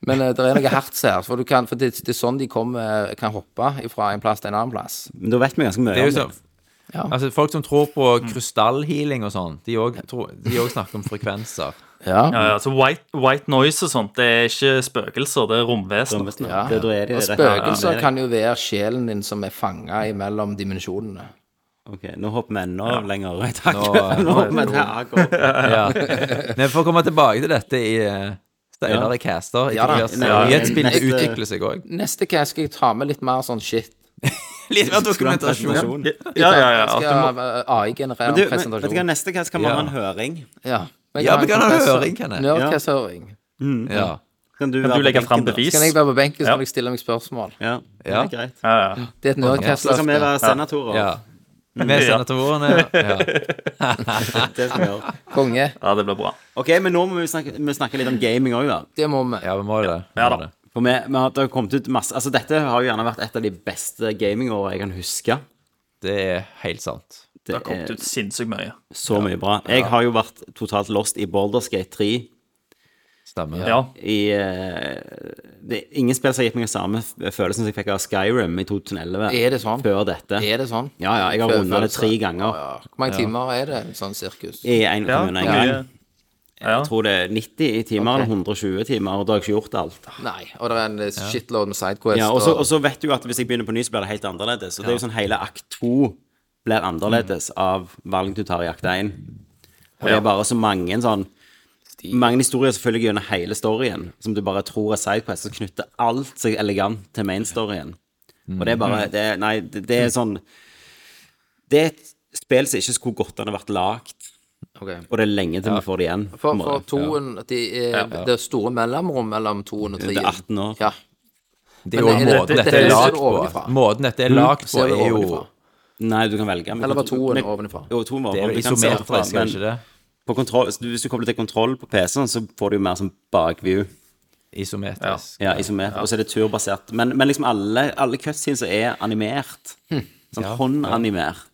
[SPEAKER 2] Men eh, det er noe hertz her, for, du kan, for det, det er sånn de kommer, kan hoppe fra en plass til en annen plass.
[SPEAKER 1] Men da vet vi ganske
[SPEAKER 3] det er
[SPEAKER 1] mye
[SPEAKER 3] jo
[SPEAKER 1] om det.
[SPEAKER 3] sånn Altså, folk som tror på krystallhealing og sånn, de òg snakker om frekvenser.
[SPEAKER 2] Ja,
[SPEAKER 8] ja, ja. Så white, white noise og sånt, det er ikke spøkelser, det er romvesener.
[SPEAKER 1] Romvesener.
[SPEAKER 2] Ja.
[SPEAKER 1] Det- da er de
[SPEAKER 2] og
[SPEAKER 1] rett-
[SPEAKER 2] spøkelser
[SPEAKER 1] Ja.
[SPEAKER 2] kan jo være sjelen din som er fanga mellom dimensjonene.
[SPEAKER 1] Ok, nå hopper vi enda lenger i tak. Nå,
[SPEAKER 3] Nå-
[SPEAKER 1] hopper vi et hakk opp.
[SPEAKER 3] Ja. Men for å komme tilbake til dette i eh, Steinar i caster
[SPEAKER 2] Ja da.
[SPEAKER 3] Nyhetsbildet
[SPEAKER 1] Neste-
[SPEAKER 3] utvikler seg òg.
[SPEAKER 2] Neste cast skal jeg ta med litt mer sånn shit.
[SPEAKER 3] Litt mer dokumentasjon.
[SPEAKER 1] Presentasjon.
[SPEAKER 8] Ja, ja, ja.
[SPEAKER 2] Jeg
[SPEAKER 8] At du må...
[SPEAKER 2] skal eh, AI generere
[SPEAKER 1] Du, men, vet
[SPEAKER 2] en
[SPEAKER 1] du hva,
[SPEAKER 2] presentasjon.
[SPEAKER 1] neste gang kan vi
[SPEAKER 3] Ja.
[SPEAKER 1] ha en høring.
[SPEAKER 2] Ja,
[SPEAKER 3] Ja, vi kan ha høring, kan jeg.
[SPEAKER 2] Nerdcast-høring.
[SPEAKER 3] Ja.
[SPEAKER 1] Kan du,
[SPEAKER 8] Kan
[SPEAKER 1] være
[SPEAKER 8] du
[SPEAKER 1] på
[SPEAKER 8] legge
[SPEAKER 1] benken
[SPEAKER 8] fram
[SPEAKER 1] da?
[SPEAKER 8] bevis?
[SPEAKER 2] Kan jeg være på benken, så
[SPEAKER 8] Ja.
[SPEAKER 2] kan jeg stille meg spørsmål.
[SPEAKER 1] Ja, det
[SPEAKER 3] Ja.
[SPEAKER 1] er greit.
[SPEAKER 8] Ja, ja.
[SPEAKER 2] Det er et
[SPEAKER 1] Så kan vi
[SPEAKER 2] Nerdcast-løfte.
[SPEAKER 1] være senatorer.
[SPEAKER 3] ja.
[SPEAKER 2] Mm.
[SPEAKER 3] Med senatorene. Ja.
[SPEAKER 1] Det skal vi gjøre.
[SPEAKER 2] Konge.
[SPEAKER 8] ja, det blir bra.
[SPEAKER 1] Ok, men nå må vi snakke, vi snakke litt om gaming òg, da.
[SPEAKER 2] Det må vi.
[SPEAKER 3] ja, vi må det. Vi
[SPEAKER 8] Ja
[SPEAKER 3] må
[SPEAKER 8] da.
[SPEAKER 3] det.
[SPEAKER 1] For vi, vi har, det har kommet ut masse Altså, dette har jo gjerne vært et av de beste gamingåra jeg kan huske.
[SPEAKER 3] Det er helt sant.
[SPEAKER 1] Det
[SPEAKER 8] Det har kommet ut sinnssykt mye.
[SPEAKER 1] er så mye bra. Jeg har jo vært totalt lost i Boulderskate 3.
[SPEAKER 3] Stemmer.
[SPEAKER 8] Ja.
[SPEAKER 1] I, eh, det, er ingen spill som har gitt meg den samme følelsen som jeg fikk av Skyrim i 2011.
[SPEAKER 2] Er det sånn?
[SPEAKER 1] Før dette.
[SPEAKER 2] Er det sånn?
[SPEAKER 1] Ja, ja. Jeg har runda det
[SPEAKER 2] Følelse.
[SPEAKER 1] tre ganger
[SPEAKER 2] Ja, Hvor mange timer er det, sånn sirkus?
[SPEAKER 1] i én
[SPEAKER 8] Ja,
[SPEAKER 1] kommune en
[SPEAKER 8] mye-
[SPEAKER 1] gang.
[SPEAKER 8] ja.
[SPEAKER 1] Jeg tror det er 90 timer eller 120 timer, og da har jeg ikke gjort alt.
[SPEAKER 2] Nei. Og det er en eh, shitload med sidequest.
[SPEAKER 1] Ja, og så- og så vet du jo at hvis jeg begynner på ny, så blir det helt annerledes. Og det er jo sånn hele akt to blir annerledes av valg du tar i akt én. Og det er bare så mange sånn mange historier selvfølgelig gjennom hele storyen som du bare tror er sidequest, som knytter alt seg elegant til mainstoryen. Og det er bare
[SPEAKER 3] Mm.
[SPEAKER 1] det, er- Nei, det, det er sånn Det er et spill som ikke skulle godt an å vært lagd,
[SPEAKER 2] Ok.
[SPEAKER 1] og det er lenge til vi får det igjen. på
[SPEAKER 2] For,
[SPEAKER 1] en
[SPEAKER 2] for
[SPEAKER 1] måte.
[SPEAKER 2] toen de, eh, Det er store mellomrom mellom toen og
[SPEAKER 1] Det
[SPEAKER 2] trien.
[SPEAKER 1] er 18 år.
[SPEAKER 2] Ja.
[SPEAKER 3] Det er jo
[SPEAKER 2] Men det- det-
[SPEAKER 3] måten
[SPEAKER 2] det-
[SPEAKER 3] dette
[SPEAKER 2] det-
[SPEAKER 3] er
[SPEAKER 2] det ser
[SPEAKER 3] lagd
[SPEAKER 2] du
[SPEAKER 3] på.
[SPEAKER 2] ovenifra.
[SPEAKER 3] Måten dette er lagd på,
[SPEAKER 2] Ser du
[SPEAKER 3] er jo
[SPEAKER 2] ovenifra.
[SPEAKER 1] Nei, du kan velge. men
[SPEAKER 2] Eller var
[SPEAKER 1] kontro-
[SPEAKER 2] toen
[SPEAKER 1] men-
[SPEAKER 2] ovenifra?
[SPEAKER 1] Jo, toen var
[SPEAKER 3] Det er jo
[SPEAKER 1] ovenifra. Vi kan se
[SPEAKER 3] isometrisk, er
[SPEAKER 1] ovenfra,
[SPEAKER 3] det ikke det?
[SPEAKER 1] På kontroll, så du- hvis du kobler til kontroll på PC-en, så får du jo mer sånn bakview.
[SPEAKER 3] Isometrisk.
[SPEAKER 1] Ja, isomer. Og så er det turbasert. Men, men liksom alle, alle cutscenes er animert. Sånn håndanimert.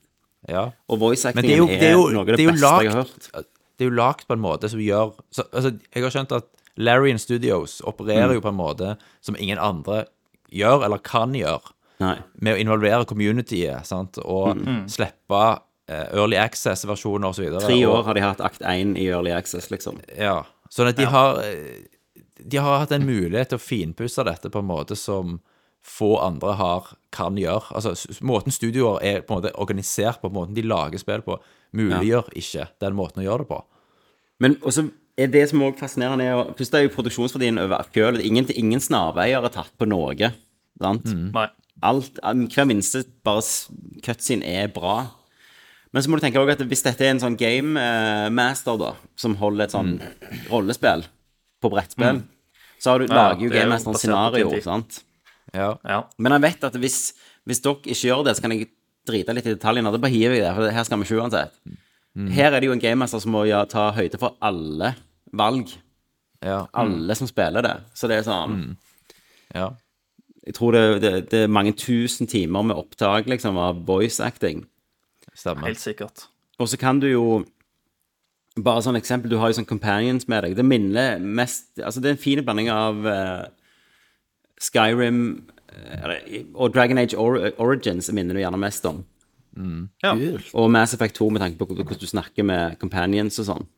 [SPEAKER 3] Ja.
[SPEAKER 1] Og voice
[SPEAKER 3] Hm. Men det er jo,
[SPEAKER 1] actingen er,
[SPEAKER 3] det er jo,
[SPEAKER 1] noe av det,
[SPEAKER 3] det er jo
[SPEAKER 1] beste jeg har hørt.
[SPEAKER 3] lagt Det er jo lagt på en måte som gjør så, altså, Jeg har skjønt at Larrion Studios opererer
[SPEAKER 2] Mm.
[SPEAKER 3] jo på en måte som ingen andre gjør, eller kan gjøre,
[SPEAKER 1] Nei.
[SPEAKER 3] med å involvere communityet sant? og
[SPEAKER 1] Mm.
[SPEAKER 3] slippe eh, early access-versjoner osv.
[SPEAKER 1] Tre år har de hatt Act 1 i Early Access, liksom.
[SPEAKER 3] Ja. Sånn at de har eh, De har hatt en mulighet til å finpusse dette på en måte som få andre har, kan gjøre. Altså, s- måten studioer er på en måte organisert på, måten de lager spill på, muliggjør ikke den måten å gjøre det på.
[SPEAKER 1] Men også er det som også fascinerende er å- Først er jo produksjonsverdien over fjøl. Ingen, ingen snarveier er tatt på noe. Sant?
[SPEAKER 3] Mm.
[SPEAKER 8] Nei.
[SPEAKER 1] Alt, um, hver minste bare s- cutscene er bra. Men så må du tenke også at hvis dette er en sånn game eh, master da, som holder et sånn rollespill på brettspill, så har du, lager jo
[SPEAKER 8] Mm. det er jo
[SPEAKER 1] gamemasteren
[SPEAKER 8] basert på
[SPEAKER 1] scenario,
[SPEAKER 8] TNT.
[SPEAKER 1] sant?
[SPEAKER 3] Ja.
[SPEAKER 8] Ja.
[SPEAKER 1] Men jeg vet at hvis, hvis dere ikke gjør det, så kan jeg drite litt i detaljene. Da bare hiver jeg det, for her skal vi ikke uansett.
[SPEAKER 8] Mm.
[SPEAKER 1] Her er det jo en gamemaster som må ja, ta høyde for alle valg.
[SPEAKER 3] Ja.
[SPEAKER 8] Mm.
[SPEAKER 1] Alle som spiller det. Så det er sånn
[SPEAKER 3] ja.
[SPEAKER 1] Jeg tror det, det, det er mange tusen timer med opptak liksom, av voice acting.
[SPEAKER 3] Stemmer.
[SPEAKER 8] Helt sikkert.
[SPEAKER 1] Og så kan du jo Bare sånn eksempel, du har jo sånn companions med deg. Det minner mest Altså, det er en fin blanding av eh, Skyrim eh, eller- og Dragon Age Or Origins minner du gjerne mest om.
[SPEAKER 8] Ja.
[SPEAKER 1] Og Mass Effect 2 med tanke på hvordan du snakker med companions og sånn.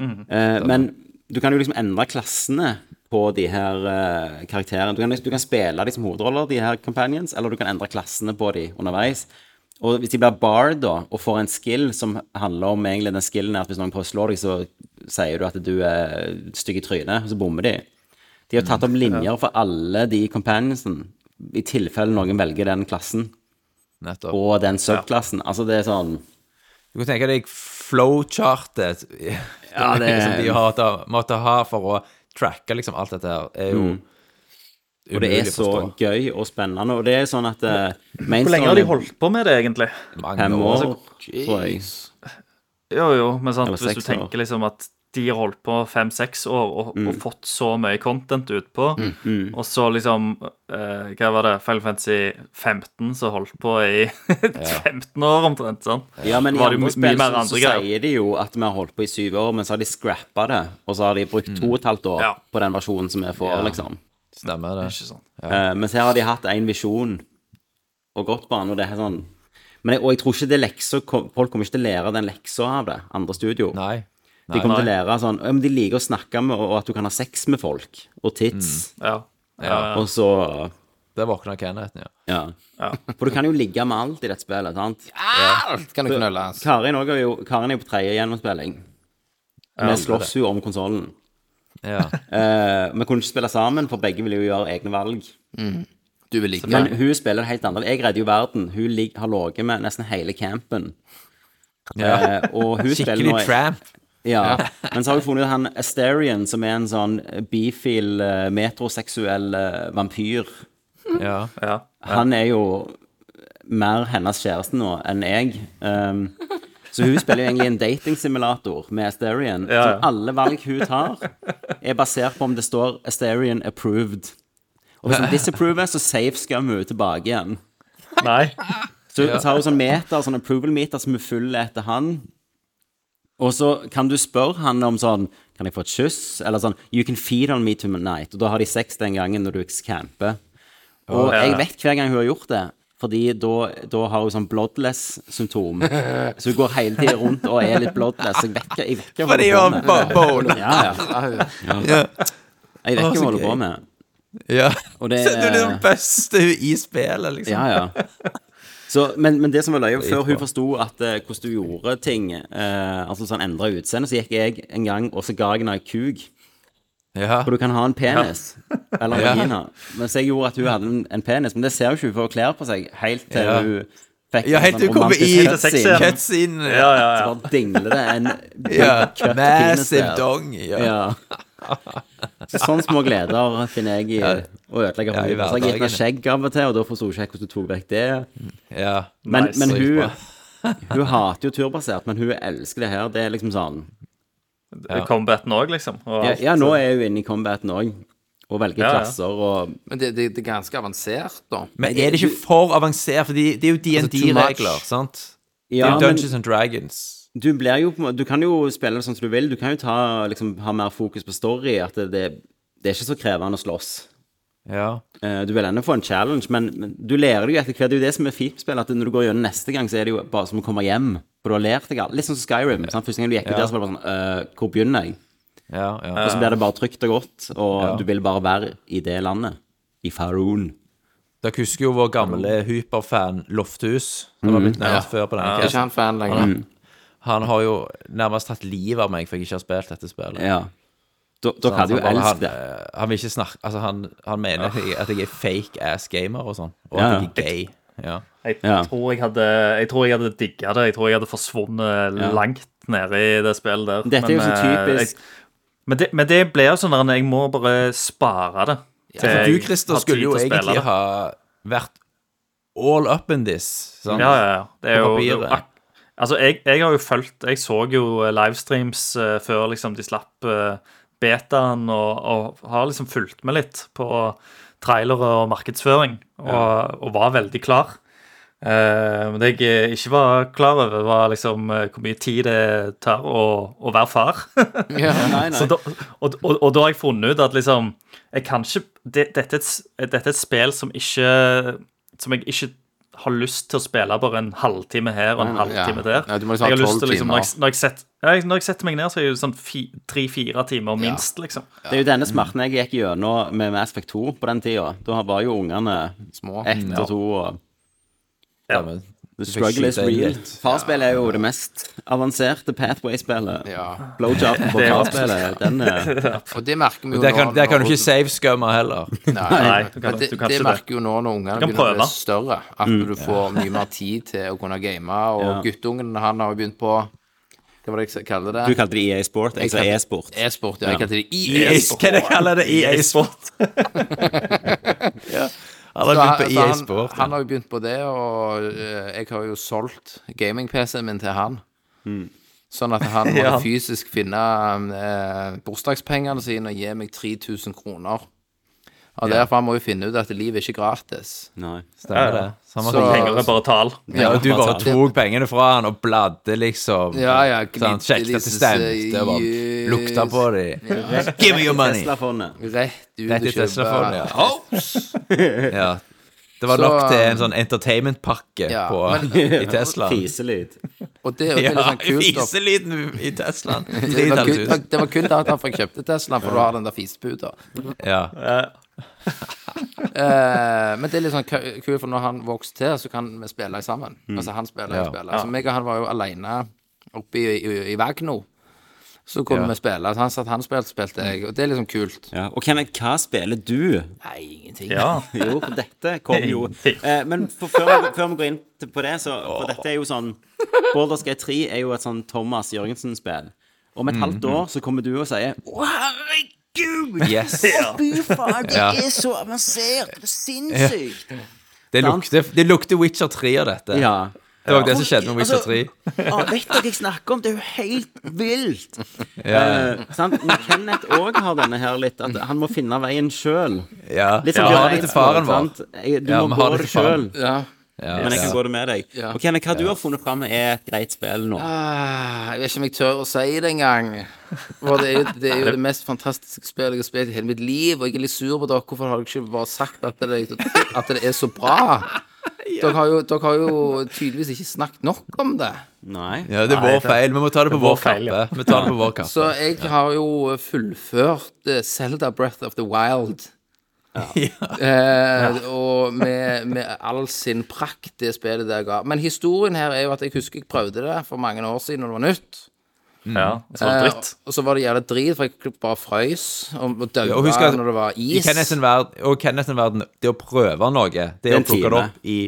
[SPEAKER 8] Sånn.
[SPEAKER 1] Eh, men du kan jo liksom endre klassene på de her eh, karakterene. Du kan, liksom- du kan spille de som hovedroller, de her companions, eller du kan endre klassene på de underveis. Og hvis de blir bard da, og får en skill som handler om egentlig den skillen er at hvis noen prøver å slå deg, så sier du at du er stygg i trynet, og så bommer de. De har tatt opp
[SPEAKER 8] Mm,
[SPEAKER 1] linjer for alle de companionsene, i tilfelle noen velger den klassen
[SPEAKER 3] Nettopp.
[SPEAKER 1] og den subklassen. Altså, det er sånn
[SPEAKER 3] Du kan tenke deg flowchartet
[SPEAKER 1] Ja, det
[SPEAKER 3] som de har hatt- måtte ha for å tracke liksom alt dette her, er jo
[SPEAKER 1] Mm. Og det er
[SPEAKER 3] umulig å
[SPEAKER 1] så
[SPEAKER 3] forstå.
[SPEAKER 1] gøy og spennende. Og det er sånn at eh,
[SPEAKER 8] Hvor lenge har de holdt på med det, egentlig?
[SPEAKER 3] mange
[SPEAKER 1] Fem år,
[SPEAKER 3] år.
[SPEAKER 1] tror jeg.
[SPEAKER 8] Jo, jo, men sant,
[SPEAKER 1] Eller Mm.
[SPEAKER 8] hvis du
[SPEAKER 1] seks år.
[SPEAKER 8] tenker liksom at de har holdt på fem-seks år og, og fått så mye content ut på,
[SPEAKER 1] Mm,
[SPEAKER 8] og så liksom eh, Hva var det? Final Fantasy 15 som holdt på i 15 år, omtrent? sant?
[SPEAKER 1] Ja, men i
[SPEAKER 8] Var det
[SPEAKER 1] andre
[SPEAKER 8] jo mye
[SPEAKER 1] spill så,
[SPEAKER 8] mer
[SPEAKER 1] så
[SPEAKER 8] andre greier.
[SPEAKER 1] sier de jo at vi har holdt på i syv år, men så har de scrappa det. Og så har de brukt to og et halvt år
[SPEAKER 8] Mm. Ja.
[SPEAKER 1] på den versjonen som vi får, liksom.
[SPEAKER 3] Stemmer det.
[SPEAKER 8] Ikke sant?
[SPEAKER 1] Eh, mens her har de hatt én visjon og gått på den, og det er sånn men jeg, og jeg tror ikke det er lekser, kom- folk kommer ikke til å lære den leksa av det, andre studio.
[SPEAKER 3] Nei.
[SPEAKER 1] de kommer til å lære sånn, ja, men de liker å snakke med, og at du kan ha sex med folk, og tits,
[SPEAKER 3] Mm.
[SPEAKER 8] Ja.
[SPEAKER 1] og så,
[SPEAKER 3] Der våkna Kenneth, ja.
[SPEAKER 1] ja. For du kan jo ligge med alt i dette spillet, sant?
[SPEAKER 2] Alt Ah, kan du knølle. ass.
[SPEAKER 1] Karin, også er jo, Karin er jo på tredje gjennomspilling. Vi slåss jo om konsollen.
[SPEAKER 3] ja.
[SPEAKER 1] Eh, vi kunne ikke spille sammen, for begge ville jo gjøre egne valg.
[SPEAKER 2] Du vil ligge.
[SPEAKER 1] Men hun spiller helt annerledes. Jeg redder jo verden. Hun lig, har ligget med nesten hele campen. Eh, og hun spiller nå
[SPEAKER 3] Skikkelig tramp.
[SPEAKER 1] Ja. Men så har hun funnet ut han Asterion, som er en sånn bifil, eh, metroseksuell eh, vampyr.
[SPEAKER 3] Ja.
[SPEAKER 8] ja.
[SPEAKER 1] Han er jo mer hennes kjæreste nå enn jeg. Um, så hun spiller jo egentlig en datingsimulator med Asterion.
[SPEAKER 8] Ja, ja.
[SPEAKER 1] Så alle valg hun tar, er basert på om det står Asterion approved. Og hvis hun disapprover, så safe skammer hun tilbake igjen.
[SPEAKER 8] Nei.
[SPEAKER 1] Så, så har hun sånn meter, sånn approval meter som hun følger etter han. Og så kan du spørre han om sånn Kan jeg få et kyss? Eller sånn You can feed on me tonight. Og da har de sex den gangen når du camper. Og
[SPEAKER 8] Ja.
[SPEAKER 1] jeg vet hver gang hun har gjort det, fordi da, da har hun sånn bloodless-symptom. Så hun går hele tiden rundt og er litt bloodless. Jeg vet ikke jeg vet ikke hva hun
[SPEAKER 3] Fordi
[SPEAKER 1] holder
[SPEAKER 3] han
[SPEAKER 1] på med.
[SPEAKER 3] bone.
[SPEAKER 1] Ja, ja.
[SPEAKER 3] Ja.
[SPEAKER 1] Jeg vet
[SPEAKER 3] Å,
[SPEAKER 1] ikke hva
[SPEAKER 3] så
[SPEAKER 1] hun holder
[SPEAKER 3] gøy.
[SPEAKER 1] på med.
[SPEAKER 3] ja.
[SPEAKER 1] Og det
[SPEAKER 3] Så du er
[SPEAKER 1] er-
[SPEAKER 3] den beste i spillet, liksom.
[SPEAKER 1] Ja, ja. Så, men, men det som var løye, før
[SPEAKER 3] bra.
[SPEAKER 1] hun forsto at eh, hvordan du gjorde ting, eh, altså sånn endra utseende, så gikk jeg en gang og så ga jeg henne ei kuk.
[SPEAKER 3] Ja.
[SPEAKER 1] For du kan ha en penis eller en
[SPEAKER 3] Ja.
[SPEAKER 1] vagina. Mens jeg gjorde at hun hadde en, en penis, men det ser jo ikke hun for å klære på seg helt til
[SPEAKER 3] Ja.
[SPEAKER 1] hun fikk sånn
[SPEAKER 3] Ja, helt til hun kommer i-
[SPEAKER 8] Ja.
[SPEAKER 3] Cutscene.
[SPEAKER 8] Ja, ja, ja.
[SPEAKER 1] Så bare dingler det en
[SPEAKER 3] Ja.
[SPEAKER 1] cut penis
[SPEAKER 3] Massive
[SPEAKER 1] der.
[SPEAKER 3] dong. Ja.
[SPEAKER 1] Ja. Så sånne små gleder finner jeg i å ødelegge
[SPEAKER 3] Ja, i
[SPEAKER 1] for meg. Så jeg gikk med
[SPEAKER 3] hverdagen.
[SPEAKER 1] skjegg av og til, og da forsto ikke jeg hvordan du tok vekk det.
[SPEAKER 3] ja.
[SPEAKER 1] Men,
[SPEAKER 8] Nice.
[SPEAKER 1] men
[SPEAKER 3] Så gikk
[SPEAKER 1] hun, hun hater jo turbasert, men hun elsker det her. Det er liksom sånn
[SPEAKER 3] Ja.
[SPEAKER 8] Combaten òg, liksom. Og
[SPEAKER 1] Ja,
[SPEAKER 8] alt.
[SPEAKER 1] ja nå er hun inne i combaten òg, og velger
[SPEAKER 8] Ja, ja.
[SPEAKER 1] klasser og
[SPEAKER 2] Men det, det, det er ganske avansert, da.
[SPEAKER 3] Men er det ikke for avansert? For de- det
[SPEAKER 1] Altså,
[SPEAKER 3] er jo
[SPEAKER 2] too
[SPEAKER 3] DND-regler,
[SPEAKER 2] much.
[SPEAKER 3] sant? Det
[SPEAKER 1] Ja,
[SPEAKER 3] er jo
[SPEAKER 1] men
[SPEAKER 3] Dungeons and Dragons.
[SPEAKER 1] du blir jo på en måte- Du kan jo spille sånn som du vil. Du kan jo ta, liksom, ha mer fokus på story. At det, det, det er ikke så krevende å slåss.
[SPEAKER 3] Ja.
[SPEAKER 1] Eh, Du vil ennå få en challenge, men, men du lærer det jo etter hvert. Det er jo det som er fint med spill, at når du går gjennom neste gang, så er det jo bare som å komme hjem. For du har lært deg alt. Litt sånn som Skyrim. Sant? Første gang du gikk ut der, så var det bare sånn «Øh, Hvor begynner jeg?
[SPEAKER 3] Ja, Altså, ja.
[SPEAKER 1] Og så blir det bare trygt og godt, og du vil bare være i det landet. I Faroon.
[SPEAKER 3] Dere husker jo vår gamle hyperfan Lofthus. Han
[SPEAKER 1] Mm-hmm.
[SPEAKER 3] var blitt nevnt før på denne
[SPEAKER 2] Jeg er ikke
[SPEAKER 3] casten.
[SPEAKER 2] han fan lenger.
[SPEAKER 3] Han har jo nærmest tatt livet av meg for jeg ikke har spilt dette spillet.
[SPEAKER 1] Ja. Da- Dere hadde jo
[SPEAKER 3] han, bare-
[SPEAKER 1] elsket det.
[SPEAKER 3] han, eh, han vil ikke snakke Altså, han, han mener at jeg, at jeg er fake ass gamer og sånn, og
[SPEAKER 1] Ja,
[SPEAKER 3] at jeg er gay. Ja.
[SPEAKER 8] Jeg,
[SPEAKER 1] Ja.
[SPEAKER 8] tror jeg hadde Jeg tror jeg hadde digga det. Jeg tror jeg hadde forsvunnet langt nede i det spillet der.
[SPEAKER 1] Dette er jo så
[SPEAKER 8] eh,
[SPEAKER 1] typisk.
[SPEAKER 8] Jeg, men, det, men det ble jo sånn at jeg må bare spare det. til
[SPEAKER 3] For du,
[SPEAKER 8] jeg
[SPEAKER 3] Christer,
[SPEAKER 8] har tid
[SPEAKER 3] skulle jo
[SPEAKER 8] til å spille
[SPEAKER 3] egentlig
[SPEAKER 8] det.
[SPEAKER 3] ha vært all up in this. Sant?
[SPEAKER 8] Ja, ja, ja. Det er
[SPEAKER 3] På
[SPEAKER 8] jo det er jo
[SPEAKER 3] papiret.
[SPEAKER 8] ak Altså, jeg, jeg har jo fulgt Jeg så jo eh, livestreams eh, før liksom de slapp eh, betaen, og, og har liksom fulgt med litt på trailere og markedsføring, og, og var veldig klar. Eh, Men det jeg eh, ikke var klar over, var liksom eh, hvor mye tid det tar å, å være far.
[SPEAKER 1] Nei, nei.
[SPEAKER 8] Så da, og, og, og da har jeg funnet ut at liksom jeg kan ikke, det, dette, er et, s- dette er et spill som ikke Som jeg ikke har lyst til å spille bare en halvtime her og en
[SPEAKER 2] ja.
[SPEAKER 8] halvtime der.
[SPEAKER 2] Ja, du må liksom ha
[SPEAKER 8] jeg har
[SPEAKER 2] 12
[SPEAKER 8] lyst til liksom, når, jeg,
[SPEAKER 2] timer.
[SPEAKER 8] når, jeg setter, ja, jeg- når jeg setter meg ned, så er det jo sånn fi- tre-fire timer minst, liksom.
[SPEAKER 1] Det er jo denne smerten jeg gikk gjennom med Mass Effect 2 på den tida. Da var jo ungene
[SPEAKER 2] Små.
[SPEAKER 1] ett og to og
[SPEAKER 3] Ja, men-
[SPEAKER 1] The
[SPEAKER 3] fikk
[SPEAKER 1] struggle is
[SPEAKER 3] skyte inn
[SPEAKER 1] real.
[SPEAKER 3] litt.
[SPEAKER 1] Farspill er jo det mest avanserte Pathway-spillet.
[SPEAKER 2] Ja.
[SPEAKER 1] Blowjoben på
[SPEAKER 8] er
[SPEAKER 1] farspillet, den eh, er
[SPEAKER 2] Og det merker vi jo
[SPEAKER 3] Der kan,
[SPEAKER 2] nå
[SPEAKER 3] der kan du
[SPEAKER 2] når-
[SPEAKER 3] ikke savescumme heller.
[SPEAKER 8] Nei, du kan,
[SPEAKER 2] Men det,
[SPEAKER 8] du kan
[SPEAKER 2] det
[SPEAKER 8] ikke det.
[SPEAKER 2] merker jo nå når ungene begynner
[SPEAKER 8] kan
[SPEAKER 2] å bli
[SPEAKER 8] prøve.
[SPEAKER 2] større, at du får mye mer tid til å kunne game. Og guttungen han har jo begynt på Hva var det jeg kalte det?
[SPEAKER 1] Du kalte det EA Sport, jeg sa
[SPEAKER 2] kalte-
[SPEAKER 1] e-sport.
[SPEAKER 2] E-sport. Ja, jeg kalte det
[SPEAKER 3] EA-sport.
[SPEAKER 2] EA-sport.
[SPEAKER 3] E Hva er det jeg kaller det? E EA-sport? Han har
[SPEAKER 2] Så
[SPEAKER 3] begynt på E
[SPEAKER 2] altså, han-
[SPEAKER 3] EA-sport.
[SPEAKER 2] Han har jo begynt på det, og eh, jeg har jo solgt gaming-PC-en min til han.
[SPEAKER 3] Mm.
[SPEAKER 2] Sånn at han må
[SPEAKER 8] Ja.
[SPEAKER 2] fysisk finne eh, bursdagspengene sine og gi meg 3000 kroner. Og derfor han må jo finne ut at livet er ikke gratis.
[SPEAKER 1] Nei.
[SPEAKER 3] Stemmer det. Så han har
[SPEAKER 2] Så-
[SPEAKER 3] fått-
[SPEAKER 8] Penger er bare tall.
[SPEAKER 3] ja, og du bare
[SPEAKER 1] Det-
[SPEAKER 3] tok pengene fra han og bladde, liksom.
[SPEAKER 2] Ja, ja,
[SPEAKER 3] Sånn, Sjekket at det stemte. og bare Lukta på dem. Give me your money!
[SPEAKER 1] Tesla-fondet.
[SPEAKER 2] Rett ut
[SPEAKER 3] Rett
[SPEAKER 2] og
[SPEAKER 3] i
[SPEAKER 2] kjøpe.
[SPEAKER 3] Tesla-fondet, ja. Ja. Det var
[SPEAKER 2] Så,
[SPEAKER 3] nok til en sånn entertainment-pakke
[SPEAKER 2] ja,
[SPEAKER 3] på,
[SPEAKER 2] men-
[SPEAKER 3] i Tesla.
[SPEAKER 1] Fiselyd.
[SPEAKER 2] Og det, og det er litt
[SPEAKER 3] Ja,
[SPEAKER 2] sånn kult. da.
[SPEAKER 3] fiselyden i Teslaen.
[SPEAKER 2] Det var, kun,
[SPEAKER 3] 3000.
[SPEAKER 2] det var kun derfor jeg kjøpte Tesla, for du har den der fiseputa.
[SPEAKER 3] Ja.
[SPEAKER 2] Eh, men det er litt sånn kø- kult, for når han vokser til, så kan vi spille sammen. Altså, han spiller, jeg
[SPEAKER 3] Ja.
[SPEAKER 2] spiller. Så meg og han var jo alene oppe i, i, i Vagno. Så kunne
[SPEAKER 3] Ja.
[SPEAKER 2] vi spille. Så han satt han spilte, spilte jeg. Og det er liksom kult.
[SPEAKER 1] Ja. Og Kenneth, hva spiller du?
[SPEAKER 2] Nei, ingenting.
[SPEAKER 8] Ja.
[SPEAKER 1] Jo, for dette kom jo eh, Men for før, før vi går inn til- på det, så For dette er jo sånn Baldur's Gate 3 er jo et sånn Thomas Jørgensen-spill. Om et halvt år så kommer du og sier Å, herregud!
[SPEAKER 3] Yes.
[SPEAKER 1] Fy faen, det
[SPEAKER 3] Ja.
[SPEAKER 1] er så avansert! Det er sinnssykt!
[SPEAKER 3] Det lukter, det lukter Witcher 3 av dette.
[SPEAKER 1] Ja.
[SPEAKER 3] Det var jo det som skjedde med Witcher
[SPEAKER 1] Altså,
[SPEAKER 3] 3.
[SPEAKER 1] Å, vet dere hva jeg snakker om? Det er jo helt vilt!
[SPEAKER 3] Ja,
[SPEAKER 1] Eh, sant? Men Kenneth òg har denne her litt at han må finne veien sjøl.
[SPEAKER 3] ja.
[SPEAKER 1] Litt
[SPEAKER 3] ja,
[SPEAKER 1] sånn
[SPEAKER 3] ha
[SPEAKER 1] Bjørn
[SPEAKER 3] det til
[SPEAKER 1] Eidsvåg,
[SPEAKER 3] faren vår.
[SPEAKER 1] sant? Jeg- Du
[SPEAKER 3] Ja,
[SPEAKER 1] må
[SPEAKER 3] vi har
[SPEAKER 1] gå
[SPEAKER 3] det
[SPEAKER 1] det
[SPEAKER 3] til faren.
[SPEAKER 1] sjøl,
[SPEAKER 2] Ja.
[SPEAKER 1] men jeg kan gå det med deg.
[SPEAKER 2] Ja.
[SPEAKER 1] Og Kenneth, hva du har funnet fram, er et greit spill nå.
[SPEAKER 2] Ah, jeg vet ikke om jeg tør å si det engang. For det er, jo, det er jo det mest fantastiske spillet jeg har spilt i hele mitt liv, og jeg er litt sur på dere. Hvorfor har dere ikke bare sagt at det, at det er så bra? Dere, har jo, dere har jo tydeligvis ikke snakket nok om det.
[SPEAKER 1] Nei.
[SPEAKER 3] Ja, det er vår feil. Vi må ta det på
[SPEAKER 8] vår
[SPEAKER 3] vår
[SPEAKER 8] feil,
[SPEAKER 3] kappe.
[SPEAKER 8] ja.
[SPEAKER 3] Vi tar det på vår kappe.
[SPEAKER 2] Så jeg har jo fullført eh, Zelda Breath of the Wild. Eh, og med, med all sin prakt, det spillet der ga. Men historien her er jo at jeg husker jeg prøvde det for mange år siden, når det var nytt.
[SPEAKER 8] Ja, så var det sånn dritt.
[SPEAKER 2] Eh, og så var det jævla drit, for jeg bare frøys og, og
[SPEAKER 3] Og husk
[SPEAKER 2] daua
[SPEAKER 3] at
[SPEAKER 2] når det var
[SPEAKER 3] i
[SPEAKER 2] is.
[SPEAKER 3] Kenneths verden, og Kenneths verden, det å prøve noe, det, å
[SPEAKER 1] en
[SPEAKER 3] plukke det
[SPEAKER 1] time.
[SPEAKER 3] opp i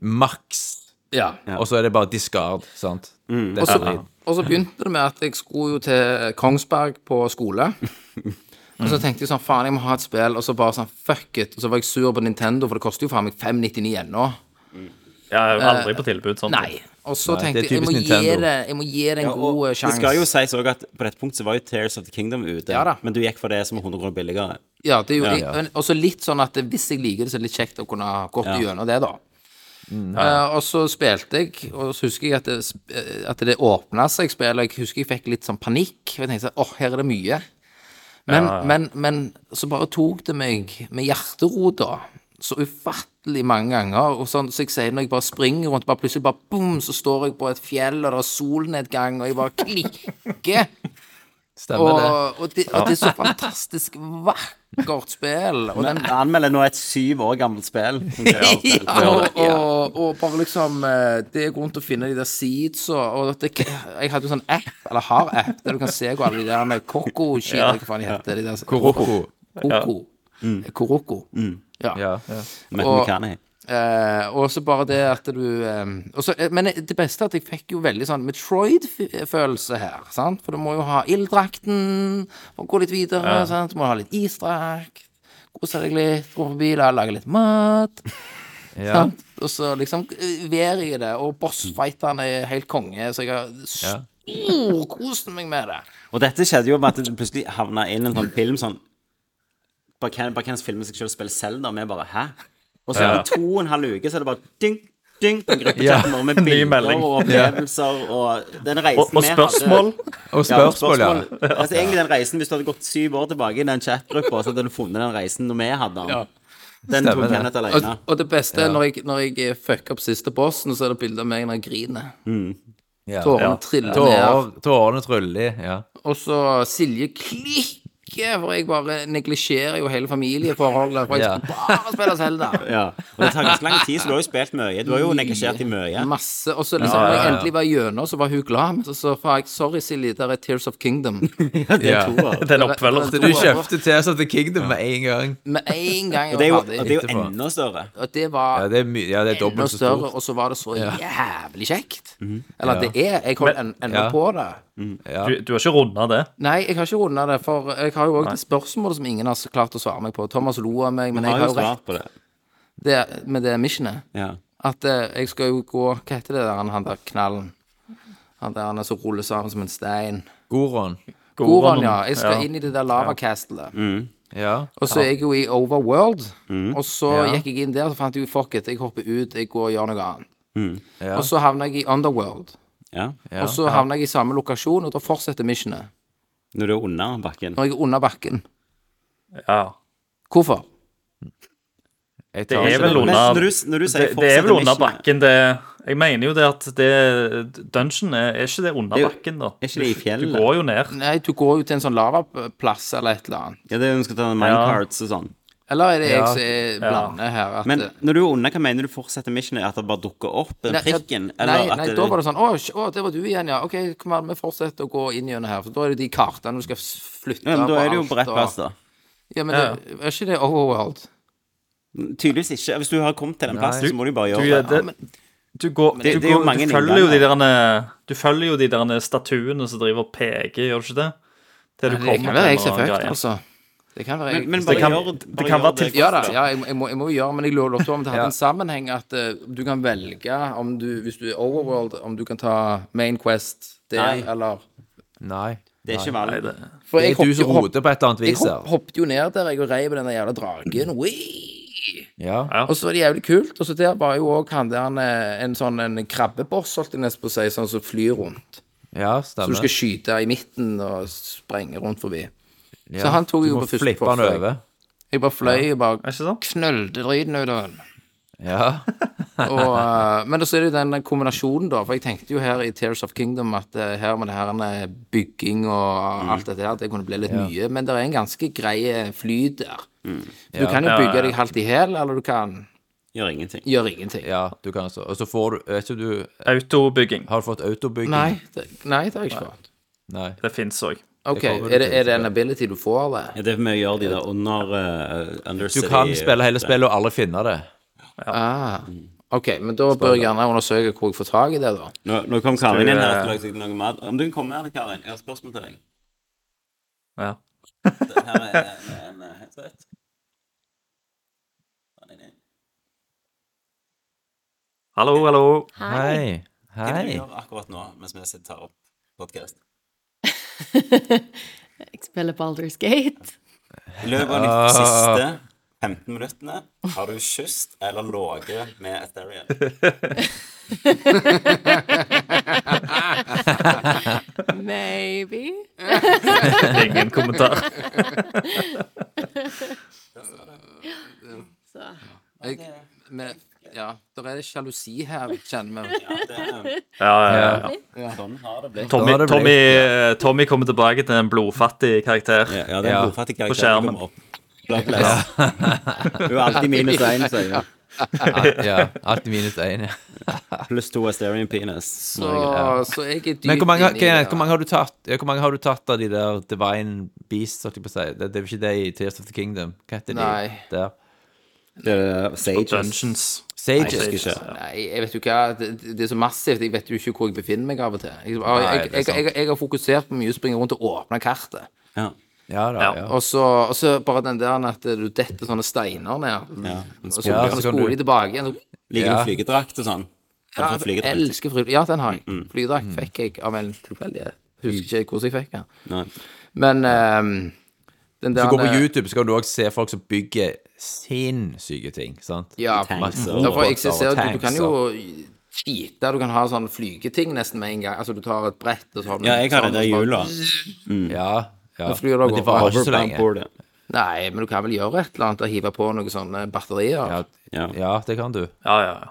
[SPEAKER 3] maks,
[SPEAKER 2] Ja.
[SPEAKER 3] og så er det bare discard, sant? Det
[SPEAKER 2] Og
[SPEAKER 3] er
[SPEAKER 2] så,
[SPEAKER 3] dritt.
[SPEAKER 2] og så begynte det med at jeg skulle jo til Kongsberg på skole. Og så tenkte jeg sånn, faen, jeg må ha et spill, og så bare sånn, fuck it. Og så var jeg sur på Nintendo, for det koster jo faen meg 599 ennå.
[SPEAKER 8] Jeg er jo aldri på tilbud sånn.
[SPEAKER 2] Nei. Og så
[SPEAKER 3] Nei,
[SPEAKER 2] tenkte
[SPEAKER 3] det er
[SPEAKER 2] jeg, jeg må,
[SPEAKER 3] typisk
[SPEAKER 2] gi
[SPEAKER 3] Nintendo.
[SPEAKER 2] det, jeg må gi det en god eh,
[SPEAKER 1] Det skal jo
[SPEAKER 2] sjanse.
[SPEAKER 1] sies også at på dette punktet så var jo Tears of the Kingdom ute,
[SPEAKER 2] Ja da.
[SPEAKER 1] men du gikk for det som var 100 kroner billigere.
[SPEAKER 2] Ja, det gjorde
[SPEAKER 3] Ja, ja.
[SPEAKER 2] jeg. Og så litt sånn at hvis jeg liker det, så er det litt kjekt å kunne ha gått gjennom det, da.
[SPEAKER 3] Mm,
[SPEAKER 2] Eh, og så spilte jeg, og så husker jeg at det, sp- eh, at det åpna seg spill, og jeg husker jeg fikk litt sånn panikk. Og jeg tenkte sånn, åh, her er det mye. Men, men, men så bare tok det meg med hjertero, da. Så ufattelig mange ganger. Og sånn, så jeg sier når jeg bare springer rundt, bare plutselig bare boom, så står jeg på et fjell, og det er solnedgang, og jeg bare klikker.
[SPEAKER 3] Stemmer det.
[SPEAKER 2] Og, og, det, og det er så fantastisk vakkert spill. Og, den,
[SPEAKER 1] Men anmelder nå et syv år gammelt spill. som Tears of the Kingdom.
[SPEAKER 2] og, og, og bare liksom eh, Det er rundt å finne de der seeds og, og at det, Jeg hadde jo sånn app, eller har app, der du kan se hvor alle de der med koko-skit Hva faen de heter de der?
[SPEAKER 3] Koroko.
[SPEAKER 2] Koko. Koroko. Ja.
[SPEAKER 3] Mm. Ja.
[SPEAKER 1] Med
[SPEAKER 2] og-
[SPEAKER 1] McCartney.
[SPEAKER 2] Eh, og så bare det at du eh, og så- eh, Men det beste er at jeg fikk jo veldig sånn Metroid-følelse her. Sant? For du må jo ha ilddrakten for å gå litt videre. Sant? Du må ha litt isdrakt. Kose deg litt, gå forbi der, lage litt mat.
[SPEAKER 3] Ja.
[SPEAKER 2] sant? Og så liksom eh, være i det. Og bossfighterne er helt konge, så jeg har storkost meg med det.
[SPEAKER 1] Og dette skjedde jo med at det plutselig havna inn en sånn film sånn Bare kan- bare kan filme seg selv og spille Zelda, og vi bare Hæ? Og så er det to og en halv uke, så er det bare dynk, dynk, på gruppechatten vår med
[SPEAKER 8] Ny
[SPEAKER 1] bilder
[SPEAKER 8] melding.
[SPEAKER 1] og opplevelser og den reisen
[SPEAKER 8] Og, og
[SPEAKER 1] vi hadde-
[SPEAKER 8] spørsmål.
[SPEAKER 3] Og
[SPEAKER 1] Ja, og
[SPEAKER 3] spørsmål, ja.
[SPEAKER 1] Altså, egentlig den reisen, Hvis du hadde gått syv år tilbake i den chatgruppa, så hadde du funnet den reisen når vi hadde den. Den
[SPEAKER 3] Stemmer
[SPEAKER 1] tok
[SPEAKER 3] det.
[SPEAKER 1] Kenneth
[SPEAKER 2] Og,
[SPEAKER 1] alene.
[SPEAKER 2] og det beste er når jeg, når jeg fucker opp siste bossen, så er det bilde av meg når jeg griner.
[SPEAKER 3] ja.
[SPEAKER 2] Tårene triller ned.
[SPEAKER 3] Tårer- Tårene tryller, ja.
[SPEAKER 2] Og så Silje klikker, for jeg bare neglisjerer jo hele familieforholdet. For jeg
[SPEAKER 3] Ja.
[SPEAKER 2] skal bare spille Zelda.
[SPEAKER 1] Ja. Og det tar ganske lang tid, så du har jo spilt mye. Du har jo neglisjert i mye.
[SPEAKER 2] Masse. Og så liksom, når jeg endelig var gjennom, så var hun glad. Men så sa jeg sorry, Silje, der er Tears of Kingdom.
[SPEAKER 1] Det er to år.
[SPEAKER 8] Det er en oppfølger.
[SPEAKER 3] Så du kjøpte Tears of the Kingdom med en gang.
[SPEAKER 2] Med en gang jeg
[SPEAKER 1] Og det er jo,
[SPEAKER 2] var
[SPEAKER 1] og det er
[SPEAKER 2] ferdig.
[SPEAKER 1] jo enda større.
[SPEAKER 2] Og det
[SPEAKER 3] Ja,
[SPEAKER 2] var
[SPEAKER 3] det er, my ja, det er
[SPEAKER 2] enda
[SPEAKER 3] dobbelt så
[SPEAKER 2] større,
[SPEAKER 3] stort. Mhm.
[SPEAKER 2] og så var det så jævlig kjekt. Eller det er. Jeg holder en- ennå
[SPEAKER 3] Ja.
[SPEAKER 2] på det.
[SPEAKER 8] Du, du har ikke runda det.
[SPEAKER 2] Nei, jeg har ikke runda det, for jeg har jo òg spørsmål som ingen har s- klart å svare meg på. Thomas lo av meg, men jeg
[SPEAKER 1] Har
[SPEAKER 2] har
[SPEAKER 1] jo
[SPEAKER 2] jo rett
[SPEAKER 1] svart på det.
[SPEAKER 2] det med det missionet.
[SPEAKER 1] Ja.
[SPEAKER 2] At eh, jeg skal jo gå Hva heter det der han, han der knallen? Han der han er så ruller sammen som en stein.
[SPEAKER 3] Goron.
[SPEAKER 2] Goron, ja. Jeg skal
[SPEAKER 8] Ja.
[SPEAKER 2] inn i det der lavakastelet.
[SPEAKER 3] Ja.
[SPEAKER 2] Og så er jeg jo i Overworld. Og så gikk jeg inn der, så fant jeg jo fuck it, jeg hopper ut, jeg går og gjør noe annet.
[SPEAKER 3] Ja.
[SPEAKER 2] Og så havna jeg i Underworld.
[SPEAKER 1] ja.
[SPEAKER 3] Ja.
[SPEAKER 2] Og så havna jeg i samme lokasjon, og da fortsetter missionet.
[SPEAKER 1] Når du er under bakken.
[SPEAKER 2] Når jeg er under bakken.
[SPEAKER 8] Ja.
[SPEAKER 2] Hvorfor?
[SPEAKER 3] Jeg
[SPEAKER 8] Det
[SPEAKER 3] tar
[SPEAKER 8] er
[SPEAKER 3] ikke
[SPEAKER 8] vel
[SPEAKER 3] det.
[SPEAKER 1] Men
[SPEAKER 8] under
[SPEAKER 1] når du, når du sier
[SPEAKER 8] det, det er
[SPEAKER 1] fortsette
[SPEAKER 8] vel under
[SPEAKER 1] missionet,
[SPEAKER 8] bakken, det Jeg mener jo det at det Dungeon er, er ikke det under
[SPEAKER 1] Det er jo-
[SPEAKER 8] bakken, da.
[SPEAKER 1] er ikke det i fjellet?
[SPEAKER 8] Du går jo ned.
[SPEAKER 2] Nei, du går jo til en sånn lavaplass eller et eller annet.
[SPEAKER 1] Ja, det er jo du skal ta minecarts og sånn.
[SPEAKER 2] Eller er det
[SPEAKER 3] Ja.
[SPEAKER 2] jeg som er blander her? At eh,
[SPEAKER 1] Men når du er under, hva mener du fortsetter missionet? At det bare dukker opp? Den
[SPEAKER 2] Nei, ja,
[SPEAKER 1] prikken?
[SPEAKER 2] nei,
[SPEAKER 1] Eller
[SPEAKER 2] nei,
[SPEAKER 1] at
[SPEAKER 2] da var
[SPEAKER 1] det
[SPEAKER 2] det sånn Å, sj- å, det var du igjen, ja. Ok, kom an, vi fortsetter å gå inn gjennom her. For da er det de kartene du skal s- flytte
[SPEAKER 1] ja, men Da er det jo
[SPEAKER 2] på
[SPEAKER 1] på rett
[SPEAKER 2] alt,
[SPEAKER 1] plass,
[SPEAKER 2] og-
[SPEAKER 1] da.
[SPEAKER 2] Ja, men det, er ikke det overworld?
[SPEAKER 1] Tydeligvis ikke. Hvis du har kommet til den plassen, så må du bare
[SPEAKER 8] Du,
[SPEAKER 1] gjøre det.
[SPEAKER 8] det, du går,
[SPEAKER 1] det-
[SPEAKER 8] du,
[SPEAKER 1] det er jo
[SPEAKER 8] går
[SPEAKER 1] mange
[SPEAKER 8] du følger jo de
[SPEAKER 1] innganger.
[SPEAKER 8] der Du følger jo de der statuene som driver og peker, gjør du ikke det? Til du
[SPEAKER 2] Det kan
[SPEAKER 8] kommer
[SPEAKER 2] være jeg
[SPEAKER 8] til
[SPEAKER 2] som
[SPEAKER 8] en
[SPEAKER 2] er fucked,
[SPEAKER 8] greie.
[SPEAKER 2] altså. Det kan være jeg.
[SPEAKER 1] Men, men
[SPEAKER 8] Det
[SPEAKER 1] bare
[SPEAKER 8] kan-
[SPEAKER 1] gjør
[SPEAKER 8] det
[SPEAKER 1] bare
[SPEAKER 8] kan
[SPEAKER 1] gjør
[SPEAKER 8] være
[SPEAKER 1] det
[SPEAKER 8] tilfelle.
[SPEAKER 2] ja
[SPEAKER 1] først,
[SPEAKER 2] da, ja, jeg, jeg, må, jeg må jo gjøre men jeg lå- lovte om det hadde
[SPEAKER 3] Ja.
[SPEAKER 2] en sammenheng at eh, du kan velge om du, hvis du er overworld, om du kan ta Main Quest der,
[SPEAKER 1] Nei.
[SPEAKER 2] eller
[SPEAKER 3] Nei.
[SPEAKER 1] Det er ikke valid.
[SPEAKER 2] For
[SPEAKER 3] Det er du som
[SPEAKER 2] hopp-
[SPEAKER 3] roter på et eller annet
[SPEAKER 2] jeg
[SPEAKER 3] vis
[SPEAKER 2] hopp,
[SPEAKER 3] her.
[SPEAKER 2] hoppet jo ned der, jeg, og rei på den der jævla dragen. Wee!
[SPEAKER 3] Ja.
[SPEAKER 2] Og så var det jævlig kult. Og så der var jo òg han der en, en sånn en krabbeboss, holdt jeg nesten på å si, sånn som flyr rundt.
[SPEAKER 3] ja,
[SPEAKER 2] Så du
[SPEAKER 3] stemmer.
[SPEAKER 2] skal skyte i midten og sprenge rundt forbi.
[SPEAKER 3] Ja.
[SPEAKER 2] Så han tok
[SPEAKER 3] Du
[SPEAKER 2] jo
[SPEAKER 3] må
[SPEAKER 2] på første
[SPEAKER 3] flippe han
[SPEAKER 2] forsøk.
[SPEAKER 3] over.
[SPEAKER 2] Jeg bare fløy og
[SPEAKER 8] Er
[SPEAKER 2] bare
[SPEAKER 8] ikke sant?
[SPEAKER 2] knølte driten ut av den.
[SPEAKER 3] Ja.
[SPEAKER 2] Og, eh, men så er det jo den kombinasjonen, da. For jeg tenkte jo her i Tears of Kingdom at eh, her med det her eh, bygging
[SPEAKER 3] Mm.
[SPEAKER 2] og alt dette her, det kunne bli litt mye. Men det er en ganske grei eh, flyt der.
[SPEAKER 3] Mm.
[SPEAKER 2] Du kan jo bygge deg halvt i hæl, eller du kan
[SPEAKER 1] Gjør ingenting.
[SPEAKER 2] gjøre ingenting.
[SPEAKER 3] ja, du kan så Og så får du Vet ikke du
[SPEAKER 8] Autobygging.
[SPEAKER 3] Har du fått autobygging?
[SPEAKER 2] Nei, det, nei, det har jeg ikke fått.
[SPEAKER 3] Nei.
[SPEAKER 8] Det fins òg.
[SPEAKER 2] OK,
[SPEAKER 3] kommer du
[SPEAKER 2] er det,
[SPEAKER 3] til,
[SPEAKER 2] er det
[SPEAKER 3] ja.
[SPEAKER 2] en ability du får, eller?
[SPEAKER 1] Er det vi gjør de der under eh,
[SPEAKER 3] Du
[SPEAKER 1] Undercity
[SPEAKER 3] kan spille hele spillet og alle finne det.
[SPEAKER 2] Ah,
[SPEAKER 3] Mm.
[SPEAKER 2] OK, men da bør jeg gjerne undersøke hvor jeg får tak i det, da.
[SPEAKER 1] Nå, nå kom Karin inn her
[SPEAKER 8] eh,
[SPEAKER 1] og lagde seg noe mat. Om du kan komme her, litt, Karin. Jeg har et spørsmål til deg.
[SPEAKER 8] Ja.
[SPEAKER 1] Den her er en, en, en headset. Den er din.
[SPEAKER 8] Hallo, hallo.
[SPEAKER 3] Hei.
[SPEAKER 1] Hva er det du
[SPEAKER 3] Hei.
[SPEAKER 1] gjør akkurat nå, mens vi sitter her og podcast?
[SPEAKER 6] Jeg spiller Baldur's Gate.
[SPEAKER 1] I løpet av de siste 15 minuttene har du kysset eller ligget med Ethereum.
[SPEAKER 6] Maybe.
[SPEAKER 8] Ingen kommentar.
[SPEAKER 6] Så.
[SPEAKER 2] Jeg, men, ja, der er det sjalusi her, kjenner vi.
[SPEAKER 1] Ja, det er,
[SPEAKER 8] Ja, ja, ja.
[SPEAKER 1] sånn har det blitt.
[SPEAKER 8] Tommy,
[SPEAKER 3] Da er det blitt,
[SPEAKER 8] Tommy, eh, Tommy kommer tilbake til en blodfattig karakter.
[SPEAKER 1] Ja, det er
[SPEAKER 3] Ja.
[SPEAKER 1] en blodfattig
[SPEAKER 8] På
[SPEAKER 1] karakter
[SPEAKER 8] skjermen.
[SPEAKER 1] som kommer opp. Bloodless. Hun er alltid minus én, sier hun.
[SPEAKER 3] Ja, alltid minus én. Ja.
[SPEAKER 1] Pluss to Asterian penis.
[SPEAKER 2] Så, så jeg er dypt
[SPEAKER 3] Men hvor mange,
[SPEAKER 2] inni det,
[SPEAKER 3] hva-
[SPEAKER 2] da.
[SPEAKER 3] hvor mange har du tatt ja, Hvor mange har du tatt av de der Divine Beasts, holdt jeg på å si? Det, det er jo ikke det i Tears of the Kingdom. Hva heter
[SPEAKER 2] Nei.
[SPEAKER 3] de der?
[SPEAKER 1] Det er uh, Sages.
[SPEAKER 8] Dungeons.
[SPEAKER 1] Jeg
[SPEAKER 3] Sages.
[SPEAKER 1] husker ikke.
[SPEAKER 2] Nei, jeg vet jo hva, det, det er så massivt. Jeg vet jo ikke hvor jeg befinner meg av og til. Jeg, jeg, jeg,
[SPEAKER 3] det er
[SPEAKER 2] jeg,
[SPEAKER 3] sant.
[SPEAKER 2] jeg, har fokusert på mye å springe rundt og åpne kartet.
[SPEAKER 1] Ja.
[SPEAKER 3] Ja da, ja.
[SPEAKER 2] Og så, og så bare den der at du detter sånne steiner ned.
[SPEAKER 1] Ja.
[SPEAKER 2] Og så, og så
[SPEAKER 3] Ja, så kan
[SPEAKER 2] spoler
[SPEAKER 3] du-
[SPEAKER 2] de tilbake igjen. Så-
[SPEAKER 1] Liker
[SPEAKER 3] Ja.
[SPEAKER 1] du flygedrakt og sånn? Kan du få
[SPEAKER 2] Jeg
[SPEAKER 1] flygedrakt? Mm,
[SPEAKER 2] elsker flydrakt. Ja, den har jeg. Flydrakt fikk jeg av en tilfeldighet. Mm. Husker ikke hvordan jeg fikk den.
[SPEAKER 1] Nei.
[SPEAKER 2] Men ehm, den der
[SPEAKER 3] Hvis du går på YouTube, så kan du òg se folk som bygger sinnssyke ting. sant?
[SPEAKER 2] Ja,
[SPEAKER 1] Tanks og
[SPEAKER 2] derfor
[SPEAKER 3] roboter
[SPEAKER 2] eksisterer
[SPEAKER 3] og
[SPEAKER 2] du, du kan
[SPEAKER 3] tanks
[SPEAKER 2] jo skite. Du kan ha sånn flygeting nesten med en gang. Altså, du tar et brett og så har du
[SPEAKER 1] Ja, jeg har det der
[SPEAKER 2] sånn, og så bare-
[SPEAKER 1] hjula.
[SPEAKER 3] Ja, ja.
[SPEAKER 2] Da flyr det
[SPEAKER 3] Men
[SPEAKER 2] over.
[SPEAKER 3] det varer ikke så lenge.
[SPEAKER 1] Hoverboardet.
[SPEAKER 2] Nei, men du kan vel gjøre et eller annet og hive på noen sånne batterier.
[SPEAKER 3] Ja,
[SPEAKER 1] Ja.
[SPEAKER 3] ja, det kan du.
[SPEAKER 8] Ja, ja, ja.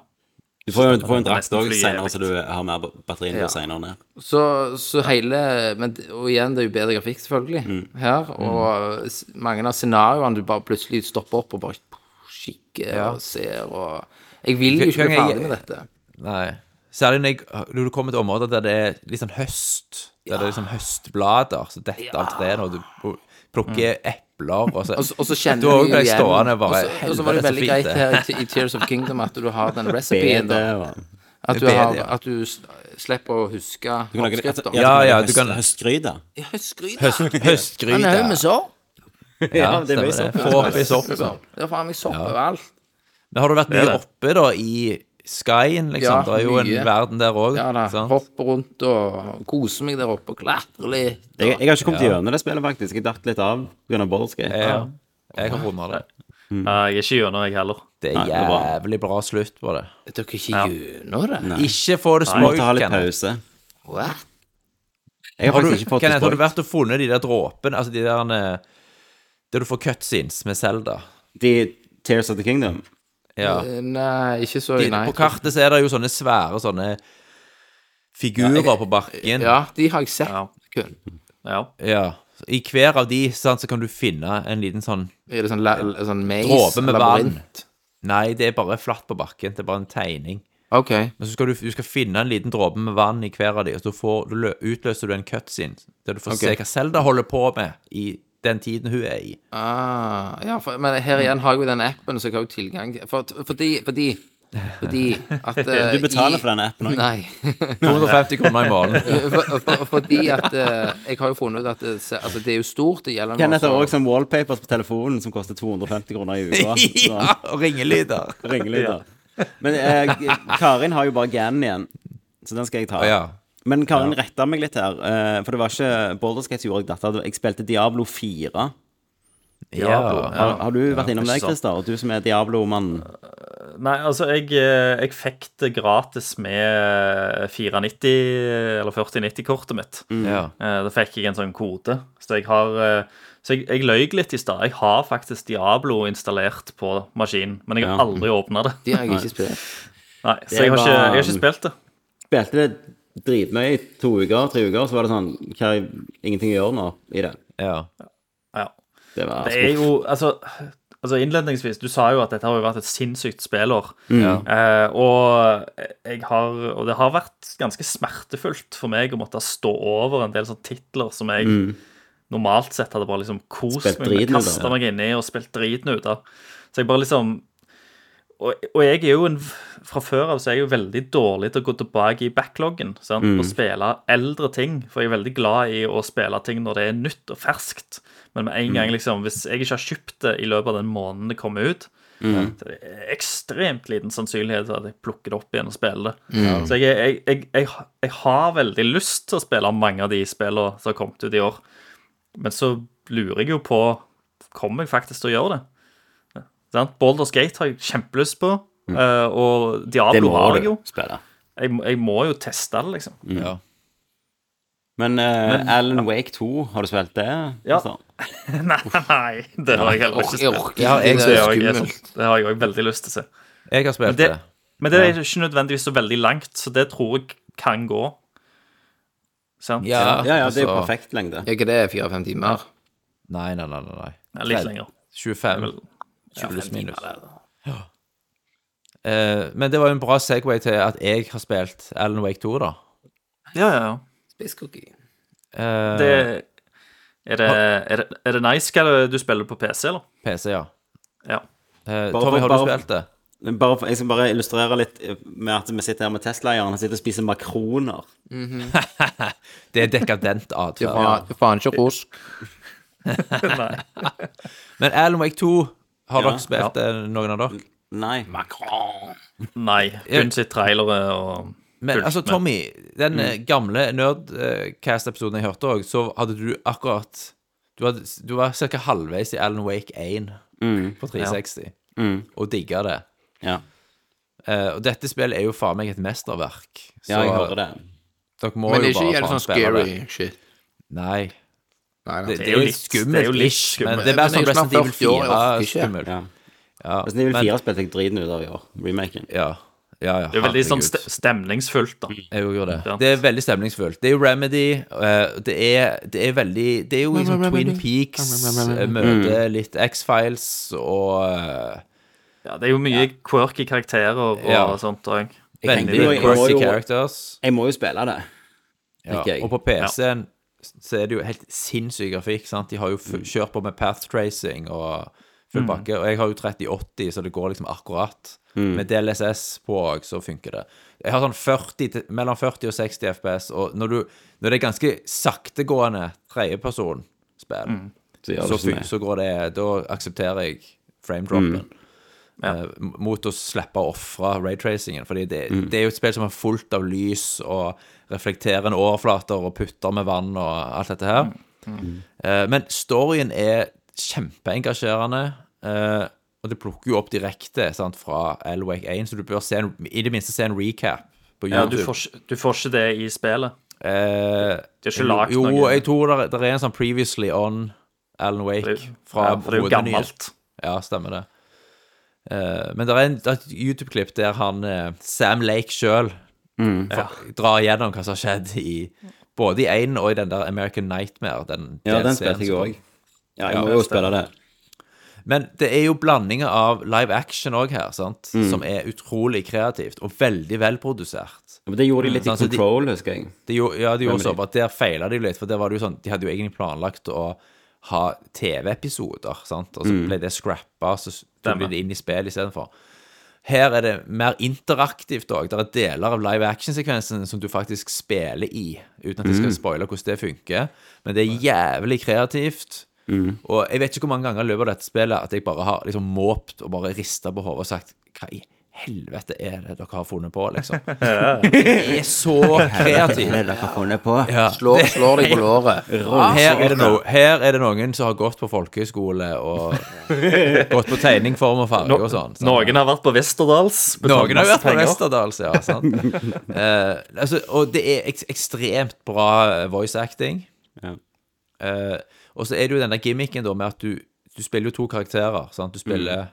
[SPEAKER 1] Du får jo du får en drakt
[SPEAKER 8] Nesten
[SPEAKER 1] òg
[SPEAKER 8] flyet er
[SPEAKER 1] senere,
[SPEAKER 8] vekt.
[SPEAKER 1] så du har mer batteri enn du senere ned.
[SPEAKER 2] Så, så hele men, Og igjen, det er jo bedre grafikk, selvfølgelig,
[SPEAKER 3] Mm.
[SPEAKER 2] her. Og s- mange av scenarioene du bare plutselig stopper opp og bare kikker og ser og Jeg vil jo ikke bli
[SPEAKER 3] Kan jeg-
[SPEAKER 2] ferdig med dette.
[SPEAKER 3] Nei. Særlig når, jeg, når du kommer til områder der det er litt sånn høst. Der det er liksom høstblader som detter av trærne, og du plukker epler og så
[SPEAKER 2] Mm. Og så, og så kjenner du
[SPEAKER 3] Da
[SPEAKER 2] jo
[SPEAKER 3] ble jeg
[SPEAKER 2] igjen
[SPEAKER 3] stående bare,
[SPEAKER 2] og så- Og så var det
[SPEAKER 3] helvete, så
[SPEAKER 2] veldig
[SPEAKER 3] fint
[SPEAKER 2] greit
[SPEAKER 3] det.
[SPEAKER 2] her i, i Tears of Kingdom at du har den
[SPEAKER 1] Bede
[SPEAKER 2] recipeen. da.
[SPEAKER 1] og
[SPEAKER 2] At du,
[SPEAKER 3] Bede,
[SPEAKER 2] har,
[SPEAKER 3] ja.
[SPEAKER 2] at du s- slipper å huske
[SPEAKER 1] Du kan lage-
[SPEAKER 2] oppskrifter.
[SPEAKER 1] ja,
[SPEAKER 3] Ja,
[SPEAKER 1] du kan lage
[SPEAKER 3] ja, du kan-
[SPEAKER 1] høst- Høstgryte.
[SPEAKER 2] høstgryte. Han er høy
[SPEAKER 3] Høstgryte.
[SPEAKER 2] med sopp.
[SPEAKER 1] Ja,
[SPEAKER 3] Ja,
[SPEAKER 1] det er
[SPEAKER 3] stemmer
[SPEAKER 1] mye
[SPEAKER 3] det.
[SPEAKER 1] sånn.
[SPEAKER 3] Få oppi soppen.
[SPEAKER 2] Det er faen meg sopp overalt.
[SPEAKER 3] Men har du vært mye
[SPEAKER 8] det.
[SPEAKER 3] oppe, da, i skyen, liksom?
[SPEAKER 2] Ja,
[SPEAKER 3] det er jo en
[SPEAKER 2] mye.
[SPEAKER 3] verden der òg.
[SPEAKER 2] Ja da. Hopper rundt og koser meg der oppe og klatrer litt.
[SPEAKER 1] Jeg, jeg har ikke kommet gjennom det spillet, faktisk. Jeg datt litt av pga. Bollskate.
[SPEAKER 3] Jeg, jeg har runda det.
[SPEAKER 1] Mm.
[SPEAKER 8] Nei, jeg er ikke gjennom, jeg heller.
[SPEAKER 3] Det
[SPEAKER 1] Nei,
[SPEAKER 3] er
[SPEAKER 1] det er bra.
[SPEAKER 3] jævlig bra slutt på det.
[SPEAKER 2] Dere er ikke gjennom det?
[SPEAKER 3] Ikke få det
[SPEAKER 1] Jeg måtte ha litt
[SPEAKER 3] spoilt.
[SPEAKER 1] pause.
[SPEAKER 2] What?
[SPEAKER 1] Jeg har
[SPEAKER 3] Har du,
[SPEAKER 1] faktisk ikke fått
[SPEAKER 3] Kenneth, har du
[SPEAKER 1] spoilt.
[SPEAKER 3] vært og funnet de der dråpene, altså de der eh, Der du får cutscenes med Zelda?
[SPEAKER 1] De Tears of the Kingdom.
[SPEAKER 3] Ja.
[SPEAKER 2] Eh, Nei, ikke så
[SPEAKER 3] De,
[SPEAKER 2] nei.
[SPEAKER 3] på kartet så er det jo sånne svære sånne figurer på bakken.
[SPEAKER 2] Ja, de har jeg sett.
[SPEAKER 8] Ja.
[SPEAKER 2] Kun.
[SPEAKER 8] Ja.
[SPEAKER 3] Ja. I hver av de sant, så kan du finne en liten sånn
[SPEAKER 2] Er det sånn, la, sånn maze?
[SPEAKER 3] dråpe med vann.
[SPEAKER 2] labyrint?
[SPEAKER 3] Nei, det er bare flatt på bakken. Det er bare en tegning.
[SPEAKER 2] Ok.
[SPEAKER 3] Men så skal du, du skal finne en liten dråpe med vann i hver av de, og så får, du lø, utløser du en cutscene der du får
[SPEAKER 2] Ok.
[SPEAKER 3] se hva Selda holder på med i den tiden hun er i.
[SPEAKER 2] Ah, ja, for, men her igjen har jeg jo den appen, så jeg har jo tilgang til for, Fordi Fordi, fordi at eh,
[SPEAKER 1] Du betaler
[SPEAKER 2] i-
[SPEAKER 1] for den appen òg.
[SPEAKER 2] Nei.
[SPEAKER 3] 250 kroner i måneden.
[SPEAKER 2] For- for- Fordi at eh, jeg har jo funnet ut at det, se- altså, det er jo stort. Det gjelder
[SPEAKER 1] Kenneth har
[SPEAKER 2] også-
[SPEAKER 1] også sånn wallpapers på telefonen som koster 250 kroner i uka. Så
[SPEAKER 3] ja, og ringelyder.
[SPEAKER 1] ringelyder. Men eh, Karin har jo bare ganen igjen, så den skal jeg ta.
[SPEAKER 3] Ja.
[SPEAKER 1] Men Karin retta meg litt her, eh, for det var ikke Boulder Skate som gjorde jeg dette. Jeg spilte Diablo 4.
[SPEAKER 3] Ja.
[SPEAKER 1] Har, har du vært innom
[SPEAKER 8] ikke
[SPEAKER 1] det,
[SPEAKER 8] sant.
[SPEAKER 1] Christer? Og du som er Diablo-mannen.
[SPEAKER 8] Nei, altså, jeg, eh, jeg fikk det gratis med 490 eller 4090-kortet mitt.
[SPEAKER 1] Mm.
[SPEAKER 3] ja.
[SPEAKER 8] Eh, Da fikk jeg en sånn kode. Så jeg har eh, Så jeg, jeg løy litt i stad. Jeg har faktisk Diablo installert på maskinen, men jeg har
[SPEAKER 1] Ja.
[SPEAKER 8] aldri åpna det.
[SPEAKER 2] De har jeg ikke spilt.
[SPEAKER 8] Nei, så jeg har,
[SPEAKER 1] var-
[SPEAKER 8] ikke, jeg har ikke spilt det.
[SPEAKER 1] Spilte det dritmye i to uker, tre uker, så var det sånn hva, Ingenting å gjøre nå i det.
[SPEAKER 3] ja.
[SPEAKER 8] Ja.
[SPEAKER 1] Det var
[SPEAKER 8] Det er jo Altså, altså Innledningsvis, du sa jo at dette har jo vært et sinnssykt spillår. Eh, og jeg har Og det har vært ganske smertefullt for meg å måtte stå over en del sånne titler som jeg normalt sett hadde bare liksom kost
[SPEAKER 1] Spilt
[SPEAKER 8] meg med,
[SPEAKER 1] driten ut av,
[SPEAKER 8] kasta
[SPEAKER 1] ja.
[SPEAKER 8] meg inni og spilt driten ut av. Så jeg bare liksom og, og jeg er jo en Fra før av så er jeg jo veldig dårlig til å gå tilbake i backloggen sant? og spille eldre ting. For jeg er veldig glad i å spille ting når det er nytt og ferskt. Men med en gang liksom, hvis jeg ikke har kjøpt det i løpet av den måneden det kommer ut, så er det ekstremt liten sannsynlighet for at jeg plukker det opp igjen og spiller det. Så jeg, jeg, jeg, jeg, jeg har veldig lyst til å spille mange av de spillene som har kommet ut i år. Men så lurer jeg jo på Kommer jeg faktisk til å gjøre det? Sant? Baldur's Gate har jeg kjempelyst på. eh, og
[SPEAKER 1] Det
[SPEAKER 8] Diablo
[SPEAKER 1] må
[SPEAKER 8] har jeg
[SPEAKER 1] du
[SPEAKER 8] jo.
[SPEAKER 1] spille.
[SPEAKER 8] Jeg, må- jeg må jo teste det, liksom.
[SPEAKER 1] Mm.
[SPEAKER 3] Ja.
[SPEAKER 1] Men, eh, Alan Wake 2, har du spilt det? Altså,
[SPEAKER 8] Ja.
[SPEAKER 1] Kristian?
[SPEAKER 8] Nei, nei, det har jeg heller ikke
[SPEAKER 2] Ork- Jeg
[SPEAKER 8] spilt.
[SPEAKER 2] orker ikke, det
[SPEAKER 8] Det
[SPEAKER 2] er
[SPEAKER 8] har jeg,
[SPEAKER 2] skummelt.
[SPEAKER 8] det har jeg også veldig lyst til å se.
[SPEAKER 3] Jeg har
[SPEAKER 8] Men
[SPEAKER 3] spilt det.
[SPEAKER 8] det, men det er ikke nødvendigvis så veldig langt, så det tror jeg kan gå. Sant?
[SPEAKER 2] Ja,
[SPEAKER 1] Ja, ja, det er jo
[SPEAKER 3] altså-
[SPEAKER 1] perfekt lengde.
[SPEAKER 2] er ikke det fire-fem timer?
[SPEAKER 3] Nei, nei, nei. nei, nei.
[SPEAKER 8] Ja, Litt lenger.
[SPEAKER 3] 25
[SPEAKER 8] Vel,
[SPEAKER 3] pluss minus. Eh, men det var jo en bra segway til at jeg har spilt Alan Wake 2, da.
[SPEAKER 8] Ja, ja, ja.
[SPEAKER 2] Spisscookie.
[SPEAKER 3] Eh,
[SPEAKER 8] Det, er, det, er, det, er det nice hva du spiller på PC, eller?
[SPEAKER 3] PC, ja.
[SPEAKER 8] Ja.
[SPEAKER 3] Eh,
[SPEAKER 1] Bare
[SPEAKER 3] Tommy,
[SPEAKER 1] for-
[SPEAKER 3] har du
[SPEAKER 1] bare-
[SPEAKER 3] spilt det?
[SPEAKER 1] Bare, for- jeg skal bare illustrere litt eh, med at vi sitter her med Tesla-eieren. Han sitter og spiser makroner.
[SPEAKER 3] Det er dekadent
[SPEAKER 2] Du
[SPEAKER 3] atferd.
[SPEAKER 2] faen du faen ikke rosk.
[SPEAKER 8] Nei.
[SPEAKER 3] Men Alan Wake 2, har
[SPEAKER 1] Ja.
[SPEAKER 3] dere spilt det, noen av dere?
[SPEAKER 1] Nei.
[SPEAKER 8] Nei. Kun sitt trailere og
[SPEAKER 3] Men
[SPEAKER 8] Fullt
[SPEAKER 3] altså,
[SPEAKER 8] med.
[SPEAKER 3] Tommy, den eh, gamle Nerdcast-episoden jeg hørte òg, så hadde du akkurat Du, hadde, du var ca. halvveis i Alan Wake 1 på 360, og digga det.
[SPEAKER 1] Ja,
[SPEAKER 3] Eh, og dette spillet er jo faen meg et mesterverk. Så
[SPEAKER 1] ja jeg hører det.
[SPEAKER 3] dere må
[SPEAKER 2] Men det er ikke
[SPEAKER 3] jo bare
[SPEAKER 2] jævlig
[SPEAKER 3] faen
[SPEAKER 2] sånn
[SPEAKER 3] spille
[SPEAKER 2] scary
[SPEAKER 3] det.
[SPEAKER 2] shit.
[SPEAKER 3] Nei.
[SPEAKER 2] Nei,
[SPEAKER 3] Det,
[SPEAKER 2] nei.
[SPEAKER 3] det er jo litt
[SPEAKER 8] det er jo
[SPEAKER 3] skummelt,
[SPEAKER 8] litt
[SPEAKER 3] ish, men
[SPEAKER 8] skummelt.
[SPEAKER 3] det er bare
[SPEAKER 2] Men
[SPEAKER 3] sånn
[SPEAKER 2] jeg er snart
[SPEAKER 3] Resident Evil
[SPEAKER 2] 40 år, jeg
[SPEAKER 3] 4
[SPEAKER 2] orker ikke.
[SPEAKER 3] skummelt.
[SPEAKER 1] Ja.
[SPEAKER 3] Ja,
[SPEAKER 1] Resident Evil
[SPEAKER 3] men-
[SPEAKER 1] 4 spilte jeg driten ut av i år. Remaken.
[SPEAKER 3] Ja, ja, ja.
[SPEAKER 8] Det er veldig sånn
[SPEAKER 3] herregud. Mm.
[SPEAKER 8] ste- stemningsfullt, da.
[SPEAKER 3] Jeg gjorde det.
[SPEAKER 8] Sant.
[SPEAKER 3] Det er veldig stemningsfullt. Det er jo Remedy. eh, Det er, det er veldig Det er jo liksom Twin Peaks eh, møte
[SPEAKER 1] Mm.
[SPEAKER 3] litt X-Files og eh,
[SPEAKER 8] Ja, det er jo mye quirky karakterer og
[SPEAKER 3] Ja.
[SPEAKER 8] sånt òg.
[SPEAKER 1] tenker
[SPEAKER 3] veldig
[SPEAKER 1] jo- jeg må
[SPEAKER 3] quirky
[SPEAKER 1] jo-
[SPEAKER 3] characters.
[SPEAKER 1] Jeg må jo spille det.
[SPEAKER 3] Ja.
[SPEAKER 1] tenker jeg.
[SPEAKER 3] Og på PC-en så er det jo helt sinnssyk grafikk. sant? De har jo fu- kjørt på med path tracing
[SPEAKER 1] Mm.
[SPEAKER 3] og full pakke. Og jeg har jo 3080, så det går liksom akkurat. Med DLSS på òg, så funker det. Jeg har sånn 40, til- mellom 40 og 60 FPS, og når, du, når det er ganske saktegående tredjepersonspill,
[SPEAKER 1] Så gjør
[SPEAKER 3] så,
[SPEAKER 1] det ikke
[SPEAKER 3] fun-
[SPEAKER 1] meg.
[SPEAKER 3] så går det Da aksepterer jeg framedroppen.
[SPEAKER 8] Mm. Ja.
[SPEAKER 3] Eh, mot å slippe å ofre raytracingen. Fordi det,
[SPEAKER 8] Mm.
[SPEAKER 3] det er jo et spill som er fullt av lys og reflekterende overflater og putter med vann og alt dette her.
[SPEAKER 8] Mm.
[SPEAKER 3] Eh, men storyen er kjempeengasjerende. eh, og det plukker jo opp direkte sant, fra Elwake 1, så du bør se en, i det minste se en recap på
[SPEAKER 8] Ja,
[SPEAKER 3] YouTube.
[SPEAKER 8] du, får, ikke- du får ikke det i spillet.
[SPEAKER 3] Eh,
[SPEAKER 8] De har ikke lagt
[SPEAKER 3] jo,
[SPEAKER 8] noe.
[SPEAKER 3] jeg tror det er en sånn Previously On Alan Wake
[SPEAKER 8] Det-
[SPEAKER 3] fra
[SPEAKER 8] ja, for det er jo
[SPEAKER 3] hovedmenyen.
[SPEAKER 8] gammelt.
[SPEAKER 3] Ja, stemmer det. Eh, men det er en, det er et YouTube-klipp der han eh, Sam Lake sjøl
[SPEAKER 1] Mm.
[SPEAKER 3] drar gjennom hva som har skjedd i både i én og i den der American Nightmare. Den,
[SPEAKER 1] Ja, den
[SPEAKER 3] DLC-en
[SPEAKER 1] spilte jeg
[SPEAKER 3] som
[SPEAKER 1] òg.
[SPEAKER 3] kom.
[SPEAKER 1] Ja, jeg må jo spille det.
[SPEAKER 3] Men det er jo blandinger av live action òg her, sant?
[SPEAKER 1] Mm.
[SPEAKER 3] som er utrolig kreativt og veldig velprodusert.
[SPEAKER 1] Men det gjorde de litt i
[SPEAKER 3] Sånn, så de-
[SPEAKER 1] Control, husker jeg.
[SPEAKER 3] Det gjo- ja, de gjorde
[SPEAKER 1] Remedy.
[SPEAKER 3] så, bare at der feila de jo litt. For der var det jo sånn, de hadde jo egentlig planlagt å ha TV-episoder, sant. Og så ble det scrappa, så s- tok de det inn i spill istedenfor. Her er det mer interaktivt òg. Det er deler av live action-sekvensen som du faktisk spiller i, uten at jeg skal spoile hvordan det funker. Men det er jævlig kreativt. Og jeg vet ikke hvor mange ganger i løpet av dette spillet at jeg bare har liksom måpt og bare rista på hodet og sagt Hva i helvete er det dere har funnet på, liksom? Det er så kreativt.
[SPEAKER 1] Hva er det dere har funnet på?
[SPEAKER 3] Ja.
[SPEAKER 2] Slår, slår deg på låret.
[SPEAKER 3] Her er, det no, her er det noen som har gått på folkehøyskole og gått på tegning, form og farge og sånn. sant?
[SPEAKER 8] Noen har vært på Westerdals. betalt
[SPEAKER 3] Noen har
[SPEAKER 8] masse
[SPEAKER 3] vært på
[SPEAKER 8] penger.
[SPEAKER 3] Westerdals, ja. Sant? Eh, altså, og det er ek ekstremt bra eh, voice acting.
[SPEAKER 1] Ja.
[SPEAKER 3] Eh, og så er det jo den der gimmicken da, med at du, du spiller jo to karakterer. Sant? Du spiller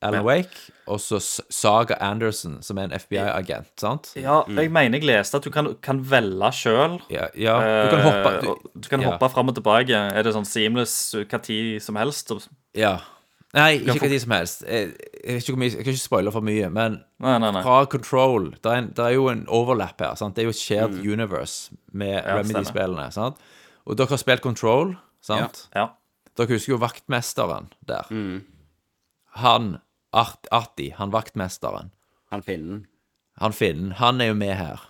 [SPEAKER 8] Mm.
[SPEAKER 3] Alan Wake og så S- Saga Anderson, som er en FBI-agent. sant?
[SPEAKER 8] Ja, jeg mener jeg leste at du kan, kan velge sjøl.
[SPEAKER 3] Ja, ja, du kan hoppe
[SPEAKER 8] du, kan
[SPEAKER 3] ja.
[SPEAKER 8] hoppe fram og tilbake. Er det sånn seamless hva tid som helst? Og,
[SPEAKER 3] Ja. Nei, ikke hva tid som helst. Jeg, jeg, vet ikke hvor mye- jeg kan ikke spoile for mye, men
[SPEAKER 8] Nei, nei, nei.
[SPEAKER 3] fra Control Det er, en, det er jo en overlap her. Sant? Det er jo et shared
[SPEAKER 8] Mm.
[SPEAKER 3] universe med Remedy-spillene. sant? Og dere har spilt Control, sant?
[SPEAKER 8] Ja. Mm.
[SPEAKER 3] Dere husker jo vaktmesteren der. Han Art, Arti, han vaktmesteren,
[SPEAKER 1] Han finnen.
[SPEAKER 3] han finnen, han er jo med her.